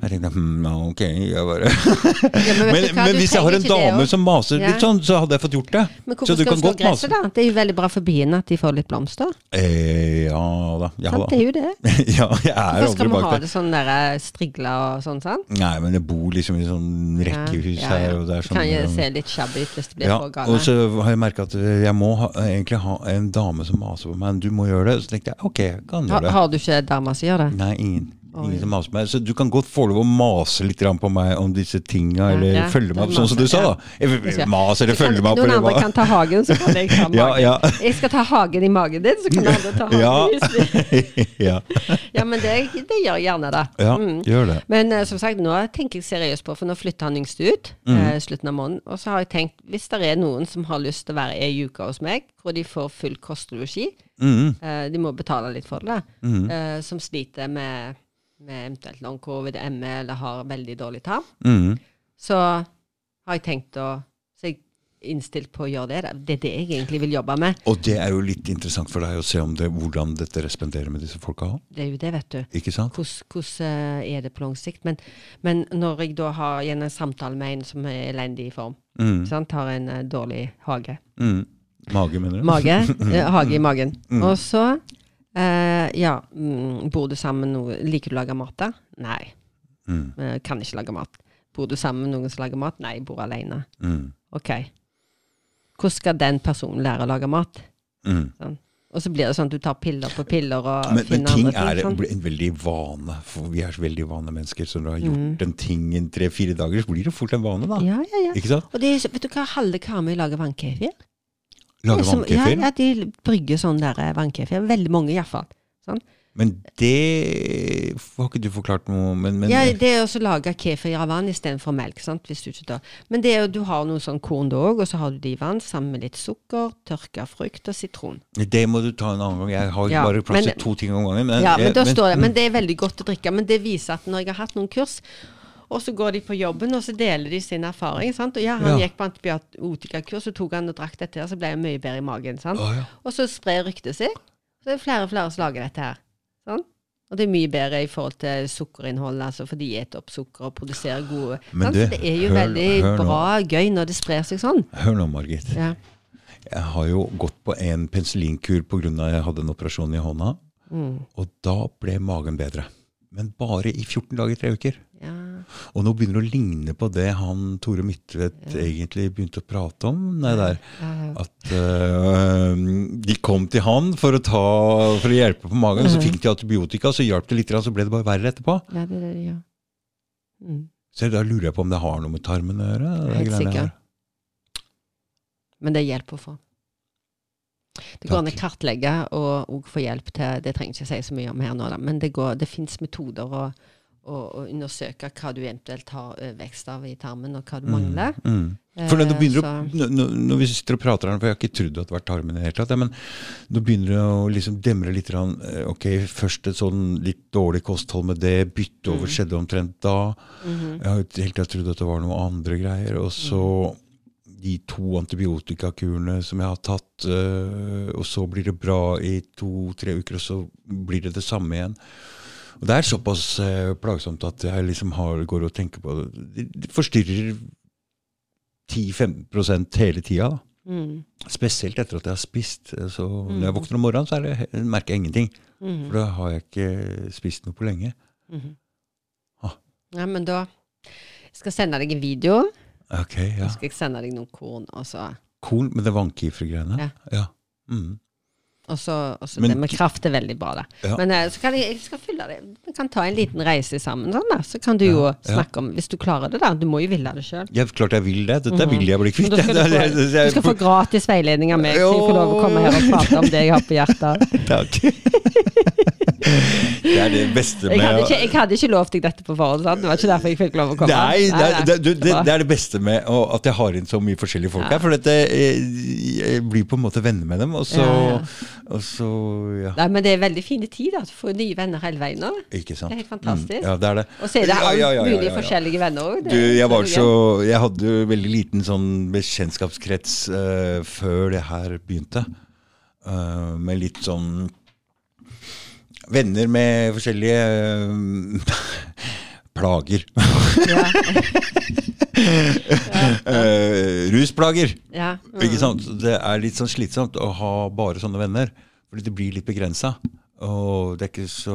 S1: Jeg tenkte hm, ja, ok jeg bare.
S2: Ja, Mhm. vet
S1: Men,
S2: du hva,
S1: men
S2: du
S1: hvis jeg
S2: trenger
S1: har en
S2: ikke det
S1: dame
S2: også.
S1: som maser
S2: Ja.
S1: litt sånn, så hadde jeg fått gjort det. så
S2: Men hvorfor
S1: du
S2: skal
S1: kan
S2: vi slå
S1: godt mase.
S2: gresset, da? Det er jo veldig bra for biene at de får litt blomster.
S1: Eh, ja da. Ja,
S2: Sant? Det
S1: da.
S2: er jo det.
S1: ja, jeg er
S2: Hvorfor
S1: aldri
S2: skal vi
S1: bak
S2: ha
S1: der.
S2: det sånn der eh, strigla og sånn, sant?
S1: Nei, men jeg bor liksom i sånn rekkehus
S2: Ja, ja, ja.
S1: her, og det er sånn
S2: Kan jo
S1: eh,
S2: se litt shabby ut hvis det blir
S1: Ja,
S2: for
S1: og
S2: gale.
S1: så har jeg merka at jeg må ha, egentlig ha en dame som maser på meg. Du må gjøre det. Så tenkte jeg ok, jeg kan
S2: Har,
S1: gjøre det.
S2: har du ikke dama som gjør det?
S1: Nei, ingen. Ingen som maser på meg. Så du kan godt få lov å mase litt grann på meg om disse tinga, eller
S2: ja,
S1: følge meg
S2: det
S1: opp, sånn som du
S2: maser,
S1: sa,
S2: ja.
S1: da. Jeg-
S2: Ja.
S1: Mas eller
S2: Kan-
S1: følge meg opp,
S2: Noen
S1: eller
S2: andre
S1: hva.
S2: kan ta hagen, så kan jeg ta magen.
S1: Ja, ja.
S2: Jeg skal ta hagen i magen din, så kan andre ta
S1: Ja.
S2: hagen. hvis vi-
S1: ja.
S2: ja men det, det gjør jeg gjerne det.
S1: ja,
S2: Mm.
S1: gjør det.
S2: Men eh, som sagt, nå tenker jeg seriøst på, for nå flytter han yngste ut eh, slutten av måneden. Og så har jeg tenkt, hvis det er noen som har lyst til å være ei uke hos meg, hvor de får full kost og losji,
S1: Mm,
S2: eh, de må betale litt for det,
S1: Mhm.
S2: eh, som sliter med, med eventuelt long covid, ME eller har veldig dårlig tarm,
S1: mm.
S2: så har jeg tenkt å Så jeg er innstilt på å gjøre det. da. Det er det jeg egentlig vil jobbe med.
S1: Og det er jo litt interessant for deg å se om det, hvordan dette responderer med disse folka òg.
S2: Det er jo det, vet du.
S1: Ikke sant?
S2: Hvordan hvordan, eh, er det på lang sikt? Men, men når jeg da har igjen en samtale med en som er elendig i form,
S1: Mm,
S2: sant? har en eh, dårlig hage
S1: mm. Mage, mener du?
S2: Mage. eh, hage i magen.
S1: Mm.
S2: Og så eh, Ja, mm, bor du sammen med noen Liker du å lage mat, da? Nei.
S1: Mm,
S2: eh, Kan ikke lage mat. Bor du sammen med noen som lager mat? Nei, jeg bor alene.
S1: mm,
S2: Ok. Hvordan skal den personen lære å lage mat?
S1: mm.
S2: Og så blir det sånn at du tar piller på piller og
S1: men, men
S2: finner
S1: ting
S2: andre
S1: er
S2: ting. sånn. sant?
S1: en veldig vane. For vi er så veldig vane mennesker. Så når du har gjort den tingen tre-fire dager, så blir det fort en vane, da.
S2: Mm. Ja, ja, ja.
S1: Ikke sant?
S2: Og det er, så- vet du hva halve Karmøy lager vannkefir?
S1: Lage
S2: Som-
S1: vannkefir.
S2: Ja, ja, de brygger sånn der eh, vannkefir. Veldig mange, iallfall.
S1: Men det har ikke du forklart noe men, men,
S2: Ja, det er også å lage kefir av vann istedenfor melk. sant? Hvis du ikke tar. Men det er, jo- du har noe sånn korn da òg, og så har du det i vann sammen med litt sukker, tørka frukt og sitron.
S1: Det må du ta en annen gang. Jeg har
S2: Ja,
S1: bare plass
S2: men-
S1: til to ting om gangen. Eh, Men,
S2: Ja, men
S1: jeg-
S2: da står det, men det er veldig godt å drikke. Men det viser at når jeg har hatt noen kurs, og så går de på jobben, og så deler de sin erfaring. sant? Og ja, han
S1: Ja.
S2: gikk på antibiotikakurs, og tok han og drakk dette her, så ble jeg mye bedre i magen. sant?
S1: Mm. Å, ja.
S2: Og så sprer ryktet seg. Så det er flere og flere som lager dette her. sant? Og det er mye bedre i forhold til sukkerinnholdet, altså, for de spiser opp sukker og produserer gode
S1: Men
S2: sant?
S1: du,
S2: Så det er jo
S1: hør-
S2: veldig
S1: hør nå.
S2: bra gøy når det sprer seg sånn.
S1: Hør nå, Margit.
S2: Ja.
S1: Jeg har jo gått på en penicillinkur pga. at jeg hadde en operasjon i hånda.
S2: Mm.
S1: Og da ble magen bedre. Men bare i 14 dager, tre uker.
S2: Ja.
S1: Og nå begynner det å ligne på det han Tore Midtvedt egentlig begynte å prate om. Nei, der. At øh, de kom til han for å, ta, for å hjelpe på magen,
S2: Mm.
S1: og så fikk de antibiotika, så hjalp det litt, grann, så ble det bare verre etterpå.
S2: ja, det er det de gjør. Mm.
S1: Så da lurer jeg på om det har noe med tarmen å gjøre. det
S2: Helt
S1: greiene
S2: sikkert.
S1: her.
S2: Men det er hjelp å få. Det går an å kartlegge og òg få hjelp til Det trenger jeg ikke si så mye om her nå, da, men det, går- det fins metoder å, å, å undersøke hva du eventuelt har overvekst av i tarmen, og hva du mangler.
S1: Mm. For når, du
S2: Eh,
S1: begynner å,
S2: så-
S1: nå- nå- når vi sitter og prater her, for jeg har ikke trodd at det var tarmen i det hele tatt, ja, men nå begynner det å liksom demre litt. grann, eh, Ok, først et sånn litt dårlig kosthold med det, bytte
S2: Mm.
S1: over skjedde omtrent da.
S2: Mhm.
S1: Jeg har jo ikke helt trodd at det var noen andre greier. Og så de to antibiotikakurene som jeg har tatt, eh, og så blir det bra i to-tre uker, og så blir det det samme igjen. Og det er såpass eh, plagsomt at jeg liksom har, går og tenker på det. Det- Det forstyrrer 10-15 hele tida. da.
S2: Mm.
S1: Spesielt etter at jeg har spist. eh, Så når jeg våkner om morgenen, så er det, he- merker jeg ingenting.
S2: Mm.
S1: For da har jeg ikke spist noe på lenge.
S2: Mhm.
S1: Ah.
S2: Ja, men da jeg skal sende deg en video.
S1: Ok, ja.
S2: Så skal jeg sende deg noen korn, og så,
S1: Korn med det vannkifergreiene.
S2: Ja.
S1: Ja. Mm.
S2: og så, og så
S1: Men-
S2: det med kraft er veldig bra, da.
S1: Ja.
S2: Men eh, så kan jeg, jeg skal fylle det. Vi kan ta en liten reise sammen, sånn, da. Så kan du jo snakke om Hvis du klarer det, da. Du må jo ville det sjøl.
S1: Jeg, klart jeg vil det. Dette vil jeg bli
S2: Du,
S1: kvitt.
S2: Mhm. skal
S1: Det er-
S2: få-
S1: det er-
S2: du skal få gratis veiledning av meg, så jeg får lov å komme her og prate om det jeg har på hjertet.
S1: Takk. det er det beste med
S2: Jeg hadde
S1: å-
S2: ikke, jeg hadde ikke lovt deg dette på forhånd, sant? Det var ikke derfor jeg fikk lov å komme.
S1: Nei, det er, det,
S2: nei.
S1: er- du, det,
S2: var-
S1: det er det beste med å, at jeg har inn så mye forskjellige folk
S2: Ja.
S1: her. For at jeg, jeg blir på en måte venner med dem, og så
S2: Ja, ja.
S1: Og så ja.
S2: Nei, men det er veldig fine tid, da. Du får nye venner hele veien. nå, da.
S1: Ikke sant?
S2: Det er helt fantastisk.
S1: Mm, ja, det er det.
S2: Og så er det
S1: Ja, ja,
S2: alt
S1: ja, ja,
S2: mulig
S1: ja, ja.
S2: forskjellige venner òg.
S1: Du, jeg var så Jeg hadde jo veldig liten sånn bekjentskapskrets eh, før det her begynte. Eh, med litt sånn Venner med forskjellige eh, plager.
S2: ja.
S1: Eh, rusplager.
S2: Ja. Mm.
S1: Ikke sant? Så Det er litt sånn slitsomt å ha bare sånne venner, fordi det blir litt begrensa. Og det er ikke så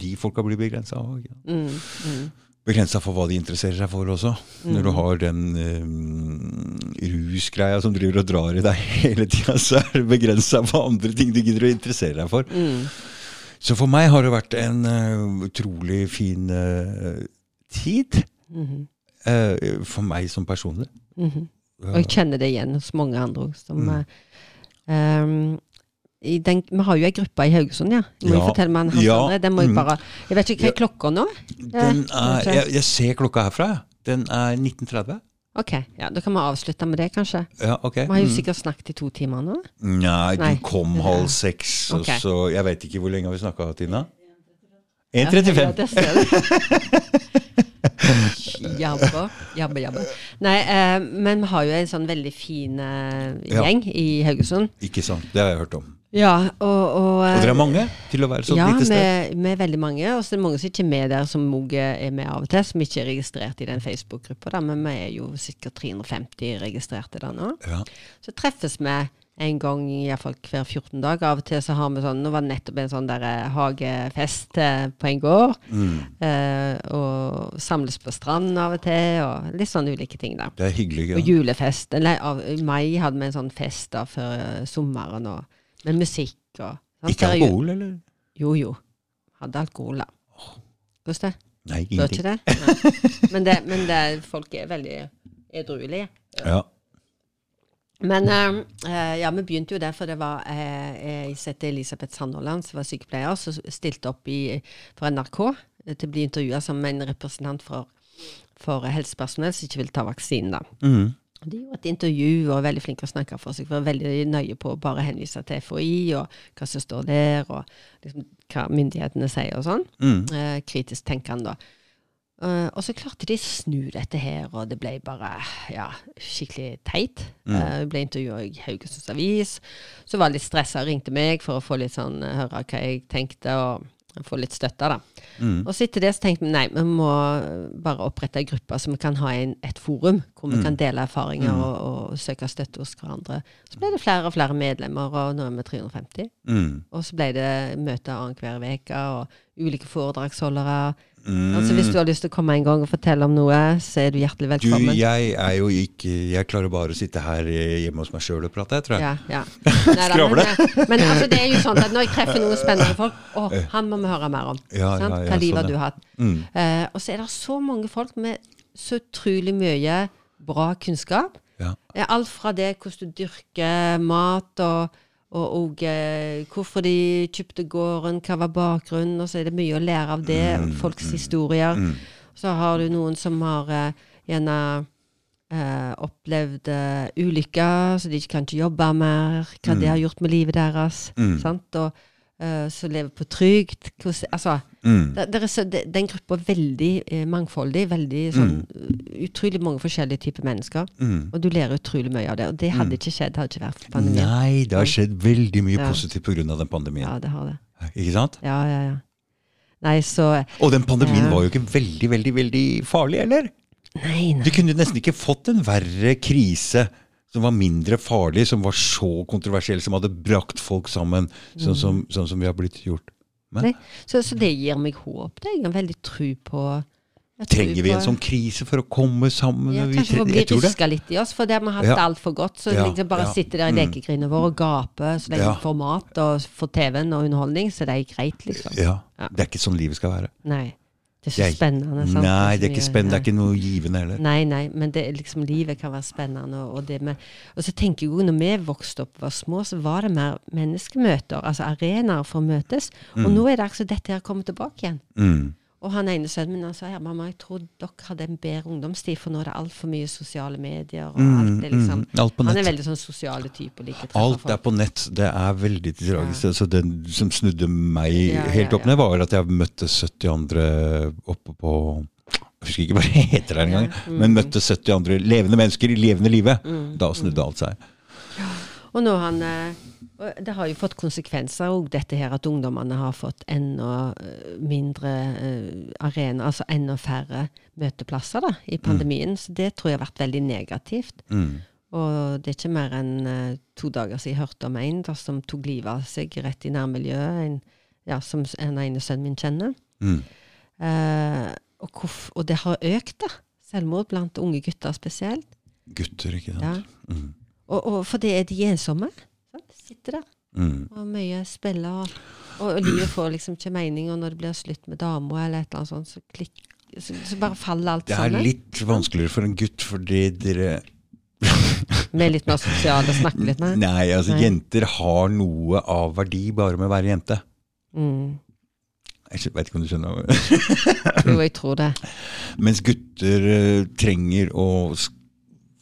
S1: De folka blir begrensa òg.
S2: Mm, mm.
S1: Begrensa for hva de interesserer seg for også. Når du har den eh, rusgreia som driver og drar i deg hele tida, så er det begrensa på andre ting du gidder å interessere deg for.
S2: Mm.
S1: Så for meg har det vært en eh, utrolig fin eh, tid.
S2: Mm-hmm.
S1: Eh, for meg som personlig.
S2: Og jeg kjenner det igjen hos mange andre òg.
S1: Mm.
S2: ehm, i den, vi har jo ei gruppe i Haugesund, ja. Du må jo
S1: Ja.
S2: fortelle meg om Hans
S1: Ja.
S2: André. Den må jeg
S1: Mm.
S2: bare Jeg vet ikke hva er klokka nå?
S1: Den
S2: Ja,
S1: er,
S2: ok.
S1: jeg, jeg ser klokka herfra. jeg. Den er 19.30.
S2: Ok, ja, da kan vi avslutte med det, kanskje.
S1: Ja, ok.
S2: Vi har jo
S1: Mm.
S2: sikkert snakket i to timer nå.
S1: Nei, du
S2: Nei.
S1: kom halv seks, og
S2: Ok.
S1: så Jeg veit ikke hvor lenge har vi snakka, Tina?
S2: Ja,
S1: 1.35.
S2: det ser du. Jabba, jabba, jabba. Nei, eh, men vi har jo en sånn veldig fin eh,
S1: Ja.
S2: gjeng i Haugesund.
S1: Ikke sant. Det har jeg hørt om.
S2: Ja, og, og, eh,
S1: Og dere er mange til å være så
S2: ja,
S1: lite
S2: vi
S1: sted.
S2: vi er veldig mange. Og så er det mange som ikke er med der, som også er med av og til. Som ikke er registrert i den Facebook-gruppa. da, Men vi er jo sikkert 350 registrerte der nå.
S1: Ja.
S2: Så treffes vi en gang i hvert fall hver 14 dag. Av og til så har vi sånn Nå var det nettopp en sånn der eh, hagefest eh, på en gård.
S1: mm.
S2: Eh, og samles på stranden av og til, og litt sånn ulike ting, da.
S1: Det er hyggelig. Ja.
S2: Og julefest. Eller av, i mai hadde vi en sånn fest da før eh, sommeren, og med musikk og sånn.
S1: Ikke
S2: Så det er jo-
S1: alkohol, eller?
S2: jo, jo. Hadde alkohol, da. Hvordan det?
S1: Nei,
S2: Du har ikke
S1: ingenting.
S2: det? Nei. Men, det, men det, folk er veldig edruelige.
S1: Ja.
S2: Men eh, eh, ja, vi begynte jo der, for det var eh, Jeg setter Elisabeth Sandholland, som var sykepleier, som stilte opp i, for NRK eh, til å bli intervjua som en representant for, for helsepersonell som ikke vil ta vaksinen, da.
S1: Mm.
S2: Og De gjorde et intervju og var veldig flinke å snakke for seg. Var veldig nøye på å bare henvise til FHI og hva som står der, og liksom, hva myndighetene sier og sånn.
S1: Mm.
S2: Eh, kritisk tenkende, da. Eh, og så klarte de å snu dette her, og det ble bare ja, skikkelig teit. Mm. ble intervjua i Haugesunds Avis. Så var jeg litt stressa og ringte meg for å få litt sånn, eh, høre hva jeg tenkte, og få litt støtte, da. Og så etter det så tenkte vi nei, vi må eh, bare opprette en gruppe så vi kan ha en, et forum hvor vi kan dele erfaringer og, og søke støtte hos hverandre. Så ble det flere og flere medlemmer, og nå er vi 350.
S1: Mm.
S2: Og så ble det møter annenhver uke, og ulike foredragsholdere.
S1: Mm.
S2: Altså Hvis du har lyst til å komme en gang og fortelle om noe, så er du hjertelig
S1: Du,
S2: velkommen.
S1: jeg er jo ikke Jeg klarer bare å sitte her eh, hjemme hos meg sjøl og prate, jeg, tror jeg.
S2: ja, ja. Neida,
S1: Skravle.
S2: Men, men altså, det er jo sånn at når jeg treffer noen spennende folk Å, han må vi høre mer om.
S1: Eh. Ja,
S2: sant?
S1: ja, ja,
S2: Hva liv
S1: sånn
S2: har
S1: det.
S2: du hatt?
S1: Mm.
S2: Eh, og så er det så mange folk med så utrolig mye bra kunnskap.
S1: Ja.
S2: Eh, Alt fra det hvordan du dyrker mat, og, og, og eh, hvorfor de kjøpte gården, hva var bakgrunnen, og så er det mye å lære av det, folks historier.
S1: mm.
S2: Så har du noen som har eh, gjerne eh, opplevd eh, ulykker, så de ikke kan ikke jobbe mer, hva det har gjort med livet deres, sant, og eh, som lever på trygd, hvordan Altså.
S1: Mm.
S2: Det, det er så, det, den gruppa er veldig eh, mangfoldig. veldig sånn, Utrolig mange forskjellige typer mennesker.
S1: Mm.
S2: Og du lærer utrolig mye av det. Og det hadde ikke skjedd hadde ikke vært for pandemien.
S1: Nei, det har skjedd veldig mye
S2: Ja.
S1: positivt pga. den pandemien.
S2: Ja, det har det.
S1: Ikke sant?
S2: Ja, ja, ja. Nei, så
S1: Og den pandemien
S2: Ja.
S1: var jo ikke veldig, veldig, veldig farlig, eller?
S2: Nei,
S1: Du
S2: nei.
S1: kunne nesten ikke fått en verre krise som var mindre farlig, som var så kontroversiell, som hadde brakt folk sammen, sånn
S2: Mm.
S1: som, sånn som vi har blitt gjort. Men
S2: Nei, Så, så det gir meg håp. Det. Jeg har veldig tro på jeg tror
S1: trenger vi en
S2: på-
S1: sånn krise for å komme sammen?
S2: Ja,
S1: Vi
S2: kanskje
S1: tre-
S2: for å bli
S1: jeg tror det.
S2: ruska litt i oss, for det har vi hatt
S1: Ja.
S2: det altfor godt. Så
S1: Ja,
S2: liksom bare
S1: ja.
S2: sitte der i
S1: Mm.
S2: lekegrinene våre og gape så lenge
S1: Ja.
S2: vi får mat og får TV-en og underholdning, så det er greit, liksom.
S1: Ja.
S2: Ja.
S1: Det er ikke sånn livet skal være.
S2: Nei. Det er så
S1: Det er-
S2: spennende. sant?
S1: Nei, det er
S2: så
S1: ikke
S2: mye-
S1: spennende. Det
S2: nei.
S1: er ikke noe givende heller.
S2: Nei, nei, men det, er liksom, livet kan være spennende. Og, og, det med, og så tenker jeg jo, når vi vokste opp og var små, så var det mer menneskemøter, altså arenaer for å møtes. Og nå er det altså dette her kommer tilbake igjen.
S1: Mm.
S2: Og han ene sønnen min han sa ja, mamma, jeg tror dere hadde en bedre ungdomstid, for nå er det altfor mye sosiale medier. og alt det liksom.
S1: mm, alt på
S2: Han
S1: nett.
S2: er veldig sånn sosiale type. og liker å treffe
S1: Alt
S2: folk.
S1: er på nett. Det er veldig tragisk. Så den som snudde meg
S2: Ja,
S1: helt
S2: ja,
S1: opp ned, var at jeg møtte 70 andre oppe på Jeg husker ikke hva det heter her engang,
S2: Mm.
S1: men møtte 70 andre levende mennesker i levende livet. Da snudde alt seg.
S2: Og nå han eh, og Det har jo fått konsekvenser òg, dette her at ungdommene har fått enda eh, mindre eh, arena, altså enda færre møteplasser da, i pandemien. Så det tror jeg har vært veldig negativt.
S1: Mm.
S2: Og det er ikke mer enn eh, to dager siden jeg hørte om en da, som tok livet av seg rett i nærmiljøet, en, ja, som s- en ene sønnen min kjenner.
S1: Mm.
S2: Eh, og, hvorf- og det har økt, da. Selvmord blant unge gutter spesielt.
S1: Gutter, ikke sant.
S2: Ja.
S1: Mm.
S2: Og, og for det er de ensomme. Sant? Sitter der.
S1: Mm.
S2: Og mye spiller, og, og, og livet får liksom ikke mening. Og når det blir slutt med dama, eller et eller annet sånt, så, klikk, så, så bare faller alt
S1: Det er
S2: sammen.
S1: litt vanskeligere for en gutt fordi dere
S2: Vi er litt mer sosiale og snakker litt mer.
S1: Nei, altså
S2: Nei.
S1: jenter har noe av verdi bare med å være jente.
S2: Mm.
S1: Jeg vet ikke om du skjønner.
S2: Jo, jeg tror det.
S1: Mens gutter eh, trenger å sk-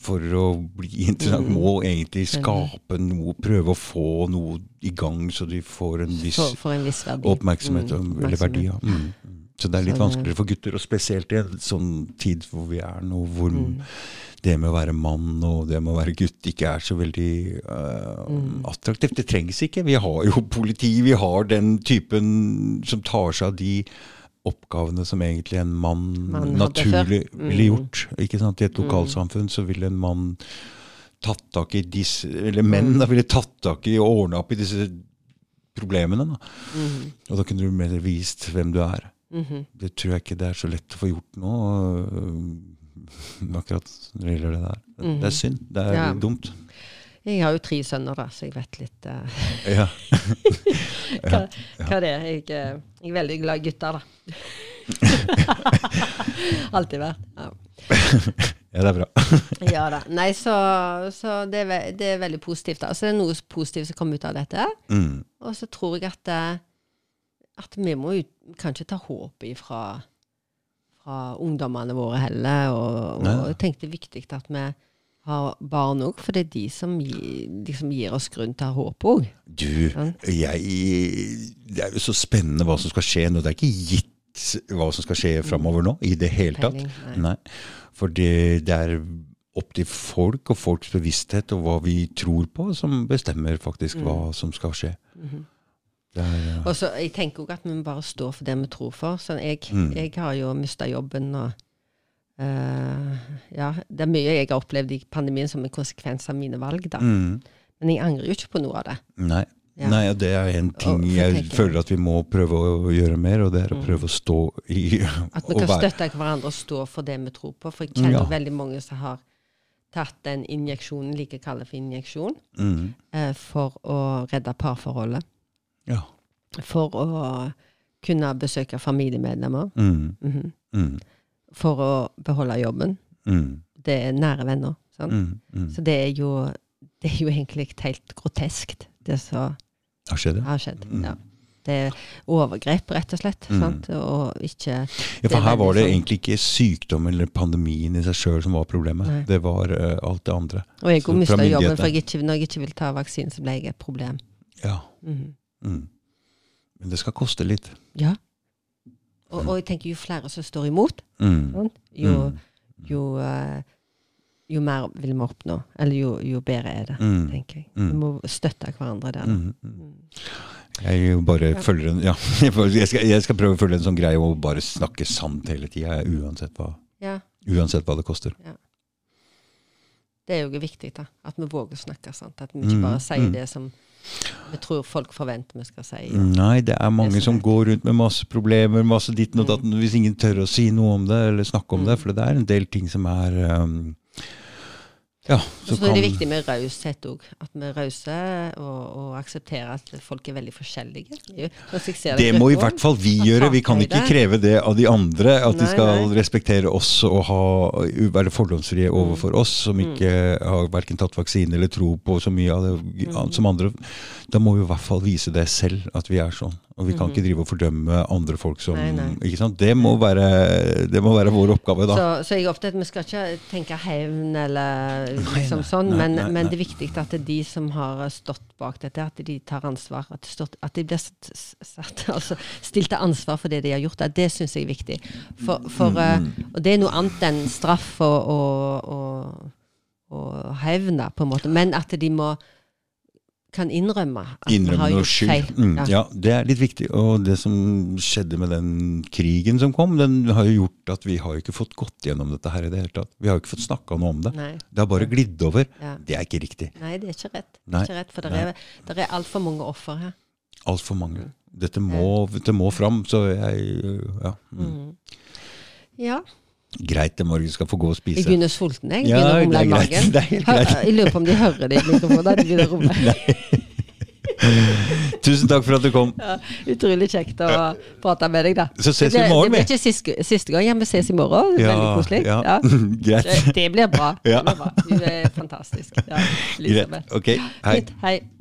S1: For å bli
S2: Mm.
S1: interessant må egentlig skape noe, prøve å få noe i gang, så de får en viss
S2: For, for en viss verdi.
S1: oppmerksomhet
S2: Mm,
S1: og- eller verdi. Ja. Mm. Så det er litt
S2: Så det-
S1: vanskeligere for gutter, og spesielt i en sånn tid hvor vi er nå, hvor
S2: Mm.
S1: det med å være mann og det med å være gutt ikke er så veldig eh,
S2: Mm.
S1: attraktivt. Det trengs ikke. Vi har jo politi, vi har den typen som tar seg av de oppgavene som egentlig en mann,
S2: Mann hadde
S1: naturlig
S2: før. Mm.
S1: ville gjort. Ikke sant? I et lokalsamfunn så ville en mann tatt tak i disse Eller
S2: Mm.
S1: menn da ville tatt tak i og ordna opp i disse problemene. Da.
S2: Mm. Mm-hmm.
S1: Og da kunne du mer vist hvem du er. Det tror jeg ikke det er så lett å få gjort nå, øh, akkurat når det gjelder det der. Det er synd. Det er
S2: Mhm. Ja.
S1: dumt.
S2: Jeg har jo tre sønner, da, så jeg vet litt eh,
S1: Ja.
S2: hva, hva det er. Jeg, eh, jeg er veldig glad i gutter, da. Alltid vært. Ja.
S1: ja, det er bra.
S2: Ja da. Nei, så, så det, er, ve- det er veldig positivt. da. Altså, det er noe positivt som kommer ut av dette.
S1: Mm.
S2: Og så tror jeg at, eh, at vi må jo kanskje ta håpet ifra fra ungdommene våre heller. Og, og
S1: Nei.
S2: jeg tenkte det er viktig at vi har barn òg, for det er de som, gi, de som gir oss grunn til å ha håp òg.
S1: Du, jeg, det er jo så spennende hva som skal skje nå. Det er ikke gitt hva som skal skje framover nå i det hele tatt.
S2: Mm. Peiling,
S1: Nei. For det, det er opp til folk og folks bevissthet og hva vi tror på, som bestemmer
S2: Mm.
S1: faktisk hva som skal skje.
S2: Mhm.
S1: Det er, øh,
S2: Og så Jeg tenker òg at vi må bare stå for det vi tror for. Sånn, jeg,
S1: Mm.
S2: jeg har jo mista jobben og eh, Ja, det er mye jeg har opplevd i pandemien som en konsekvens av mine valg, da.
S1: mm.
S2: Men jeg angrer jo ikke på noe av det.
S1: Nei.
S2: Ja.
S1: Nei, og det er en ting
S2: Og- for
S1: jeg
S2: tenker- Mm.
S1: føler at vi må prøve å gjøre mer, og det er å prøve å stå i
S2: At vi
S1: og
S2: kan
S1: være-
S2: støtte hverandre og stå for det vi tror på. For jeg kjenner
S1: Ja.
S2: veldig mange som har tatt den injeksjonen, like jeg kaller det for injeksjon,
S1: Mm.
S2: eh, for å redde parforholdet.
S1: Ja.
S2: For å kunne besøke familiemedlemmer.
S1: Mm.
S2: mhm.
S1: Mm.
S2: For å beholde jobben.
S1: Mm.
S2: Det er nære venner. Sant?
S1: Mm. Mm.
S2: Så det er jo, det er jo egentlig helt groteskt, det som
S1: Har skjedd, ja.
S2: har skjedd.
S1: Mm.
S2: Ja. Det er overgrep, rett og slett.
S1: Mm.
S2: Sant? Og ikke
S1: ja.
S2: det er
S1: For her var det
S2: veldig sånn-
S1: egentlig ikke sykdommen eller pandemien i seg sjøl som var problemet,
S2: Nei.
S1: det var eh, alt det andre.
S2: Og jeg
S1: Så fra
S2: mista jobben,
S1: myndighetene.
S2: for jeg ikke, når jeg ikke vil ta vaksinen, så ble jeg et problem.
S1: Ja.
S2: Mhm.
S1: Mm. Men det skal koste litt.
S2: Ja. Og, og jeg tenker jo flere som står imot,
S1: Mm.
S2: sant? jo,
S1: Mm.
S2: jo, eh, jo mer vil vi oppnå. Eller jo, jo bedre er det,
S1: Mm.
S2: tenker jeg.
S1: Mm.
S2: Vi må støtte hverandre der. da.
S1: Mm. Mm. Jeg jo bare følger en Ja, jeg skal, jeg skal prøve å følge en sånn greie og bare snakke sant hele tida, uansett hva
S2: Ja.
S1: Uansett hva det koster.
S2: Det er jo viktig, da. At vi våger å snakke sant? At vi ikke bare
S1: Mm,
S2: sier
S1: mm.
S2: det som vi tror folk forventer vi skal si.
S1: Nei, det er mange
S2: Det som
S1: som
S2: er-
S1: går rundt med masse problemer, masse ditten og
S2: Mm.
S1: datten, hvis ingen tør å si noe om det eller snakke om det.
S2: Mm.
S1: For det er en del ting som er um, Ja,
S2: Og
S1: som
S2: så tror jeg det er
S1: kan
S2: viktig med raushet òg. At vi er rause og, og aksepterer at folk er veldig forskjellige. Jo, sånn som jeg ser
S1: Det må i
S2: gruppa.
S1: hvert fall vi
S2: At
S1: gjøre. Vi kan
S2: fartøy
S1: ikke
S2: der-
S1: kreve det av de andre. At de
S2: Nei,
S1: skal
S2: nei.
S1: respektere oss og ha, være fordomsfrie overfor oss, som
S2: Mm.
S1: ikke har verken tatt vaksine eller tro på så mye av det
S2: Mm.
S1: annet som andre. Da må vi i hvert fall vise det selv, at vi er sånn. Og vi kan ikke drive og fordømme andre folk som
S2: Mm. Nei, nei.
S1: Ikke sant? Det må være, det må være vår oppgave, da.
S2: Så, så jeg er opptatt, vi skal ikke tenke hevn eller liksom
S1: nei,
S2: sånn,
S1: nei,
S2: men,
S1: nei,
S2: men
S1: nei.
S2: det er viktig at det er de som har stått bak dette, at de tar ansvar. At de, står- at de blir s- s- satt, altså, stilt til ansvar for det de har gjort. Det, det syns jeg er viktig. For, for,
S1: Mm,
S2: eh, og det er noe annet enn straff og, og, og, og hevn, da, på en måte. Men at de må kan innrømme at vi
S1: Innrømme
S2: har
S1: noe
S2: gjort feil.
S1: skyld. Mm,
S2: Ja.
S1: ja, det er litt viktig. Og det som skjedde med den krigen som kom, den har jo gjort at vi har jo ikke fått gått gjennom dette her i det hele tatt. Vi har jo ikke fått snakka noe om det.
S2: Nei,
S1: Det har bare glidd over.
S2: ja.
S1: Det er ikke riktig.
S2: Nei, det er ikke rett. Det
S1: Nei,
S2: er ikke rett for det er, der er altfor mange offer her.
S1: Altfor mange. Dette må, dette må fram, så jeg Ja. Mm.
S2: Ja.
S1: Greit, det Morgen skal få gå og spise.
S2: Jeg begynner sulten, jeg.
S1: Ja,
S2: Begynner å
S1: det
S2: rumle
S1: er
S2: i
S1: greit.
S2: magen.
S1: Det er helt
S2: Hør-
S1: greit.
S2: Jeg lurer på om de hører det i mikrofonen. at det begynner å rumle.
S1: Tusen takk for at du kom.
S2: Ja, Utrolig kjekt å prate med deg, da.
S1: Så ses vi i
S2: Det blir-
S1: morgen,
S2: Det
S1: vi.
S2: blir ikke siste, siste gang. Ja, vi ses i morgen. Det er Veldig koselig.
S1: ja.
S2: Ja.
S1: Greit.
S2: Det, det blir bra. Det
S1: Ja.
S2: blir bra. Du er fantastisk. Ja,
S1: Greit.
S2: Elisabeth.
S1: Ok, hei.
S2: Fint. Hei.